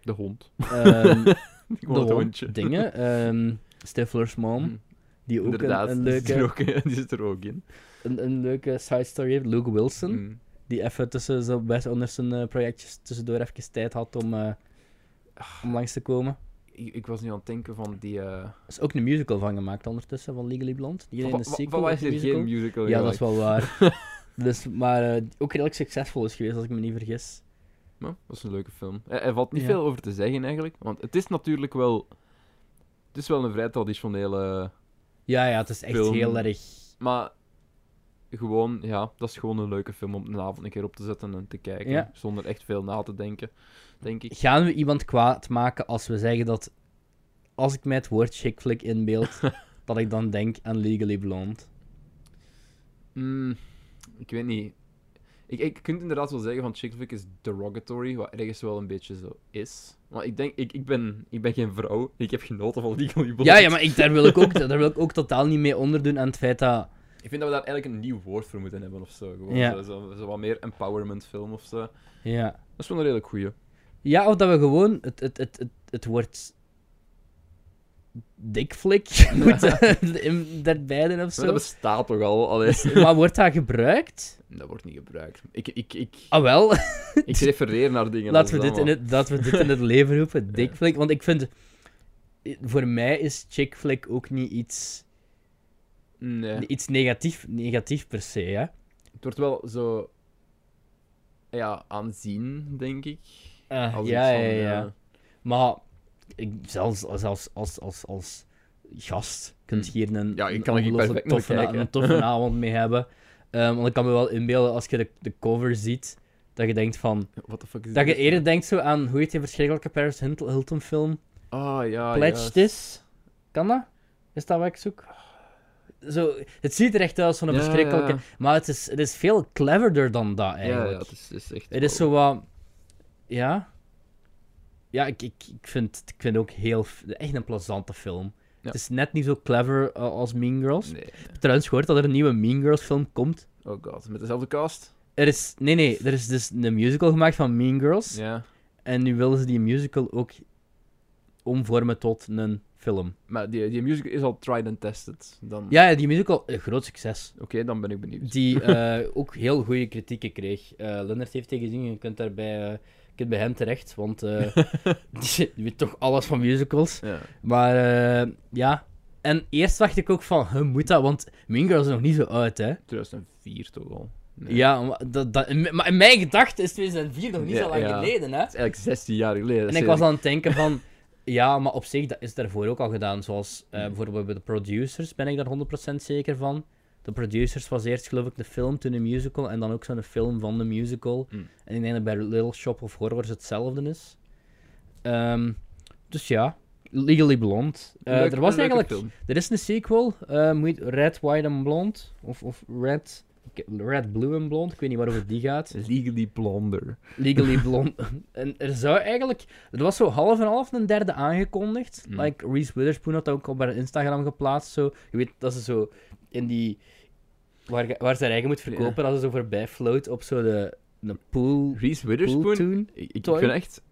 Speaker 1: De hond.
Speaker 2: Ehm,
Speaker 1: Gewoon het
Speaker 2: hond-
Speaker 1: hondje.
Speaker 2: Dingen. ehm Stifler's mom,
Speaker 1: Mm.
Speaker 2: die ook een,
Speaker 1: Inderdaad.
Speaker 2: een
Speaker 1: die zit er
Speaker 2: leuke,
Speaker 1: ook, in- die zit er ook in.
Speaker 2: een, een leuke side story heeft. Luke Wilson,
Speaker 1: Mm.
Speaker 2: die even tussen zo best onder zijn eh, projectjes tussendoor even tijd had om, eh, om langs te komen.
Speaker 1: Ik, ik was nu aan het denken van die... eh,
Speaker 2: Er is ook een musical van gemaakt ondertussen, van Legally Blonde. Die in
Speaker 1: Van
Speaker 2: de
Speaker 1: wa-
Speaker 2: sequel
Speaker 1: van waar
Speaker 2: ook
Speaker 1: is
Speaker 2: een
Speaker 1: er geen musical?
Speaker 2: Ja, dat is wel waar. dus, maar eh, ook redelijk succesvol is geweest, als ik me niet vergis.
Speaker 1: Ja, dat is een leuke film. Er, er valt niet
Speaker 2: Ja.
Speaker 1: veel over te zeggen eigenlijk, want het is natuurlijk wel... Het is wel een vrij traditionele...
Speaker 2: Ja, ja, het is echt
Speaker 1: Film.
Speaker 2: heel erg...
Speaker 1: Maar gewoon, ja, dat is gewoon een leuke film om een avond een keer op te zetten en te kijken.
Speaker 2: Ja.
Speaker 1: Zonder echt veel na te denken, denk ik.
Speaker 2: Gaan we iemand kwaad maken als we zeggen dat... Als ik mij het woord chick flick inbeeld, dat ik dan denk aan Legally Blonde?
Speaker 1: Mm, ik weet niet. Ik, ik kunt inderdaad wel zeggen van chick flick is derogatory, wat ergens wel een beetje zo is. Maar ik denk, ik, ik, ben, ik ben geen vrouw. Ik heb genoten van Legally Blonde.
Speaker 2: Ja, ja, maar ik, daar, wil ik ook, daar wil ik ook totaal niet mee onderdoen aan het feit dat...
Speaker 1: Ik vind dat we daar eigenlijk een nieuw woord voor moeten hebben of zo. Gewoon
Speaker 2: Ja.
Speaker 1: zo, zo, zo wat meer empowerment film of zo. Dat
Speaker 2: Ja,
Speaker 1: is wel een redelijk goeie.
Speaker 2: ja of dat we gewoon het, het, het, het, het woord... Dick flick moeten in- daarbij doen of
Speaker 1: Maar dat
Speaker 2: zo.
Speaker 1: bestaat toch al? Allee,
Speaker 2: Maar wordt dat gebruikt?
Speaker 1: dat wordt niet gebruikt. Ik, ik, ik,
Speaker 2: Ah wel,
Speaker 1: ik refereer naar dingen.
Speaker 2: laten we,
Speaker 1: als
Speaker 2: dit in
Speaker 1: dat,
Speaker 2: het, laten we dit in het leven roepen, dick flick. Want ik vind, i- voor mij is chick flick ook niet iets,
Speaker 1: Nee.
Speaker 2: iets negatief, negatief per se. Hè?
Speaker 1: Het wordt wel zo... Ja, aanzien, denk ik.
Speaker 2: Eh,
Speaker 1: Als
Speaker 2: ja,
Speaker 1: iets
Speaker 2: ja,
Speaker 1: van,
Speaker 2: ja,
Speaker 1: eh,
Speaker 2: Maar ik, zelfs, zelfs als, als, als gast kunt je hier een,
Speaker 1: Hm. Ja, je
Speaker 2: een
Speaker 1: kan er hier perfect
Speaker 2: ongelooflijk
Speaker 1: naar
Speaker 2: toffe, na-
Speaker 1: kijken.
Speaker 2: een toffe avond mee hebben. Ehm, want ik kan me wel inbeelden als je de, de cover ziet, dat je denkt van...
Speaker 1: What the fuck is
Speaker 2: Dat je
Speaker 1: dit?
Speaker 2: eerder denkt zo aan, hoe heet die verschrikkelijke Paris Hilton Hilton film?
Speaker 1: Ah, ja,
Speaker 2: Pledge
Speaker 1: juist.
Speaker 2: This? Kan dat? Is dat wat ik zoek? Zo, het ziet er echt uit als zo'n
Speaker 1: Ja,
Speaker 2: verschrikkelijke...
Speaker 1: ja.
Speaker 2: Maar het is, het is veel cleverder dan dat,
Speaker 1: Ja,
Speaker 2: eigenlijk.
Speaker 1: ja, het is, het is echt...
Speaker 2: Het is
Speaker 1: wel-
Speaker 2: zo wat. Ja. Ja, ik, ik, ik, vind, het- ik vind het ook heel. f- Echt een plezante film. Het is net niet zo clever eh, als Mean Girls.
Speaker 1: Nee.
Speaker 2: Trouwens, gehoord dat er een nieuwe Mean Girls film komt.
Speaker 1: Oh god, met dezelfde cast?
Speaker 2: Er is. Nee, nee, er is dus een musical gemaakt van Mean Girls.
Speaker 1: Ja.
Speaker 2: En nu willen ze die musical ook omvormen tot een film.
Speaker 1: Maar die, die musical is al tried and tested. Dan...
Speaker 2: Ja, ja, die musical, eh, groot succes.
Speaker 1: Oké, dan ben ik benieuwd.
Speaker 2: Die eh, ook heel goede kritieken kreeg. Eh Lennart heeft die gezien, je kunt daarbij. eh, je kunt bij hem terecht, want eh, die weet toch alles van musicals.
Speaker 1: Ja.
Speaker 2: Maar eh, ja. En eerst dacht ik ook van, huh, moet dat? Want Mean Girls is nog niet zo uit, hè?
Speaker 1: 2004 toch al. Nee.
Speaker 2: Ja, maar, dat, dat, in mijn- maar in mijn gedachten is 2004 nog niet
Speaker 1: Ja,
Speaker 2: zo lang
Speaker 1: ja.
Speaker 2: geleden, hè?
Speaker 1: Het is eigenlijk 16 jaar geleden.
Speaker 2: En ik was aan het denken van, ja, maar op zich, dat is daarvoor ook al gedaan. Zoals eh,
Speaker 1: Hmm.
Speaker 2: bijvoorbeeld bij de producers ben ik daar 100% zeker van. De producers was eerst, geloof ik, de film, toen de musical en dan ook zo'n film van de musical.
Speaker 1: Hmm.
Speaker 2: En ik denk dat bij Little Shop of Horrors hetzelfde is. Ehm, dus ja, Legally Blonde. Eh, er was eigenlijk. Er is een sequel, eh, moet je- Red, White and Blonde. Of, of Red, ik- Red, Blue and Blonde. Ik weet niet waarover die gaat.
Speaker 1: Legally Blonder.
Speaker 2: Legally Blonde. en er zou eigenlijk... Er was zo half en half een derde aangekondigd.
Speaker 1: Mm.
Speaker 2: Like, Reese Witherspoon had dat ook op haar Instagram geplaatst. Zo. Je weet dat ze zo in die... Waar, je- waar ze haar eigen moet verkopen, dat ze zo voorbij float op zo de, de pool...
Speaker 1: Reese
Speaker 2: pool
Speaker 1: Witherspoon.
Speaker 2: tune.
Speaker 1: Ik, ik
Speaker 2: Toy.
Speaker 1: vind echt...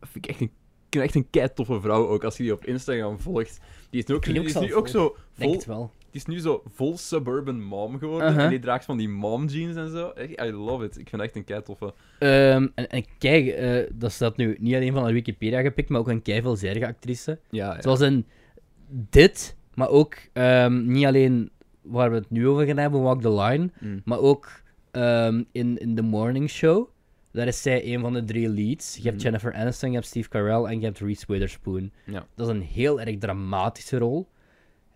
Speaker 1: Vind ik echt een ik vind echt een kei toffe vrouw ook als je die op Instagram volgt. Die is nu ook,
Speaker 2: Ik
Speaker 1: die
Speaker 2: ook
Speaker 1: is
Speaker 2: zelf
Speaker 1: nu ook zo
Speaker 2: Denk
Speaker 1: vol,
Speaker 2: het wel.
Speaker 1: die is nu zo vol suburban mom geworden.
Speaker 2: Uh-huh.
Speaker 1: En die draagt van die mom jeans en zo. Echt, I love it. Ik vind echt een kei toffe.
Speaker 2: Ehm, en, en kijk, eh, dat staat nu niet alleen van haar Wikipedia gepikt, maar ook een kei veelzijdige actrice.
Speaker 1: Ja, ja.
Speaker 2: Zoals in dit, maar ook ehm, niet alleen waar we het nu over gaan hebben, Walk the Line,
Speaker 1: Mm.
Speaker 2: maar ook ehm, in, in The Morning Show. Daar is zij een van de drie leads. Je hebt
Speaker 1: Mhm.
Speaker 2: Jennifer Aniston, je hebt Steve Carell en je hebt Reese Witherspoon.
Speaker 1: Ja.
Speaker 2: Dat is een heel erg dramatische rol.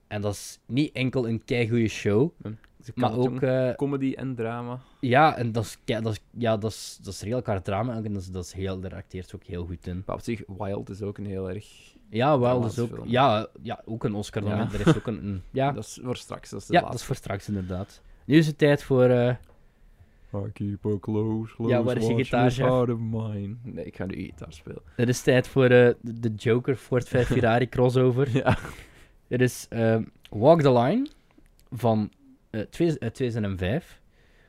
Speaker 2: En dat is niet enkel een keigoede show,
Speaker 1: Ze kan
Speaker 2: maar
Speaker 1: het,
Speaker 2: ook...
Speaker 1: jongen.
Speaker 2: eh,
Speaker 1: comedy en drama.
Speaker 2: ja, en dat is, kei- dat is, ja, dat is, dat is redelijk hard drama en dat is, dat is heel, daar acteert ze ook heel goed in.
Speaker 1: Maar op zich, Wild is ook een heel erg...
Speaker 2: Ja, wel, dat is
Speaker 1: Dramatische
Speaker 2: ook,
Speaker 1: film.
Speaker 2: ja, ja, ook een Oscar. Ja.
Speaker 1: Ja.
Speaker 2: Er is ook een... een- ja,
Speaker 1: Dat is voor straks. Dat is de
Speaker 2: Ja, dat
Speaker 1: laatste.
Speaker 2: is voor straks inderdaad. Nu is het tijd voor. eh,
Speaker 1: I keep a close, close
Speaker 2: Ja, waar is je
Speaker 1: watch
Speaker 2: gitaar, chef?
Speaker 1: out of mine. Nee, ik ga nu gitaar spelen.
Speaker 2: het is tijd voor eh, de de Joker Ford 5 Ferrari crossover.
Speaker 1: Ja.
Speaker 2: Het is eh, Walk the Line van eh, twee- uit 2005.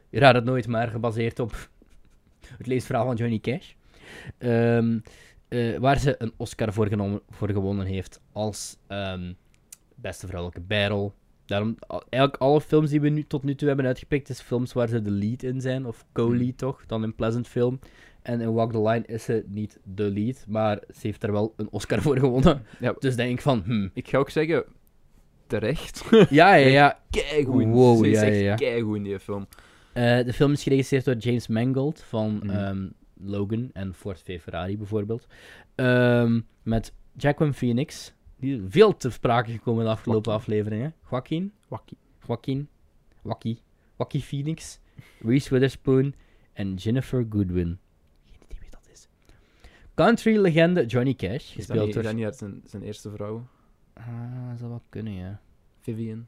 Speaker 2: Je raadt het nooit, maar gebaseerd op het levensverhaal van Johnny Cash. Ehm, eh, waar ze een Oscar voor, genomen, voor gewonnen heeft als ehm, beste vrouwelijke bijrol. Daarom, al- eigenlijk alle films die we nu, tot nu toe hebben uitgepikt, is films waar ze de lead in zijn, of co-lead toch, dan in Pleasant Film. En in Walk the Line is ze niet de lead, maar ze heeft er wel een Oscar voor gewonnen.
Speaker 1: Ja.
Speaker 2: Dus denk ik van, hmm,
Speaker 1: Ik ga ook zeggen, terecht.
Speaker 2: ja, ja, ja.
Speaker 1: Keigoed.
Speaker 2: Wow,
Speaker 1: Ze is
Speaker 2: ja,
Speaker 1: echt
Speaker 2: ja, ja.
Speaker 1: keigoed in die film.
Speaker 2: Eh, de film is geregisseerd door James Mangold van
Speaker 1: Mhm.
Speaker 2: ehm, Logan en Ford v Ferrari bijvoorbeeld. Ehm, met Jacqueline Phoenix. Die is veel te sprake gekomen in de afgelopen afleveringen. Joaquin,
Speaker 1: Wakkie.
Speaker 2: Joaquin, Wacky, Wacky Phoenix, Reese Witherspoon en Jennifer Goodwin. Geen idee wie dat is. Country-legende Johnny Cash,
Speaker 1: Is dat
Speaker 2: gespeeld
Speaker 1: niet, is
Speaker 2: door...
Speaker 1: dat niet uit zijn, zijn eerste vrouw?
Speaker 2: Ah, dat zou wel kunnen, ja.
Speaker 1: Vivian.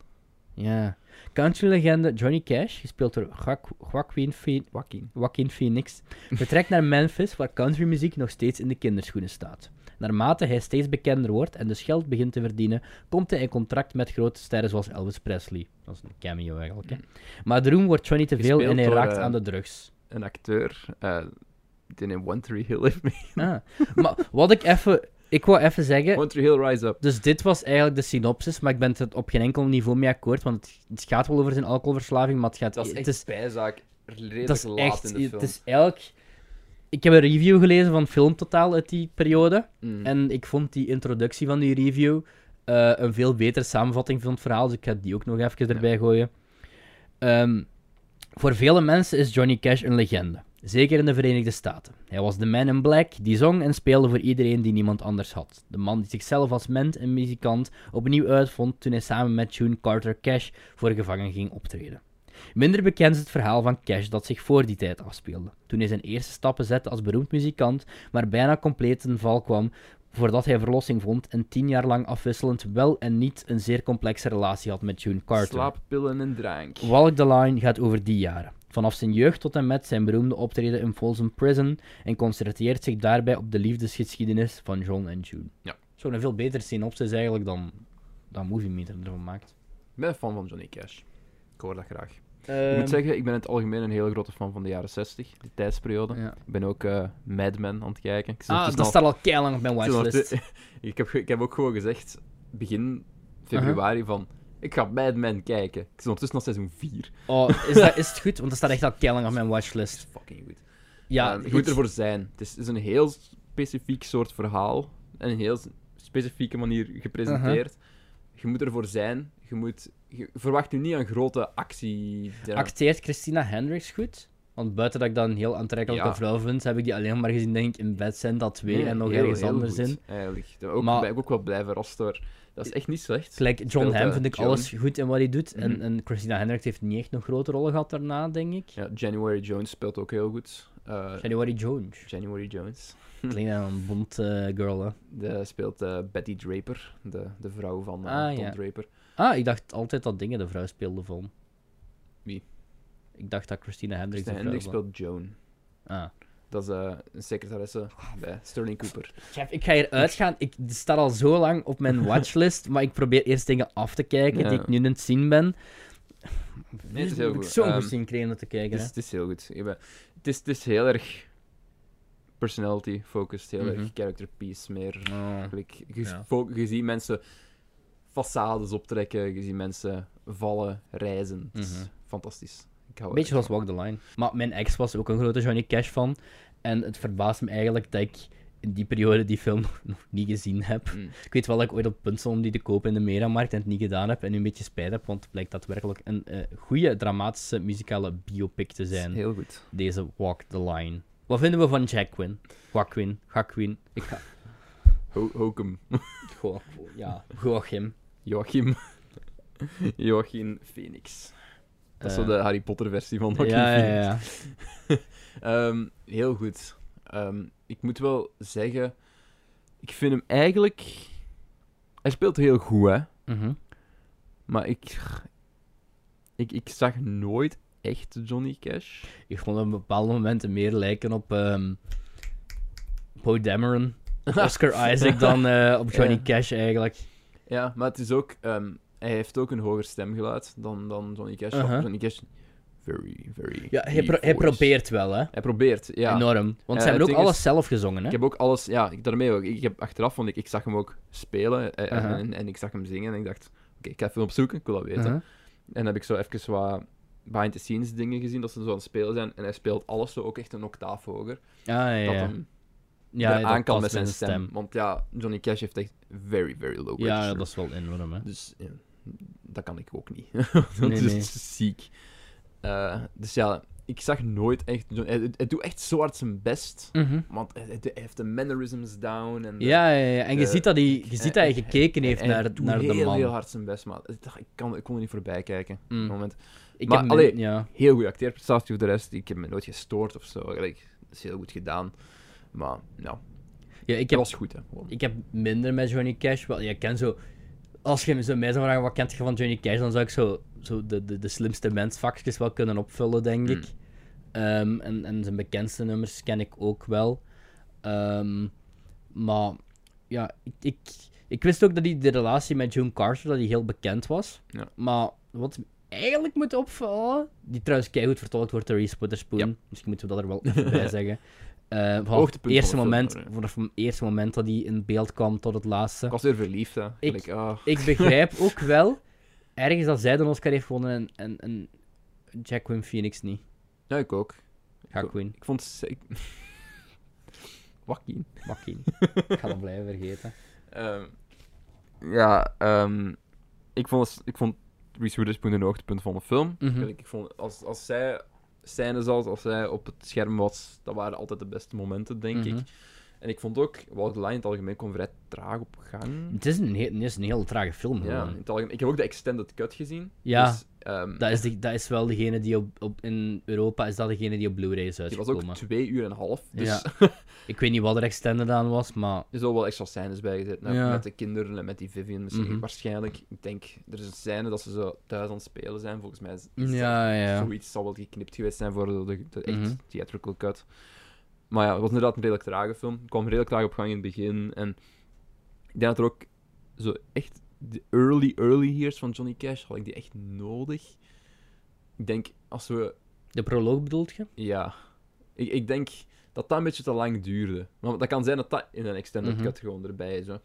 Speaker 2: Ja. Country-legende Johnny Cash, gespeeld door Joaqu- Joaquin Phoenix.
Speaker 1: Wakkie.
Speaker 2: Joaquin Phoenix, vertrekt naar Memphis, waar countrymuziek nog steeds in de kinderschoenen staat. Naarmate hij steeds bekender wordt en dus geld begint te verdienen, komt hij in contract met grote sterren zoals Elvis Presley. Dat is een cameo eigenlijk. Hè. Maar de roem wordt Johnny te veel en
Speaker 1: Gespeeld
Speaker 2: hij
Speaker 1: door,
Speaker 2: raakt
Speaker 1: eh,
Speaker 2: aan de drugs.
Speaker 1: Een acteur. eh die in One Tree Hill heeft mee.
Speaker 2: Ah. maar wat ik even... Ik wou even zeggen,
Speaker 1: One Tree Hill Rise Up.
Speaker 2: Dus dit was eigenlijk de synopsis, maar ik ben het op geen enkel niveau mee akkoord, want het, het gaat wel over zijn alcoholverslaving, maar het gaat...
Speaker 1: Dat is
Speaker 2: het
Speaker 1: echt
Speaker 2: is,
Speaker 1: bijzaak. Redelijk
Speaker 2: dat is
Speaker 1: laat
Speaker 2: echt...
Speaker 1: in de film.
Speaker 2: Het is elk... ik heb een review gelezen van Filmtotaal uit die periode.
Speaker 1: Mm.
Speaker 2: En ik vond die introductie van die review eh, een veel betere samenvatting van het verhaal. Dus ik ga die ook nog even erbij gooien. Ehm, voor vele mensen is Johnny Cash een legende. Zeker in de Verenigde Staten. Hij was de man in black die zong en speelde voor iedereen die niemand anders had. De man die zichzelf als mens en muzikant opnieuw uitvond toen hij samen met June Carter Cash voor gevangen ging optreden. Minder bekend is het verhaal van Cash dat zich voor die tijd afspeelde. Toen hij zijn eerste stappen zette als beroemd muzikant, maar bijna compleet ten val kwam voordat hij verlossing vond en tien jaar lang afwisselend wel en niet een zeer complexe relatie had met June Carter.
Speaker 1: Slaappillen en drank.
Speaker 2: Walk the Line gaat over die jaren. Vanaf zijn jeugd tot en met zijn beroemde optreden in Folsom Prison en concentreert zich daarbij op de liefdesgeschiedenis van John en June.
Speaker 1: Ja.
Speaker 2: Zo'n veel beter synopsis eigenlijk dan, dan Movie Meter ervan maakt.
Speaker 1: Ik ben een fan van Johnny Cash. Ik hoor dat graag. Ik
Speaker 2: Ehm.
Speaker 1: moet zeggen, ik ben in het algemeen een hele grote fan van de jaren 60, die tijdsperiode.
Speaker 2: Ja.
Speaker 1: Ik ben ook eh, Mad Men aan het kijken. Ik zit
Speaker 2: Ah,
Speaker 1: tussen
Speaker 2: dat
Speaker 1: al-
Speaker 2: staat al keilang op mijn
Speaker 1: tussen al
Speaker 2: watchlist.
Speaker 1: twee- ik, heb, ge- ik heb ook gewoon gezegd, begin februari, van ik ga Mad Men kijken. Ik zit ondertussen al seizoen 4.
Speaker 2: Oh, is, dat, is het goed? Want dat staat echt al keilang op mijn watchlist.
Speaker 1: Fucking goed.
Speaker 2: Ja,
Speaker 1: Eh, je
Speaker 2: het-
Speaker 1: moet ervoor zijn. Het is, is een heel specifiek soort verhaal. En een heel s- specifieke manier gepresenteerd.
Speaker 2: Uh-huh.
Speaker 1: Je moet ervoor zijn. Je, moet, je verwacht nu niet een grote actie.
Speaker 2: acteert Christina Hendricks goed? Want buiten dat ik dat een heel aantrekkelijke
Speaker 1: Ja.
Speaker 2: vrouw vind, heb ik die alleen maar gezien, denk ik, in Bed Santa 2
Speaker 1: Nee,
Speaker 2: en nog
Speaker 1: heel,
Speaker 2: ergens
Speaker 1: heel
Speaker 2: anders
Speaker 1: goed,
Speaker 2: in.
Speaker 1: Eigenlijk. Daar ook,
Speaker 2: Maar-
Speaker 1: ben ik ook wel blij verrast door. Dat is echt niet slecht.
Speaker 2: Gelijk John
Speaker 1: Speelt,
Speaker 2: Hamm
Speaker 1: eh,
Speaker 2: vind ik
Speaker 1: John.
Speaker 2: alles goed in wat hij doet. en,
Speaker 1: Mhm.
Speaker 2: en Christina Hendricks heeft niet echt nog grote rollen gehad daarna, denk ik.
Speaker 1: Ja, January Jones speelt ook heel goed. Eh,
Speaker 2: January Jones.
Speaker 1: January Jones.
Speaker 2: Klinkt naar een bond eh, girl, hè.
Speaker 1: De speelt eh, Betty Draper, de, de vrouw van eh,
Speaker 2: Ah,
Speaker 1: Tom
Speaker 2: ja.
Speaker 1: Draper.
Speaker 2: Ah, ik dacht altijd dat dingen de vrouw speelde van.
Speaker 1: Wie?
Speaker 2: Ik dacht dat Christina Hendricks
Speaker 1: Christina
Speaker 2: de vrouw
Speaker 1: Hendricks
Speaker 2: was.
Speaker 1: Dus speelt Joan.
Speaker 2: Ah.
Speaker 1: Dat is eh, een secretaresse bij Sterling Cooper.
Speaker 2: Ah. Chef, ik ga hier uitgaan. Ik die staat al zo lang op mijn watchlist, maar ik probeer eerst dingen af te kijken die
Speaker 1: Ja.
Speaker 2: ik nu aan het zien ben.
Speaker 1: Nee, het is heel
Speaker 2: heb ik
Speaker 1: goed.
Speaker 2: zo'n
Speaker 1: Ehm,
Speaker 2: goed zin gekregen om te kijken,
Speaker 1: Het
Speaker 2: hè.
Speaker 1: is, Dus het is heel goed. Ik ben- het, is, het is heel erg personality-focused, heel
Speaker 2: Mhm.
Speaker 1: erg character piece meer.
Speaker 2: Oh.
Speaker 1: Eigenlijk, je,
Speaker 2: Ja.
Speaker 1: fo- je ziet mensen façades optrekken, je ziet mensen vallen, reizen. Het is
Speaker 2: Mhm.
Speaker 1: fantastisch. Ik hou
Speaker 2: Een beetje
Speaker 1: erg
Speaker 2: zoals Walk the Line. Maar mijn ex was ook een grote Johnny Cash fan. En het verbaast me eigenlijk dat ik in die periode die film nog, nog niet gezien heb.
Speaker 1: Mm.
Speaker 2: Ik weet wel dat ik ooit op het punt stond om die te kopen in de Meramarkt en het niet gedaan heb. En nu een beetje spijt heb, want het blijkt daadwerkelijk een eh goede dramatische muzikale biopic te
Speaker 1: van. Het is
Speaker 2: zijn.
Speaker 1: Heel goed.
Speaker 2: Deze Walk the Line. Wat vinden we van Jacquin? Joaquin? Joaquin? Ik ga...
Speaker 1: Ho Hokum.
Speaker 2: Goh, ja. Joachim.
Speaker 1: Joachim. Joachim Phoenix. Dat is
Speaker 2: Eh,
Speaker 1: zo de Harry Potter-versie van Joachim
Speaker 2: ja, ja,
Speaker 1: Phoenix.
Speaker 2: ja.
Speaker 1: Ehm, heel goed. Ehm, ik moet wel zeggen, ik vind hem eigenlijk. Hij speelt heel goed, hè?
Speaker 2: Mhm.
Speaker 1: Maar ik. Ik, ik zag nooit echt Johnny Cash.
Speaker 2: Ik vond hem op bepaalde momenten meer lijken op ehm Poe Dameron, Oscar Isaac, dan eh, op Johnny
Speaker 1: Ja.
Speaker 2: Cash eigenlijk.
Speaker 1: Ja, maar het is ook. ehm, hij heeft ook een hoger stemgeluid dan, dan Johnny Cash.
Speaker 2: Uh-huh.
Speaker 1: Johnny Cash. Very, very.
Speaker 2: Ja, hij,
Speaker 1: deep
Speaker 2: pro- hij
Speaker 1: voice.
Speaker 2: probeert wel, hè.
Speaker 1: Hij probeert, ja.
Speaker 2: Enorm. Want
Speaker 1: Ja,
Speaker 2: ze hebben
Speaker 1: het
Speaker 2: ook
Speaker 1: ding
Speaker 2: alles
Speaker 1: is-
Speaker 2: zelf gezongen, hè.
Speaker 1: Ik heb ook alles, ja, ik, daarmee ook. Ik heb achteraf, want ik, ik zag hem ook spelen eh,
Speaker 2: Uh-huh.
Speaker 1: en, en ik zag hem zingen en ik dacht, oké, ik ga even opzoeken, ik wil dat weten.
Speaker 2: Uh-huh.
Speaker 1: En heb ik zo even wat behind the scenes dingen gezien dat ze zo aan het spelen zijn. En hij speelt alles zo ook echt een octaaf hoger.
Speaker 2: Ah, ja,
Speaker 1: Dat
Speaker 2: ja.
Speaker 1: hem
Speaker 2: ja,
Speaker 1: eraan kan
Speaker 2: dat past
Speaker 1: met zijn stem. Want ja, Johnny Cash heeft echt very, very low
Speaker 2: Ja,
Speaker 1: register.
Speaker 2: dat is wel enorm, hè.
Speaker 1: Dus ja, dat kan ik ook niet. Want
Speaker 2: Nee,
Speaker 1: het
Speaker 2: nee.
Speaker 1: is ziek. Eh, dus ja, ik zag nooit echt... John- Hij, hij doet echt zo hard zijn best.
Speaker 2: Mhm.
Speaker 1: Want hij, hij- hij heeft de mannerisms down. En de-
Speaker 2: Ja, ja, ja, en je
Speaker 1: de-
Speaker 2: ziet dat hij, je ziet dat hij gekeken heeft
Speaker 1: hij
Speaker 2: naar,
Speaker 1: doet
Speaker 2: naar de
Speaker 1: heel,
Speaker 2: man.
Speaker 1: heel hard zijn best, maar het- ik, kan, ik kon er niet voorbij kijken. Op
Speaker 2: Mm.
Speaker 1: het moment.
Speaker 2: Ik
Speaker 1: Maar,
Speaker 2: heb min-
Speaker 1: allee,
Speaker 2: ja.
Speaker 1: heel goede acteerprestatie voor de rest. Ik heb me nooit gestoord of zo. Eigenlijk, dat is heel goed gedaan. Maar ja,
Speaker 2: ja, ik
Speaker 1: dat
Speaker 2: heb
Speaker 1: was goed, hè. gewoon.
Speaker 2: Ik heb minder met Johnny Cash. Wel, je kent zo... Als je zo mij zou vragen, wat kent je van Johnny Cash? Dan zou ik zo, zo de, de, de slimste mensvakjes wel kunnen opvullen, denk
Speaker 1: Hmm.
Speaker 2: ik. Ehm, en, en zijn bekendste nummers ken ik ook wel. Ehm, maar ja, ik, ik, ik wist ook dat die, de relatie met June Carter dat die heel bekend was.
Speaker 1: Ja.
Speaker 2: Maar wat eigenlijk moet opvallen... Die trouwens keihard vertolkt wordt door Reese Witherspoon.
Speaker 1: Ja.
Speaker 2: Misschien moeten we dat er wel even bij zeggen. Eh vanaf het
Speaker 1: Hoogtepunt
Speaker 2: eerste
Speaker 1: van de film,
Speaker 2: moment,
Speaker 1: ja.
Speaker 2: vanaf het eerste moment dat hij in beeld kwam tot het laatste.
Speaker 1: Ik was weer verliefd, hè. Gelijk, ah,
Speaker 2: Ik begrijp ook wel ergens dat zij de Oscar heeft gewonnen en, en, en Jacqueline Phoenix niet.
Speaker 1: Ja, ik ook.
Speaker 2: Jacqueline.
Speaker 1: Ik vond... ze- Ik, Joaquin.
Speaker 2: Joaquin. Ik ga dat blijven vergeten.
Speaker 1: Ehm, ja, ehm, ik, vond, ik vond Reese Witherspoon een hoogtepunt van de film.
Speaker 2: Mhm.
Speaker 1: Eigenlijk, Ik vond, als, als zij scènes als, als zij op het scherm was, dat waren altijd de beste momenten, denk
Speaker 2: Mhm.
Speaker 1: ik. En ik vond ook, Wild Line in het algemeen kwam vrij traag op gang.
Speaker 2: Het is een, heel, het is een heel trage film
Speaker 1: Ja,
Speaker 2: gewoon.
Speaker 1: in het algemeen. Ik heb ook de extended cut gezien.
Speaker 2: Ja,
Speaker 1: dus, ehm,
Speaker 2: Dat, is de- dat is wel degene die op, op, in Europa is dat degene die op Blu-ray is
Speaker 1: die was ook
Speaker 2: uitgekomen.
Speaker 1: twee uur en een half. Dus
Speaker 2: Ja. Ik weet niet wat er extended aan was, maar
Speaker 1: Er is al wel extra scènes bijgezet. Nou,
Speaker 2: Ja.
Speaker 1: Met de kinderen en met die Vivian misschien.
Speaker 2: Mhm.
Speaker 1: Waarschijnlijk. Ik denk, er is een scène dat ze zo thuis aan het spelen zijn. Volgens mij is is
Speaker 2: Ja,
Speaker 1: dat-
Speaker 2: ja.
Speaker 1: zoiets zal wel geknipt geweest zijn voor de, de, de echt
Speaker 2: Mhm.
Speaker 1: theatrical cut. Maar ja, het was inderdaad een redelijk trage film. Het kwam redelijk traag op gang in het begin. En ik denk dat er ook zo echt de early, early years van Johnny Cash had ik die echt nodig. Ik denk, als we
Speaker 2: de proloog bedoelt je?
Speaker 1: ja. Ik, ik denk dat dat een beetje te lang duurde. Maar dat kan zijn dat dat in een extended
Speaker 2: Mhm.
Speaker 1: cut gewoon erbij is. Hè.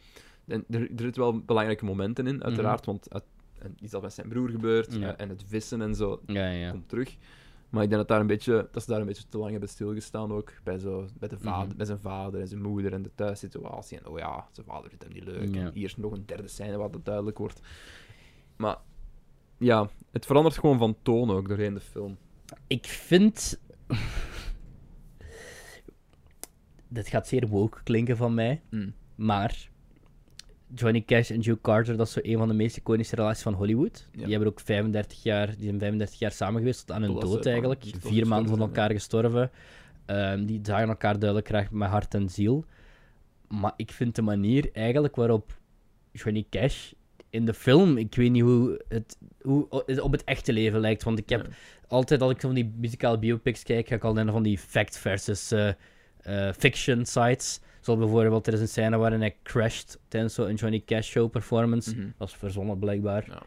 Speaker 1: En er, er zitten wel belangrijke momenten in, uiteraard. Want uit- en iets dat met zijn broer gebeurt
Speaker 2: Mhm. Ja.
Speaker 1: eh, en het vissen en zo
Speaker 2: Ja, ja.
Speaker 1: komt terug. Maar ik denk dat, daar een beetje, dat ze daar een beetje te lang hebben stilgestaan ook. Bij, zo, bij, de vader,
Speaker 2: Mhm.
Speaker 1: bij zijn vader en zijn moeder en de thuissituatie. En oh ja, zijn vader vindt hem niet leuk.
Speaker 2: Ja.
Speaker 1: En hier is nog een derde scène wat dat duidelijk wordt. Maar ja, het verandert gewoon van toon ook doorheen de film.
Speaker 2: Ik vind. Dit gaat zeer woke klinken van mij,
Speaker 1: Mm.
Speaker 2: maar. Johnny Cash en Joe Carter, dat is zo een van de meest iconische relaties van Hollywood.
Speaker 1: Ja.
Speaker 2: Die hebben ook 35 jaar, die zijn 35 jaar samen geweest tot aan hun
Speaker 1: Totdat ze
Speaker 2: dood
Speaker 1: van-
Speaker 2: eigenlijk.
Speaker 1: eh, tot
Speaker 2: Vier maanden van
Speaker 1: gestorven zijn,
Speaker 2: elkaar gestorven. Ehm, die zagen elkaar duidelijk graag met hart en ziel. Maar ik vind de manier eigenlijk waarop Johnny Cash in de film, ik weet niet hoe het hoe het op het echte leven lijkt. Want ik heb
Speaker 1: Ja.
Speaker 2: altijd, als ik van die muzikale biopics kijk, ga ik al naar van die fact versus eh, eh, fiction sites. Zo bijvoorbeeld, er is een scène waarin hij crasht tijdens zo'n Johnny Cash show performance.
Speaker 1: Mhm.
Speaker 2: Dat is verzonnen blijkbaar.
Speaker 1: Ja.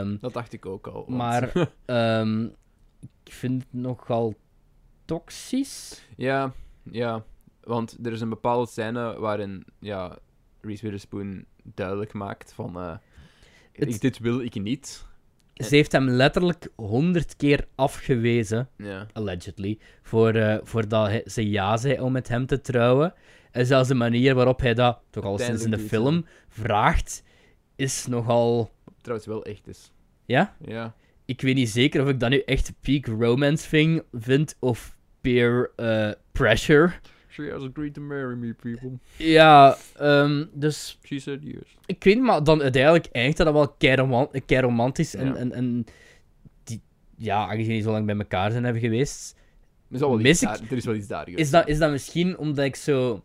Speaker 2: Ehm,
Speaker 1: Dat dacht ik ook al. want-
Speaker 2: Maar ehm, ik vind het nogal toxisch.
Speaker 1: ja, ja, want er is een bepaalde scène waarin ja, Reese Witherspoon duidelijk maakt van... eh,
Speaker 2: Het-
Speaker 1: ik, dit wil ik niet. Eh.
Speaker 2: Ze heeft hem letterlijk honderd keer afgewezen.
Speaker 1: Ja.
Speaker 2: allegedly, voor, eh, voordat hij- ze ja zei om met hem te trouwen. En zelfs de manier waarop hij dat, toch al sinds in de
Speaker 1: Uiteindelijk doet,
Speaker 2: film, vraagt, is nogal...
Speaker 1: Trouwens wel echt is.
Speaker 2: Ja?
Speaker 1: Ja.
Speaker 2: Ik weet niet zeker of ik dat nu echt peak romance thing vind, of peer eh, pressure.
Speaker 1: She has agreed to marry me, people.
Speaker 2: Ja, ehm, dus
Speaker 1: She said yes.
Speaker 2: ik weet niet, maar dan uiteindelijk eindigt dat wel keiroman- eh, keiromantisch. En,
Speaker 1: Ja.
Speaker 2: en, en die, ja, aangezien die zo lang bij elkaar zijn hebben geweest,
Speaker 1: Er is, al wel
Speaker 2: Mis
Speaker 1: iets
Speaker 2: ik-
Speaker 1: daar, er is wel iets daar.
Speaker 2: Is dat, is dat misschien omdat ik zo.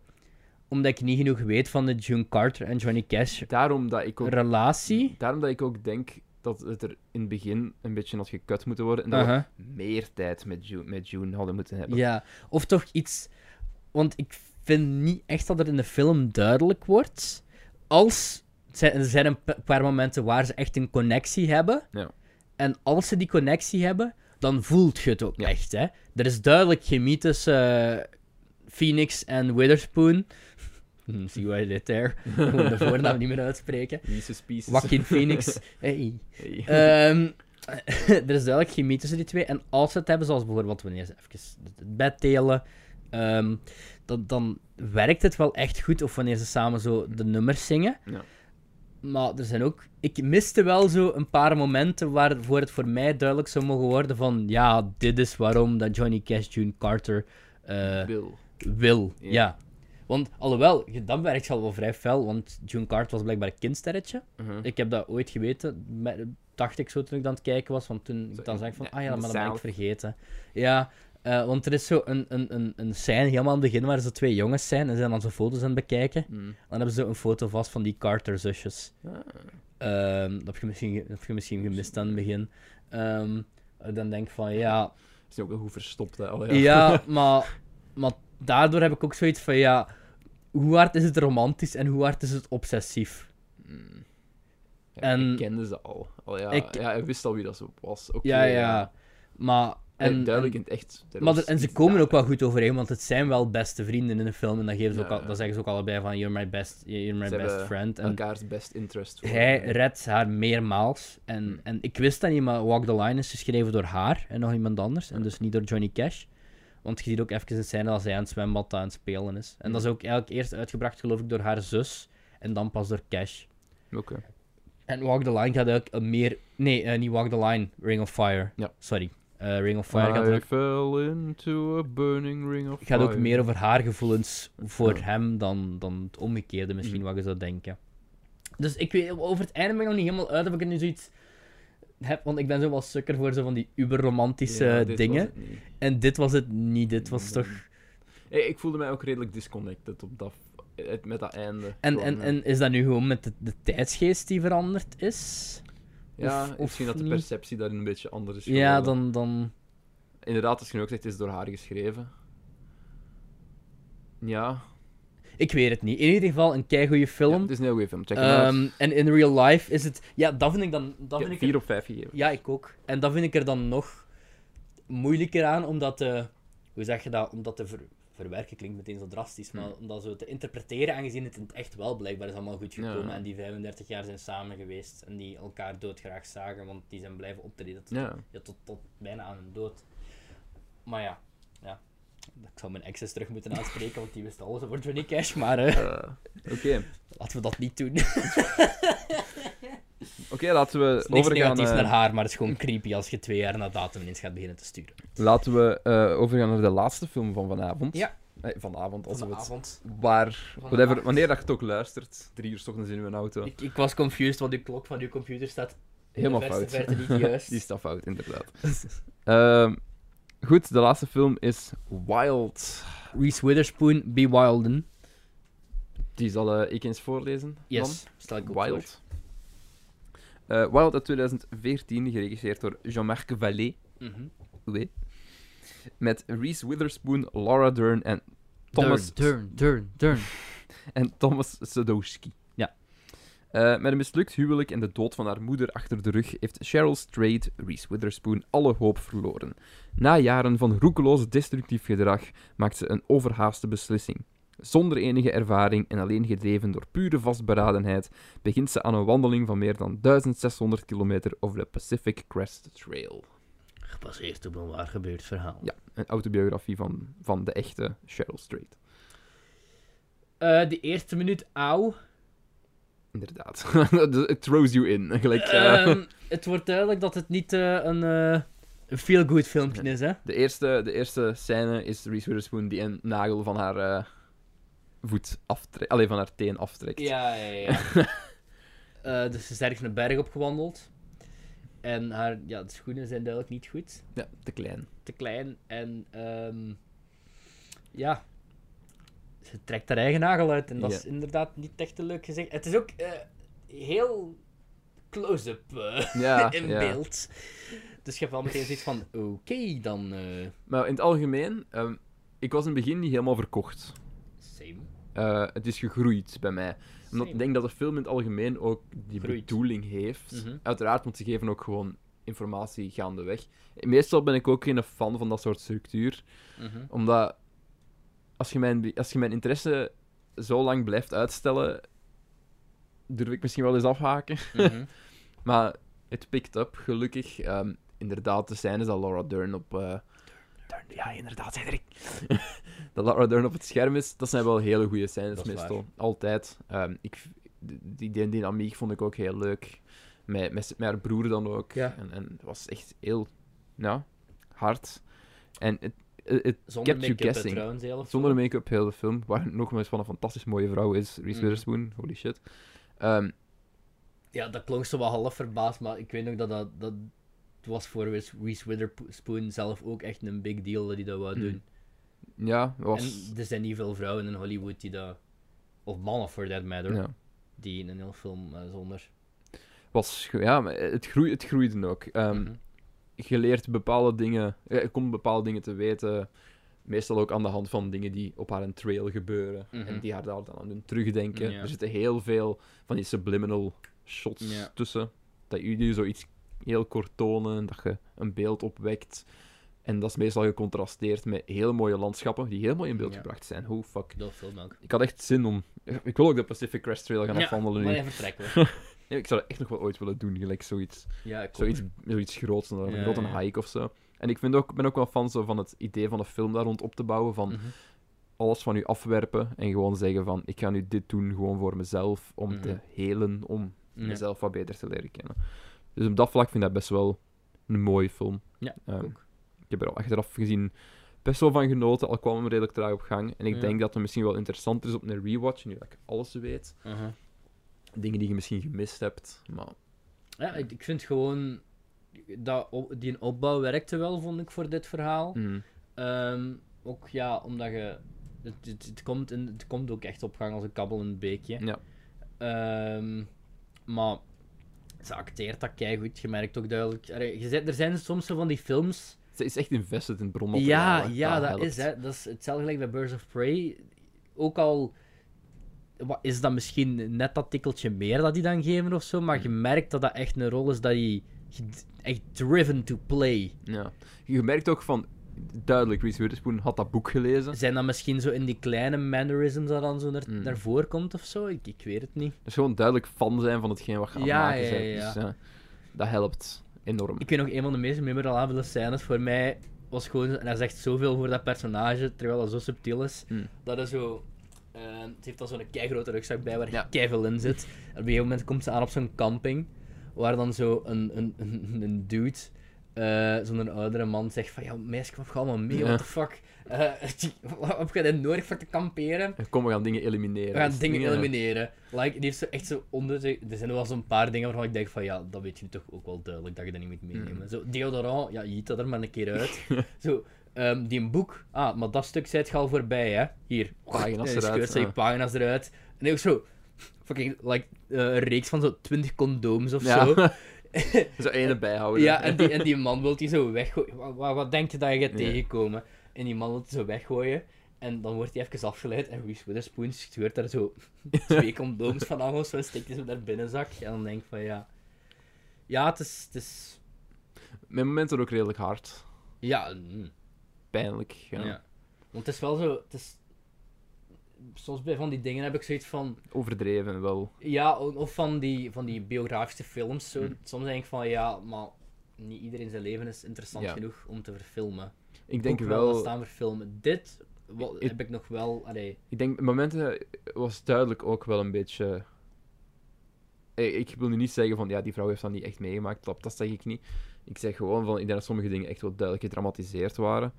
Speaker 2: omdat ik niet genoeg weet van de June Carter en Johnny Cash
Speaker 1: Daarom dat ik ook...
Speaker 2: relatie?
Speaker 1: Daarom dat ik ook denk dat het er in het begin een beetje had gekut moeten worden. En dat
Speaker 2: Uh-huh.
Speaker 1: we meer tijd met June, met June hadden moeten hebben.
Speaker 2: Ja, of toch iets. Want ik vind niet echt dat er in de film duidelijk wordt. Als. er zijn- Er zijn een pa- paar momenten waar ze echt een connectie hebben.
Speaker 1: Ja.
Speaker 2: En als ze die connectie hebben, dan voelt je het ook
Speaker 1: Ja.
Speaker 2: echt. Hè? Er is duidelijk chemie tussen eh, Phoenix en Witherspoon. Hmm, See why they're there. Ik moet de voornaam niet meer uitspreken.
Speaker 1: Reese's Pieces.
Speaker 2: Joaquin Phoenix. Hey.
Speaker 1: Hey.
Speaker 2: Ehm, er is duidelijk chemie tussen die twee. En als ze het hebben, zoals bijvoorbeeld wanneer ze even het bed delen, ehm, dan, dan werkt het wel echt goed. Of wanneer ze samen zo de nummers zingen.
Speaker 1: Ja.
Speaker 2: Maar er zijn ook... Ik miste wel zo een paar momenten waarvoor het voor mij duidelijk zou mogen worden van... Ja, dit is waarom dat Johnny Cash June Carter eh,
Speaker 1: Bill.
Speaker 2: wil.
Speaker 1: Ja.
Speaker 2: Ja. Want, alhoewel, dat werkt al wel vrij fel, want June Carter was blijkbaar een kindsterretje.
Speaker 1: Uh-huh.
Speaker 2: Ik heb dat ooit geweten, me- dacht ik zo toen ik aan het kijken was, want toen
Speaker 1: Zo
Speaker 2: ik dan
Speaker 1: in-
Speaker 2: zag ik van,
Speaker 1: ja,
Speaker 2: ah ja,
Speaker 1: in de
Speaker 2: maar dat ben ik
Speaker 1: zaal.
Speaker 2: vergeten. Ja, eh, want er is zo een, een, een, een scène helemaal aan het begin waar ze twee jongens zijn en ze zijn dan zo foto's aan het bekijken.
Speaker 1: Mm.
Speaker 2: Dan hebben ze een foto vast van die Carter-zusjes.
Speaker 1: Ah.
Speaker 2: Ehm, dat, heb je misschien, ge- dat heb je misschien gemist aan het begin. Ehm, dan denk ik van, ja,
Speaker 1: Is die ook wel goed oh verstopt, hè? Al,
Speaker 2: ja, maar, maar daardoor heb ik ook zoiets van, ja, hoe hard is het romantisch en hoe hard is het obsessief?
Speaker 1: Mm. Ja,
Speaker 2: En-
Speaker 1: Ik kende ze al. al ja,
Speaker 2: Ik-
Speaker 1: ja, hij wist al wie dat zo was. Oké,
Speaker 2: Ja, ja. Maar...
Speaker 1: En,
Speaker 2: En,
Speaker 1: duidelijk
Speaker 2: en-
Speaker 1: in het echt. er
Speaker 2: maar
Speaker 1: was
Speaker 2: er- en ze
Speaker 1: iets
Speaker 2: komen
Speaker 1: daar.
Speaker 2: ook wel goed overeen, want het zijn wel beste vrienden in de film. En dan, geven ze ook
Speaker 1: Ja,
Speaker 2: al,
Speaker 1: ja.
Speaker 2: dan zeggen ze ook allebei van, you're my best, you're my
Speaker 1: Ze
Speaker 2: best
Speaker 1: hebben
Speaker 2: friend. En
Speaker 1: Elkaars best interest. voor-
Speaker 2: hij redt haar meermaals. En,
Speaker 1: Hmm.
Speaker 2: en ik wist dat niet, maar Walk the Line is geschreven door haar en nog iemand anders. En dus niet door Johnny Cash. Want je ziet ook even een scène dat zij aan het zwembad aan het spelen is. En
Speaker 1: Hmm.
Speaker 2: dat is ook eigenlijk eerst uitgebracht, geloof ik, door haar zus. En dan pas door Cash.
Speaker 1: Oké.
Speaker 2: En Walk the Line gaat eigenlijk een meer... Nee, eh, niet Walk the Line. Ring of Fire.
Speaker 1: Ja.
Speaker 2: Sorry. Eh, Ring of Fire gaat, er
Speaker 1: I
Speaker 2: ook,
Speaker 1: fell into a burning ring of
Speaker 2: gaat ook
Speaker 1: fire.
Speaker 2: meer over haar gevoelens voor
Speaker 1: Ah, Ja.
Speaker 2: hem dan, dan het omgekeerde misschien,
Speaker 1: Mhm.
Speaker 2: wat je zou denken. Dus ik weet... Over het einde ben ik nog niet helemaal uit of ik er nu zoiets heb. Want ik ben zo wel sukker voor zo van die uberromantische
Speaker 1: Ja, dit was
Speaker 2: dingen.
Speaker 1: het Mm, niet.
Speaker 2: En dit was het niet. Dit was toch...
Speaker 1: Ik, ik voelde mij ook redelijk disconnected op dat, het- met dat einde.
Speaker 2: En,
Speaker 1: Gewoon,
Speaker 2: en,
Speaker 1: ja.
Speaker 2: en is dat nu gewoon met de, de tijdsgeest die veranderd is?
Speaker 1: ja,
Speaker 2: of- of
Speaker 1: misschien dat de
Speaker 2: niet?
Speaker 1: perceptie daarin een beetje anders is.
Speaker 2: Ja,
Speaker 1: geworden.
Speaker 2: dan, dan...
Speaker 1: Inderdaad, als je nu ook zegt, het is door haar geschreven. Ja.
Speaker 2: Ik weet het niet. In ieder geval een keigoede
Speaker 1: Ja,
Speaker 2: film.
Speaker 1: het is een heel goede film. Check hem
Speaker 2: Ehm,
Speaker 1: uit.
Speaker 2: en in real life is het... Ja, dat vind ik dan... Dat
Speaker 1: Ik
Speaker 2: vind
Speaker 1: heb
Speaker 2: ik
Speaker 1: 4
Speaker 2: er-
Speaker 1: op 5 gegeven.
Speaker 2: Ja, ik ook. En dat vind ik er dan nog moeilijker aan, omdat... eh, Hoe zeg je dat? Omdat te ver- verwerken klinkt meteen zo drastisch, maar
Speaker 1: Hmm.
Speaker 2: omdat zo te interpreteren, aangezien het in het echt wel blijkbaar is allemaal goed gekomen
Speaker 1: Ja.
Speaker 2: en die 35 jaar zijn samen geweest en die elkaar doodgraag zagen, want die zijn blijven optreden tot
Speaker 1: Ja.
Speaker 2: Ja, tot, tot bijna aan hun dood. Maar ja, ja. Ik zou mijn exes terug moeten aanspreken, want die wist alles over Johnny Cash. Maar eh,
Speaker 1: Eh, Oké,
Speaker 2: laten we dat niet doen. Het
Speaker 1: Oké, laten we
Speaker 2: is niks
Speaker 1: overgaan,
Speaker 2: negatiefs
Speaker 1: eh,
Speaker 2: naar haar, maar het is gewoon creepy als je twee jaar na datum ineens gaat beginnen te sturen.
Speaker 1: laten we eh, overgaan naar de laatste film van vanavond.
Speaker 2: Ja.
Speaker 1: Eh, vanavond, als we het...
Speaker 2: Vanavond.
Speaker 1: Waar, whatever,
Speaker 2: Vanavond.
Speaker 1: wanneer dat je het ook luistert. Drie uur 's ochtends in mijn auto.
Speaker 2: Ik, ik was confused, want de klok van uw computer staat in
Speaker 1: Helemaal
Speaker 2: de verste
Speaker 1: fout.
Speaker 2: verte niet juist.
Speaker 1: Die is dan fout, inderdaad. Ehm, goed, de laatste film is Wild.
Speaker 2: Reese Witherspoon, Be Wilden.
Speaker 1: Die zal eh, ik eens voorlezen.
Speaker 2: Yes, stel ik
Speaker 1: Dan.
Speaker 2: ook voor.
Speaker 1: Wild. Eh, Wild uit 2014, geregisseerd door Jean-Marc Vallée.
Speaker 2: Mhm.
Speaker 1: Vallée. Met Reese Witherspoon, Laura Dern en Thomas,
Speaker 2: Dern, Dern, Dern.
Speaker 1: en Thomas Sadowski.
Speaker 2: Ja.
Speaker 1: Eh, met een mislukt huwelijk en de dood van haar moeder achter de rug heeft Cheryl Strait, Reese Witherspoon, alle hoop verloren. Na jaren van roekeloos destructief gedrag maakt ze een overhaaste beslissing. Zonder enige ervaring en alleen gedreven door pure vastberadenheid begint ze aan een wandeling van meer dan 1600 kilometer over de Pacific Crest Trail.
Speaker 2: Gebaseerd op een waar gebeurd verhaal.
Speaker 1: Ja. Een autobiografie van, van de echte Cheryl Strait.
Speaker 2: Eh, de eerste minuut, auw.
Speaker 1: Inderdaad. It throws you in. Gelijk, eh,
Speaker 2: Ehm, het wordt duidelijk dat het niet eh, een eh, een feel-good filmpje is, hè?
Speaker 1: De eerste, de eerste scène is Reese Witherspoon die een nagel van haar eh, voet aftrekt. Alleen van haar teen aftrekt.
Speaker 2: Ja, ja, ja. Eh, dus ze is ergens een berg opgewandeld. En haar ja, de schoenen zijn duidelijk niet goed.
Speaker 1: Ja, te klein.
Speaker 2: Te klein. En ehm, ja, ze trekt haar eigen nagel uit. En dat
Speaker 1: Ja.
Speaker 2: is inderdaad niet echt een leuk gezicht. Het is ook eh, heel close-up eh,
Speaker 1: Ja,
Speaker 2: in
Speaker 1: ja.
Speaker 2: beeld. Dus je hebt wel meteen zoiets van, oké, dan... eh,
Speaker 1: Maar in het algemeen, ehm, ik was in het begin niet helemaal verkocht.
Speaker 2: same.
Speaker 1: Eh, het is gegroeid bij mij. Omdat
Speaker 2: Same.
Speaker 1: ik denk dat de film in het algemeen ook die
Speaker 2: Groeit.
Speaker 1: bedoeling heeft.
Speaker 2: Mhm.
Speaker 1: Uiteraard, want ze geven ook gewoon informatie gaandeweg. Meestal ben ik ook geen fan van dat soort structuur.
Speaker 2: Mhm.
Speaker 1: Omdat als je mijn, als je mijn interesse zo lang blijft uitstellen, durf ik misschien wel eens afhaken.
Speaker 2: Mhm.
Speaker 1: Maar het pikt up, gelukkig. Ehm, inderdaad, de scènes dat Laura Dern op. eh, Dern, ja, inderdaad, Cedric. dat Laura Dern op het scherm is, dat zijn wel hele goede scènes
Speaker 2: Dat is
Speaker 1: meestal. Altijd. Ehm, ik, die, die dynamiek vond ik ook heel leuk. Met, met, met haar broer dan ook.
Speaker 2: Ja.
Speaker 1: En, en het was echt heel ja, hard. En het, het, het
Speaker 2: Zonder
Speaker 1: kept you
Speaker 2: make-up hè,
Speaker 1: guessing.
Speaker 2: trouwens, heel of
Speaker 1: Zonder
Speaker 2: zo.
Speaker 1: make-up, heel de film. Waar nogmaals van een fantastisch mooie vrouw is. Reese
Speaker 2: Mhm.
Speaker 1: Witherspoon, holy shit. Ehm,
Speaker 2: Ja, dat klonk zo wel half verbaasd, maar ik weet nog dat dat, dat was voor Reese Reese Witherspoon zelf ook echt een big deal dat hij dat wou
Speaker 1: Mm.
Speaker 2: doen.
Speaker 1: ja, was...
Speaker 2: En er zijn niet veel vrouwen in Hollywood die dat, of mannen for that matter,
Speaker 1: ja.
Speaker 2: die in een heel film eh, zonder.
Speaker 1: was ge- ja, maar het, groei, het groeide ook. Ehm,
Speaker 2: Mhm.
Speaker 1: Je leert bepaalde dingen, eh, je komt bepaalde dingen te weten. Meestal ook aan de hand van dingen die op haar een trail gebeuren.
Speaker 2: Mhm.
Speaker 1: En die haar daar dan aan doen terugdenken.
Speaker 2: Ja.
Speaker 1: Er zitten heel veel van die subliminal shots
Speaker 2: Ja.
Speaker 1: tussen. Dat jullie zoiets heel kort tonen, dat je een beeld opwekt. En dat is meestal gecontrasteerd met heel mooie landschappen die heel mooi in beeld
Speaker 2: Ja.
Speaker 1: gebracht zijn. Hoe fuck.
Speaker 2: Dat film ook.
Speaker 1: Ik had echt zin om. Ik wil ook de Pacific Crest Trail gaan
Speaker 2: Ja,
Speaker 1: afwandelen nu.
Speaker 2: Maar even trekken hoor.
Speaker 1: Nee, ik zou dat echt nog wel ooit willen doen, gelijk zoiets.
Speaker 2: Ja, ik ook.
Speaker 1: Zoiets, zoiets groots, een
Speaker 2: Ja,
Speaker 1: grote
Speaker 2: ja.
Speaker 1: hike of zo. En ik vind ook, ben ook wel fan zo van het idee van een film daar rond op te bouwen. Van
Speaker 2: Mhm.
Speaker 1: alles van u afwerpen en gewoon zeggen van... Ik ga nu dit doen gewoon voor mezelf, om te
Speaker 2: Mhm.
Speaker 1: helen, om
Speaker 2: Ja.
Speaker 1: mezelf wat beter te leren kennen. Dus op dat vlak vind ik dat best wel een mooie film.
Speaker 2: Ja,
Speaker 1: Ehm,
Speaker 2: ook.
Speaker 1: Ik heb er al achteraf gezien best wel van genoten, al kwam hem redelijk traag op gang. En ik
Speaker 2: Ja.
Speaker 1: denk dat het misschien wel interessanter is op een rewatch, nu dat ik alles weet.
Speaker 2: Aha.
Speaker 1: Dingen die je misschien gemist hebt, maar...
Speaker 2: Ja, ik, ik vind gewoon dat op- die opbouw werkte wel, vond ik, voor dit verhaal.
Speaker 1: Mhm.
Speaker 2: Ehm, ook ja, omdat je. Het, het, het komt in, het komt ook echt op gang als een kabbel in een beekje.
Speaker 1: Ja.
Speaker 2: Ehm, maar ze acteert dat goed. Je merkt ook duidelijk. Allee, je zet- er zijn soms zo van die films.
Speaker 1: Ze is echt invested in het bronmateriaal.
Speaker 2: Ja,
Speaker 1: hè.
Speaker 2: ja, dat
Speaker 1: helpt.
Speaker 2: is, hè. dat is hetzelfde gelijk bij Birds of Prey. Ook al wat is dat misschien net dat tikkeltje meer dat die dan geven of zo, maar je merkt dat dat echt een rol is dat die ged- echt driven to play.
Speaker 1: Ja. Je merkt ook van, duidelijk, Reese Witherspoon had dat boek gelezen.
Speaker 2: Zijn dat misschien zo in die kleine mannerisms dat dan zo naar,
Speaker 1: Mm.
Speaker 2: naar voren komt of zo? Ik, ik weet het niet.
Speaker 1: Dus gewoon duidelijk fan zijn van hetgeen wat je aan het
Speaker 2: Ja,
Speaker 1: maken
Speaker 2: ja,
Speaker 1: bent.
Speaker 2: ja, ja.
Speaker 1: Dus, eh, dat helpt enorm.
Speaker 2: Ik weet nog, een van de meest memorabele scènes voor mij was gewoon... En hij zegt zoveel voor dat personage, terwijl dat zo subtiel is.
Speaker 1: Mm.
Speaker 2: Dat is zo... eh, het heeft dan zo'n grote rugzak bij waar
Speaker 1: Ja.
Speaker 2: keiveel in zit. En op een gegeven moment komt ze aan op zo'n camping, waar dan zo een, een, een, een dude... eh, zo'n oudere man zegt van, ja meisje, wat ga allemaal mee,
Speaker 1: Ja.
Speaker 2: what the fuck. Eh wat ga je dit nodig voor te kamperen?
Speaker 1: Kom, we gaan dingen elimineren.
Speaker 2: We gaan
Speaker 1: Dus
Speaker 2: dingen elimineren. Like, die heeft zo echt zo onder zich- Er zijn wel zo'n paar dingen waarvan ik denk van ja, dat weet je toch ook wel duidelijk dat je dat niet moet meenemen.
Speaker 1: Mm.
Speaker 2: Zo, deodorant, ja, je eet dat er maar een keer uit. zo, ehm, die een boek, ah, maar dat stuk zit al voorbij, hè. Hier.
Speaker 1: Pagina's
Speaker 2: En die
Speaker 1: eruit,
Speaker 2: scheurt ze
Speaker 1: ja.
Speaker 2: die pagina's eruit. En ook zo, fucking, like, eh, een reeks van zo 20 condooms of
Speaker 1: Ja.
Speaker 2: zo.
Speaker 1: Zo ene bijhouden.
Speaker 2: Ja, en die, en die man wil die zo weggooien. Wat, wat, wat denk je dat je gaat
Speaker 1: Ja.
Speaker 2: tegenkomen? En die man wil die zo weggooien. En dan wordt hij even afgeleid. En Reese Witherspoon stuurt daar zo twee condooms van aan of zo. En stikt die zo naar binnenzak. En dan denk ik van ja... Ja, het is... Het is
Speaker 1: Mijn moment ook redelijk hard.
Speaker 2: ja, mm,
Speaker 1: Pijnlijk. Ja.
Speaker 2: ja. Want het is wel zo... Het is, soms bij van die dingen heb ik zoiets van...
Speaker 1: Overdreven wel.
Speaker 2: Ja, o- of van die, van die biografische films. Zo.
Speaker 1: Mm.
Speaker 2: Soms denk ik van ja, maar... Niet iedereen zijn leven is interessant
Speaker 1: Ja.
Speaker 2: genoeg om te verfilmen.
Speaker 1: Ik denk
Speaker 2: ook
Speaker 1: wel...
Speaker 2: dat staan voor filmen. Dit wa-
Speaker 1: Ik-
Speaker 2: heb ik nog wel. Allee,
Speaker 1: Ik denk, momenten was duidelijk ook wel een beetje... Ik, ik wil nu niet zeggen van, ja, die vrouw heeft dat niet echt meegemaakt. Dat, dat zeg ik niet. Ik zeg gewoon van, ik denk dat sommige dingen echt wel duidelijk gedramatiseerd waren.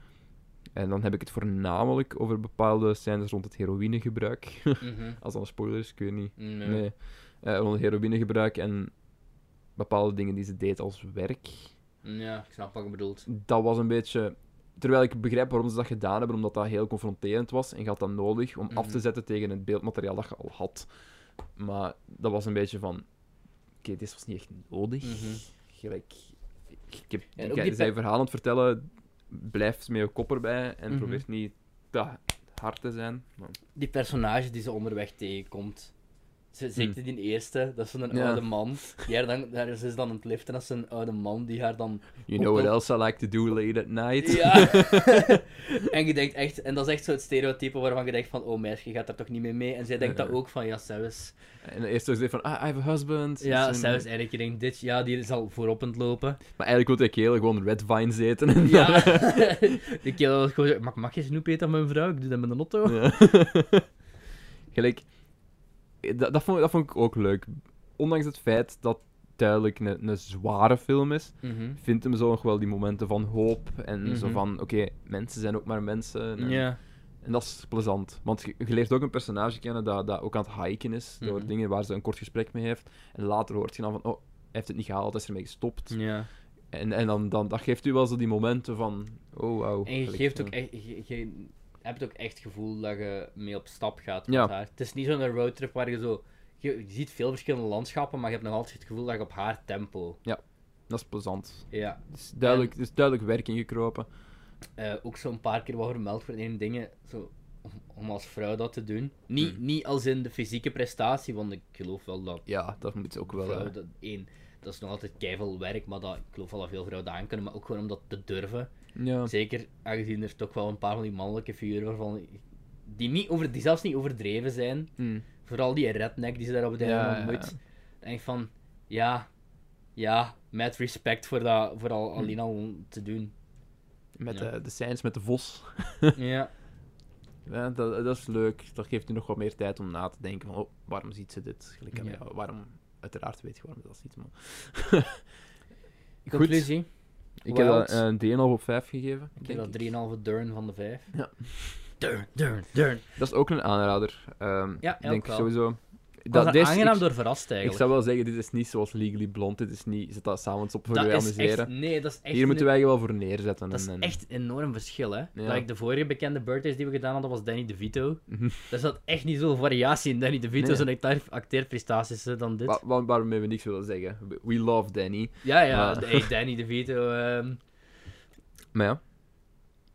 Speaker 1: En dan heb ik het voornamelijk over bepaalde scènes rond het heroïnegebruik.
Speaker 2: mhm,
Speaker 1: Als dan spoilers, ik weet niet.
Speaker 2: nee.
Speaker 1: Nee. Eh, rond heroïnegebruik en bepaalde dingen die ze deed als werk.
Speaker 2: Ja, ik snap wat je bedoelt.
Speaker 1: Dat was een beetje... Terwijl ik begrijp waarom ze dat gedaan hebben, omdat dat heel confronterend was. En je had dat nodig om af te
Speaker 2: Mhm.
Speaker 1: zetten tegen het beeldmateriaal dat je al had. Maar dat was een beetje van... Oké, dit was niet echt nodig.
Speaker 2: Mhm.
Speaker 1: Gelijk... Ik, ik heb,
Speaker 2: En ook
Speaker 1: ik-
Speaker 2: die
Speaker 1: zijn
Speaker 2: pe-
Speaker 1: verhaal aan het vertellen. Blijf met je kopper bij en
Speaker 2: Mhm.
Speaker 1: probeer niet te hard te zijn. Maar-
Speaker 2: Die personage die ze onderweg tegenkomt. Ze- Zeker die eerste, dat is zo'n
Speaker 1: Hmm. Ja.
Speaker 2: oude man. Die haar dan, daar is ze dan aan het liften, dat is een oude man die haar dan.
Speaker 1: You
Speaker 2: Ook
Speaker 1: know what
Speaker 2: wel-
Speaker 1: else I like to do late at night?
Speaker 2: Ja! en je denkt echt, en dat is echt zo het stereotype waarvan je denkt van, oh meisje, je gaat daar toch niet mee mee. En zij denkt dat
Speaker 1: Ja.
Speaker 2: ook van, ja, Zeus.
Speaker 1: En eerst zo gezegd van, ah, I have a husband.
Speaker 2: Ja,
Speaker 1: Dus een-
Speaker 2: Zeus eigenlijk, je denkt, dit, ja, die zal voorop aan het lopen.
Speaker 1: Maar eigenlijk wil ik heel gewoon red vines eten.
Speaker 2: Ja, de kerel was gewoon zo, mag, mag je snoep eten aan mijn vrouw? Ik doe dat met een auto.
Speaker 1: Ja. Gelijk, eh, dat, dat, vond, dat vond ik ook leuk. Ondanks het feit dat duidelijk een, een zware film is, vindt hem zo nog wel die momenten van hoop. En zo
Speaker 2: Mhm.
Speaker 1: van, oké, mensen zijn ook maar mensen. En,
Speaker 2: Ja.
Speaker 1: en dat is plezant. Want je, je leert ook een personage kennen dat, dat ook aan het hiken is. Door
Speaker 2: Mhm.
Speaker 1: dingen waar ze een kort gesprek mee heeft. En later hoort je dan van, oh, hij heeft het niet gehaald, hij is ermee gestopt.
Speaker 2: ja.
Speaker 1: En, en dan, dan, dat geeft u wel zo die momenten van, oh wow.
Speaker 2: En je
Speaker 1: Gelijk,
Speaker 2: geeft ook
Speaker 1: ja.
Speaker 2: echt, je, je hebt ook echt het gevoel dat je mee op stap gaat met
Speaker 1: Ja.
Speaker 2: haar. Het is niet zo'n roadtrip waar je zo... Je, je ziet veel verschillende landschappen, maar je hebt nog altijd het gevoel dat je op haar tempo...
Speaker 1: Dat is plezant.
Speaker 2: Ja.
Speaker 1: Het is duidelijk, er is duidelijk werk ingekropen.
Speaker 2: Eh, ook zo'n paar keer wat vermeld voor één dingen, zo, om, om als vrouw dat te doen. Niet, niet als in de fysieke prestatie, want ik geloof wel dat
Speaker 1: Ja, dat moet ook wel.
Speaker 2: vrouwen,
Speaker 1: eh,
Speaker 2: dat, één, dat is nog altijd keiveel werk, maar dat, ik geloof wel dat veel vrouwen dat aan kunnen, maar ook gewoon om dat te durven.
Speaker 1: ja.
Speaker 2: Zeker aangezien er toch wel een paar van die mannelijke figuren waarvan die, niet over, die zelfs niet overdreven zijn.
Speaker 1: Mm.
Speaker 2: Vooral die redneck die ze daar op het
Speaker 1: Ja,
Speaker 2: einde
Speaker 1: ja,
Speaker 2: ontmoet.
Speaker 1: ja.
Speaker 2: Denk ik van,
Speaker 1: Hm.
Speaker 2: ja, ja, met respect voor, dat, voor al, alleen al te doen.
Speaker 1: Met eh,
Speaker 2: Ja.
Speaker 1: de, de scènes met de vos.
Speaker 2: ja.
Speaker 1: Ja, dat, dat is leuk. Dat geeft u nog wat meer tijd om na te denken van, oh, waarom ziet ze dit? Gelijk aan
Speaker 2: Ja.
Speaker 1: jou. Waarom? Uiteraard weet je waarom ze dat ziet, maar... Goed.
Speaker 2: Conclusie.
Speaker 1: Ik heb
Speaker 2: Wild.
Speaker 1: dat een 3,5 op 5 gegeven.
Speaker 2: Ik heb
Speaker 1: denk
Speaker 2: dat
Speaker 1: ik.
Speaker 2: 3,5 Durn van de 5.
Speaker 1: Ja.
Speaker 2: Durn, Durn, Durn.
Speaker 1: Dat is ook een aanrader. Ehm
Speaker 2: Ja,
Speaker 1: ik denk
Speaker 2: ook wel.
Speaker 1: sowieso.
Speaker 2: Ik was daar
Speaker 1: deze-
Speaker 2: aangenaam
Speaker 1: ik,
Speaker 2: door verrast
Speaker 1: ik
Speaker 2: eigenlijk.
Speaker 1: zou wel zeggen, dit is niet zoals Legally Blonde. Dit is niet, zet dat s'avonds op voor
Speaker 2: dat
Speaker 1: je
Speaker 2: is echt,
Speaker 1: amuseren.
Speaker 2: nee, dat is echt,
Speaker 1: Hier moeten
Speaker 2: een,
Speaker 1: wij je wel voor neerzetten.
Speaker 2: dat is
Speaker 1: en- en-
Speaker 2: echt een enorm verschil. Hè?
Speaker 1: Ja.
Speaker 2: Dat ik de vorige bekende birthdays die we gedaan hadden, was Danny DeVito.
Speaker 1: Mhm.
Speaker 2: Daar zat echt niet zoveel variatie in Danny DeVito's
Speaker 1: Nee.
Speaker 2: en acteer- acteerprestaties hè, dan dit.
Speaker 1: Wa- wa- waarmee we niks willen zeggen. We- We love Danny.
Speaker 2: Ja, ja,
Speaker 1: Maar-
Speaker 2: hey, Danny DeVito. ehm
Speaker 1: Maar ja,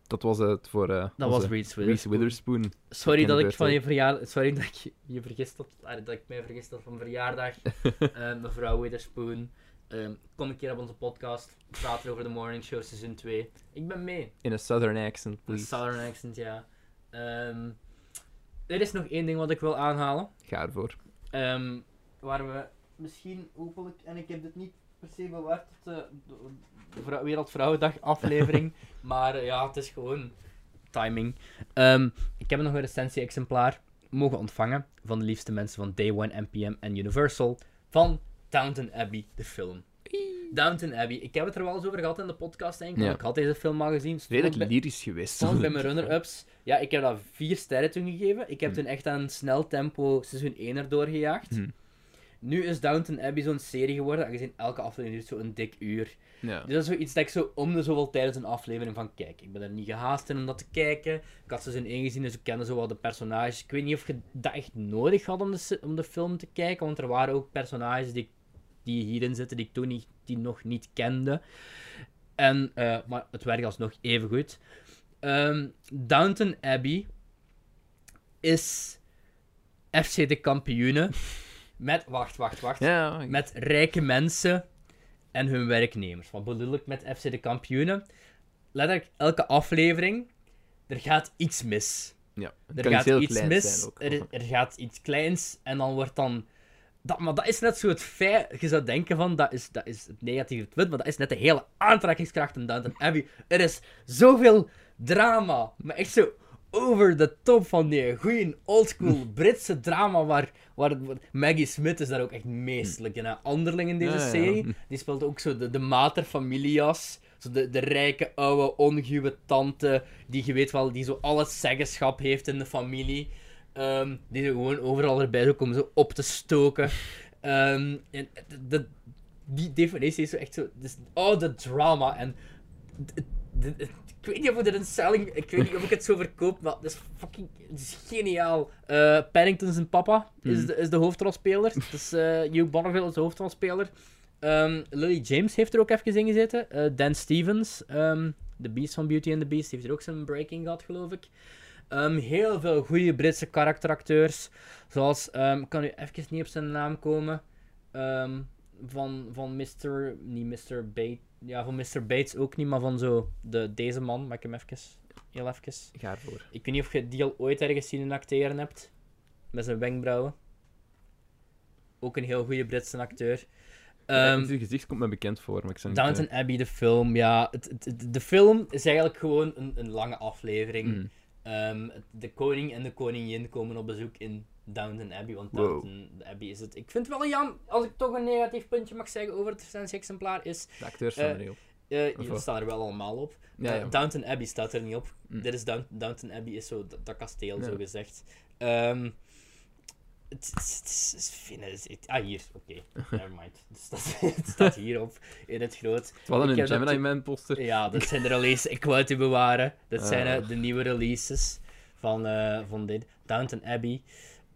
Speaker 1: dat was het voor eh
Speaker 2: dat
Speaker 1: onze
Speaker 2: was Reese
Speaker 1: Reese
Speaker 2: Witherspoon.
Speaker 1: Witherspoon.
Speaker 2: Sorry dat ik
Speaker 1: bekende
Speaker 2: van je verjaardag... Sorry dat ik je vergist had... ah, dat ik mij vergist had van verjaardag. Eh, mevrouw Witherspoon. Ehm, kom een keer op onze podcast. Praten over de Morning Show seizoen 2. Ik ben mee.
Speaker 1: In een southern accent,
Speaker 2: Een
Speaker 1: please.
Speaker 2: Southern accent, ja. Ehm, er is nog één ding wat ik wil aanhalen.
Speaker 1: Ga ervoor.
Speaker 2: Ehm, waar we misschien hopelijk... En ik heb dit niet per se bewaard tot de, de, de Vrou- Wereldvrouwendag aflevering. maar eh, ja, het is gewoon timing. Ehm, ik heb nog een recensie-exemplaar mogen ontvangen van de liefste mensen van Day One NPM en Universal van Downton Abbey, de film. Downton Abbey. Ik heb het er wel eens over gehad in de podcast, denk ik. want
Speaker 1: Ja.
Speaker 2: Ik had deze film al gezien. stond
Speaker 1: Redelijk
Speaker 2: bij-
Speaker 1: lyrisch geweest.
Speaker 2: Soms bij mijn runner-ups. Ja, ik heb dat vier sterren toen gegeven. Ik heb
Speaker 1: Hmm.
Speaker 2: toen echt aan snel tempo seizoen 1 erdoor gejaagd.
Speaker 1: Hmm.
Speaker 2: Nu is Downton Abbey zo'n serie geworden, aangezien elke aflevering duurt zo'n dik uur.
Speaker 1: Ja.
Speaker 2: Dus dat is zoiets dat ik zo om de zoveel tijdens een aflevering van kijk. Ik ben er niet gehaast in om dat te kijken. Ik had seizoen 1 gezien, dus ik kende zo wel de personages. Ik weet niet of je dat echt nodig had om de, se- om de film te kijken, want er waren ook personages die, ik- die hierin zitten die ik toen niet, die nog niet kende. En, eh, maar het werkt alsnog even goed. Ehm, Downton Abbey is FC de kampioenen met... Wacht, wacht, wacht.
Speaker 1: Ja, ik-
Speaker 2: Met rijke mensen en hun werknemers. Wat bedoel ik met FC de kampioenen? Letterlijk, elke aflevering, er gaat iets mis.
Speaker 1: ja. Het
Speaker 2: Er
Speaker 1: kan
Speaker 2: gaat
Speaker 1: heel
Speaker 2: iets
Speaker 1: klein
Speaker 2: mis,
Speaker 1: zijn ook.
Speaker 2: Er, er gaat iets kleins en dan wordt dan... Dat, maar dat is net zo het feit, je zou denken van, dat is, dat is het negatieve punt, maar dat is net de hele aantrekkingskracht in Downton Abbey. Er is zoveel drama, maar echt zo over de top van die goeie oldschool Britse drama waar, waar Maggie Smith is daar ook echt meestelijk in. hè. Anderling in deze
Speaker 1: Ja, ja.
Speaker 2: serie, die speelt ook zo de, de mater familias. Zo de, de rijke, oude, onguwe tante, die je weet wel, die zo al het zeggenschap heeft in de familie. Ehm, die zo gewoon overal erbij zo komen zo op te stoken. Ehm, en de- de- die definitie is zo echt zo... Dus, oh, de drama. En d- d- d- ik weet niet of er een selling... Ik weet niet of ik het zo verkoop, maar dat is fucking... Het is geniaal. Eh Paddington zijn papa is
Speaker 1: Mhm.
Speaker 2: de, is de hoofdrolspeler. Dus eh Hugh Bonneville is de hoofdrolspeler. Ehm, Lily James heeft er ook even in gezeten. Eh, Dan Stevens, ehm, de Beast van Beauty and the Beast, heeft er ook zijn breaking gehad, geloof ik. Ehm, heel veel goede Britse karakteracteurs. Zoals, ehm, ik kan nu even niet op zijn naam komen. Ehm, van, van Mr. Niet Mr. Bates. Ja, van Mr. Bates ook niet, maar van zo. De, deze man, maak hem even. Heel even.
Speaker 1: Ga ervoor.
Speaker 2: Ik weet niet of je die al ooit ergens zien acteren hebt. Met zijn wenkbrauwen. Ook een heel goede Britse acteur.
Speaker 1: Ja,
Speaker 2: Ehm,
Speaker 1: het gezicht komt me bekend voor, maar ik zou niet
Speaker 2: Downton Abbey, de film, ja. Het, het- het- de film is eigenlijk gewoon een, een lange aflevering.
Speaker 1: Mhm.
Speaker 2: Ehm, het- de koning en de koningin komen op bezoek in Downton Abbey, want
Speaker 1: Wow.
Speaker 2: Downton Abbey is het... Ik vind het wel jam, als ik toch een negatief puntje mag zeggen over het recensie-exemplaar, is...
Speaker 1: De acteurs zijn
Speaker 2: Eh,
Speaker 1: er niet op.
Speaker 2: eh
Speaker 1: Of
Speaker 2: jullie
Speaker 1: wat?
Speaker 2: staan er wel allemaal op.
Speaker 1: Ja, ja.
Speaker 2: Eh, Downton Abbey staat er niet op.
Speaker 1: Mm.
Speaker 2: Dit is Down- Downton Abbey is zo dat, dat kasteel,
Speaker 1: Ja.
Speaker 2: zo gezegd. Ehm, het, het, het is- het is vinden is- het- ah, hier. Oké, nevermind. Het staat, het staat hierop, in het groot.
Speaker 1: Het was dan een
Speaker 2: ik heb dat
Speaker 1: Gemini Man poster.
Speaker 2: Ja, dat zijn de releases. Ik wou het u bewaren. Dat zijn eh,
Speaker 1: Ah.
Speaker 2: de nieuwe releases van, eh, van dit. Downton Abbey.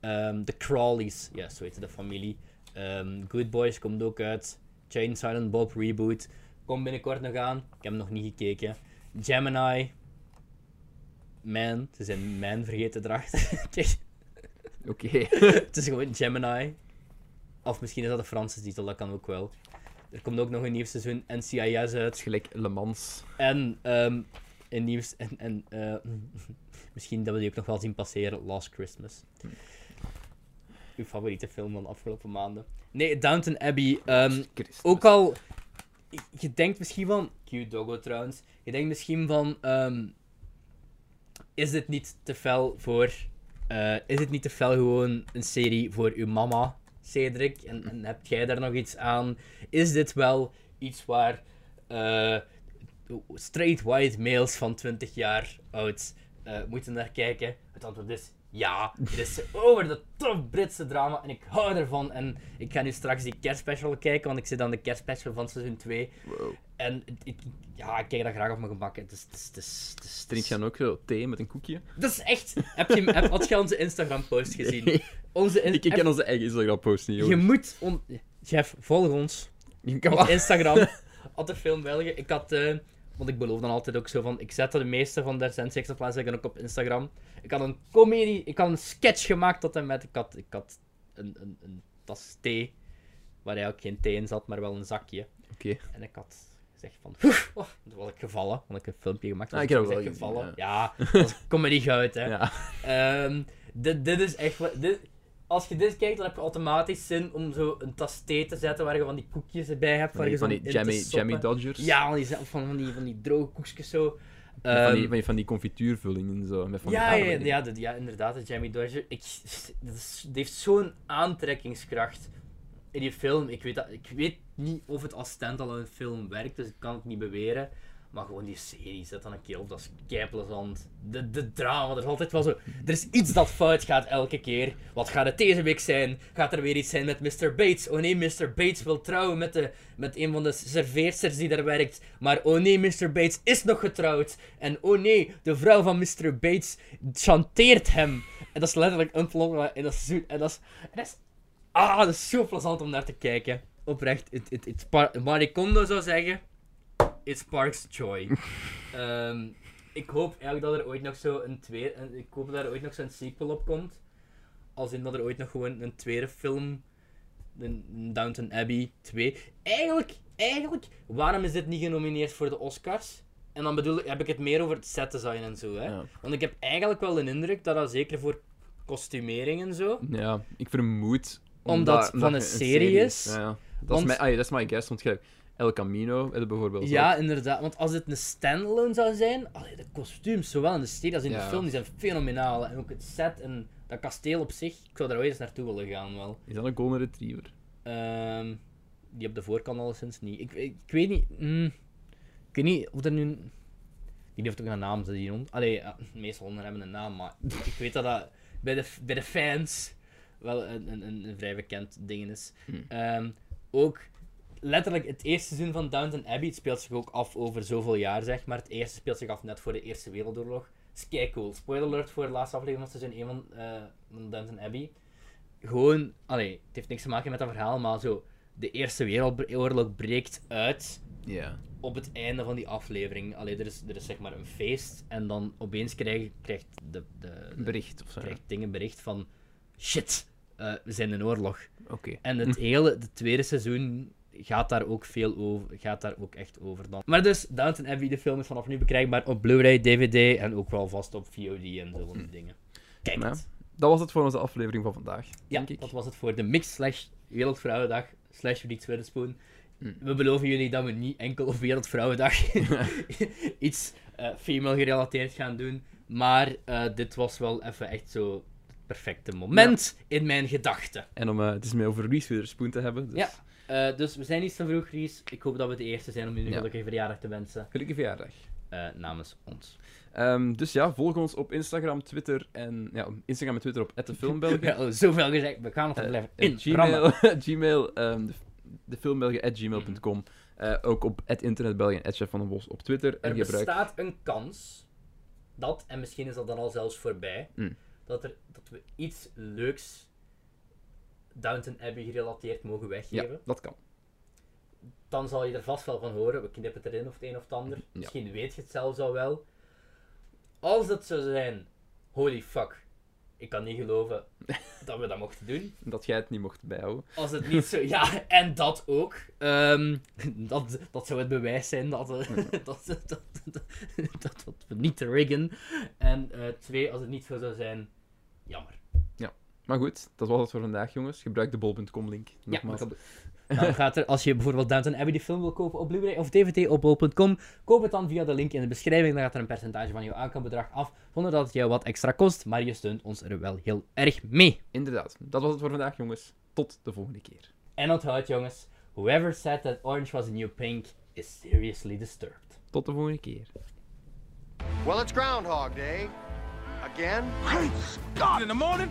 Speaker 2: ehm, de Crawleys. Ja, zo heette de familie. Ehm, Good Boys komt ook uit. Jane Silent Bob reboot. Komt binnenkort nog aan. Ik heb hem nog niet gekeken. Gemini. Man. Ze zijn Man vergeten erachter. Kijk,
Speaker 1: Oké.
Speaker 2: het is gewoon Gemini. Of misschien is dat de Franse titel. Dat kan ook wel. Er komt ook nog een nieuw seizoen NCIS uit.
Speaker 1: Gelijk Le Mans.
Speaker 2: En ehm in nieuws en, en eh, misschien dat we die ook nog wel zien passeren, Last Christmas. Uw favoriete film van de afgelopen maanden. Nee, Downton Abbey. ehm,
Speaker 1: Christus.
Speaker 2: ook al je denkt misschien van. Cute doggo trouwens. Je denkt misschien van. ehm, is dit niet te fel voor. eh, is dit niet te fel gewoon een serie voor uw mama, Cedric? En, en heb jij daar nog iets aan? Is dit wel iets waar. eh, straight white males van 20 jaar oud eh, moeten naar kijken? Het antwoord is ja. Het is over de top Britse drama en ik hou ervan. En ik ga nu straks die kerstspecial kijken, want ik zit aan de kerstspecial van seizoen 2.
Speaker 1: Wow.
Speaker 2: En ik- ik, ja, ik kijk daar graag op mijn gemak. Het is, het is, het is, het is-
Speaker 1: Drink je dan ook zo thee met een koekje?
Speaker 2: Dat is echt. Heb je, heb, had je onze Instagram-post gezien? Onze in-
Speaker 1: Ik, ik ken onze eigen Instagram-post niet,
Speaker 2: Je
Speaker 1: hoor.
Speaker 2: moet. On... Jeff, volg ons
Speaker 1: Je...
Speaker 2: op Instagram. Had de film België. Ik had. eh, want ik beloof dan altijd ook zo van. Ik zette de meeste van de recensie exemplaren zeg ik dan ook op Instagram. Ik had een comedy. Ik had een sketch gemaakt tot en met. Ik had, ik had een, een, een tas thee. Waar eigenlijk geen thee in zat, maar wel een zakje.
Speaker 1: Oké.
Speaker 2: En ik had gezegd van, "Oef, oh, toen was ik gevallen, want ik heb een filmpje gemaakt.
Speaker 1: Ah,
Speaker 2: was
Speaker 1: ik heb
Speaker 2: gezegd
Speaker 1: ook wel gezien,
Speaker 2: gevallen. Ja, dat is comedy goud, hè.
Speaker 1: Ja.
Speaker 2: Ehm, dit, dit is echt wat... Dit, als je dit kijkt, dan heb je automatisch zin om zo een tas thee te zetten waar je van die koekjes erbij hebt.
Speaker 1: Van
Speaker 2: waar je
Speaker 1: die, van
Speaker 2: zo
Speaker 1: die
Speaker 2: in te
Speaker 1: jammy,
Speaker 2: soppen.
Speaker 1: jammy Dodgers.
Speaker 2: Ja, van die, van, van die, van die droge koekjes zo.
Speaker 1: van,
Speaker 2: Ehm,
Speaker 1: die, van, die, van die confituurvullingen en zo. Met van die
Speaker 2: ja, ja,
Speaker 1: aardbeien.
Speaker 2: ja, dat- ja, inderdaad, de Jamie Dodger. Ik, dat is- die heeft zo'n aantrekkingskracht in die film. Ik weet, dat, ik weet niet of het als standalone film werkt, dus ik kan het niet beweren. Maar gewoon die serie zet dan een keer op, dat is keipelezand. De, de drama, er is altijd wel zo... Er is iets dat fout gaat elke keer. Wat gaat het deze week zijn? Gaat er weer iets zijn met Mr. Bates? Oh nee, Mr. Bates wil trouwen met, de, met een van de serveersters die daar werkt. Maar oh nee, Mr. Bates is nog getrouwd. En oh nee, de vrouw van Mr. Bates chanteert hem. En dat is letterlijk een plot en dat is... zo- En dat is, en dat is Ah, dat is zo plezant om naar te kijken. Oprecht, het, het, het par- Marie Kondo zou zeggen, it sparks joy. Ehm, ik hoop eigenlijk dat er ooit nog zo een tweede, een- ik hoop dat er ooit nog zo'n sequel op komt. Als in dat er ooit nog gewoon een tweede film, een een Downton Abbey 2. Eigenlijk, eigenlijk, waarom is dit niet genomineerd voor de Oscars? En dan bedoel ik, heb ik het meer over het setdesign en zo, hè.
Speaker 1: Ja.
Speaker 2: Want ik heb eigenlijk wel een indruk dat dat zeker voor kostumering en zo...
Speaker 1: Ja, ik vermoed...
Speaker 2: Omdat het van
Speaker 1: je
Speaker 2: een serie is.
Speaker 1: Ja, ja. Dat,
Speaker 2: Want-
Speaker 1: is mijn, ah, ja, dat is mijn guess, want je El Camino eh, bijvoorbeeld
Speaker 2: Ja,
Speaker 1: ook.
Speaker 2: inderdaad. Want als dit een standalone zou zijn, allee, de kostuums, zowel in de serie als in de
Speaker 1: Ja.
Speaker 2: film, die zijn fenomenaal. En ook het set en dat kasteel op zich, ik zou daar ooit eens naartoe willen gaan wel.
Speaker 1: Is dat een golden retriever?
Speaker 2: Ehm, die op de voorkant alleszins niet. Ik, ik, ik weet niet... mm, ik weet niet of er nu... een- Ik weet niet of het ook een naam zit hier rond. Allee, ja, de meeste honden hebben een naam, maar ik weet dat dat bij de, bij de fans wel een, een, een, een vrij bekend ding is. Ehm, ook letterlijk het eerste seizoen van Downton Abbey het speelt zich ook af over zoveel jaar, zeg maar. Het eerste speelt zich af net voor de Eerste Wereldoorlog. Dat is kei cool. Spoiler alert voor de laatste aflevering van seizoen 1 van, eh, van Downton Abbey. Gewoon, allee, het heeft niks te maken met dat verhaal, maar zo, de Eerste Wereldoorlog breekt uit
Speaker 1: Ja.
Speaker 2: op het einde van die aflevering. Allee, er is, er is zeg maar een feest en dan opeens krijg, krijgt de, de, de-
Speaker 1: Bericht of zo.
Speaker 2: krijgt dingen bericht van shit, eh, we zijn in oorlog.
Speaker 1: Oké.
Speaker 2: En het hele het tweede seizoen gaat daar ook veel over, gaat daar ook echt over dan. Maar dus, Downton Abbey, de film is vanaf nu beschikbaar op Blu-ray, DVD en ook wel vast op VOD en zo van die dingen. Kijk
Speaker 1: Ja.
Speaker 2: het.
Speaker 1: Dat was het voor onze aflevering van vandaag,
Speaker 2: Ja,
Speaker 1: denk ik.
Speaker 2: dat was het voor de mix slash Wereldvrouwendag slash Judith Witherspoon.
Speaker 1: Hm.
Speaker 2: We beloven jullie dat we niet enkel op Wereldvrouwendag iets eh female gerelateerd gaan doen. Maar eh, dit was wel even echt zo het perfecte moment in mijn gedachten.
Speaker 1: En om eh, het is meer over Reese Witherspoon te hebben. Dus
Speaker 2: Ja. Eh, dus we zijn iets te vroeg, Ries. Ik hoop dat we de eerste zijn om jullie een
Speaker 1: Ja.
Speaker 2: gelukkige verjaardag te wensen.
Speaker 1: Gelukkige verjaardag.
Speaker 2: eh, namens ons.
Speaker 1: Ehm, dus ja, volg ons op Instagram, Twitter en... Ja, Instagram en Twitter op @defilmbelgen.
Speaker 2: Ja, oh, zoveel gezegd, we gaan het er
Speaker 1: Eh,
Speaker 2: blijven
Speaker 1: eh,
Speaker 2: in. rammen. Mhm.
Speaker 1: Gmail, gmail ehm, de, de filmbelgen at gmail.com. Eh, ook op internetbelgen en chef van den Bos op Twitter.
Speaker 2: Er
Speaker 1: En gebruik...
Speaker 2: bestaat een kans dat, en misschien is dat dan al zelfs voorbij,
Speaker 1: Mm.
Speaker 2: dat, er, dat we iets leuks Downton Abbey gerelateerd mogen weggeven.
Speaker 1: Ja, dat kan.
Speaker 2: Dan zal je er vast wel van horen. We knippen het erin of het een of het ander.
Speaker 1: Mm-hmm.
Speaker 2: Misschien weet je het zelfs al wel. Als dat zou zijn, holy fuck. Ik kan niet geloven dat we dat mochten doen.
Speaker 1: Dat jij het niet mocht bijhouden.
Speaker 2: Als het niet zo... Ja, en dat ook. Ehm, dat, dat zou het bewijs zijn dat, eh, dat, dat, dat, dat, dat we niet te riggen. En eh, twee, als het niet zo zou zijn, jammer.
Speaker 1: Maar goed, dat was het voor vandaag, jongens. Gebruik de bol.com link.
Speaker 2: Ja,
Speaker 1: Nogmaals.
Speaker 2: maar- Dan gaat er, als je bijvoorbeeld Downton Abbey die film wil kopen op Blu-ray of DVD op bol.com, koop het dan via de link in de beschrijving. Dan gaat er een percentage van jouw aankoopbedrag af, zonder dat het jou wat extra kost. Maar je steunt ons er wel heel erg mee.
Speaker 1: Inderdaad, dat was het voor vandaag, jongens. Tot de volgende keer.
Speaker 2: En onthoud jongens, whoever said that orange was the new pink is seriously disturbed.
Speaker 1: Tot de volgende keer.
Speaker 3: Well, it's Groundhog Day. Again?
Speaker 4: God, in the morning,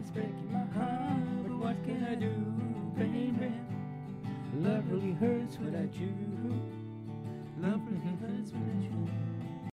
Speaker 2: It's breaking my heart, but what can I do, baby? Love really hurts without you. Love really hurts without you.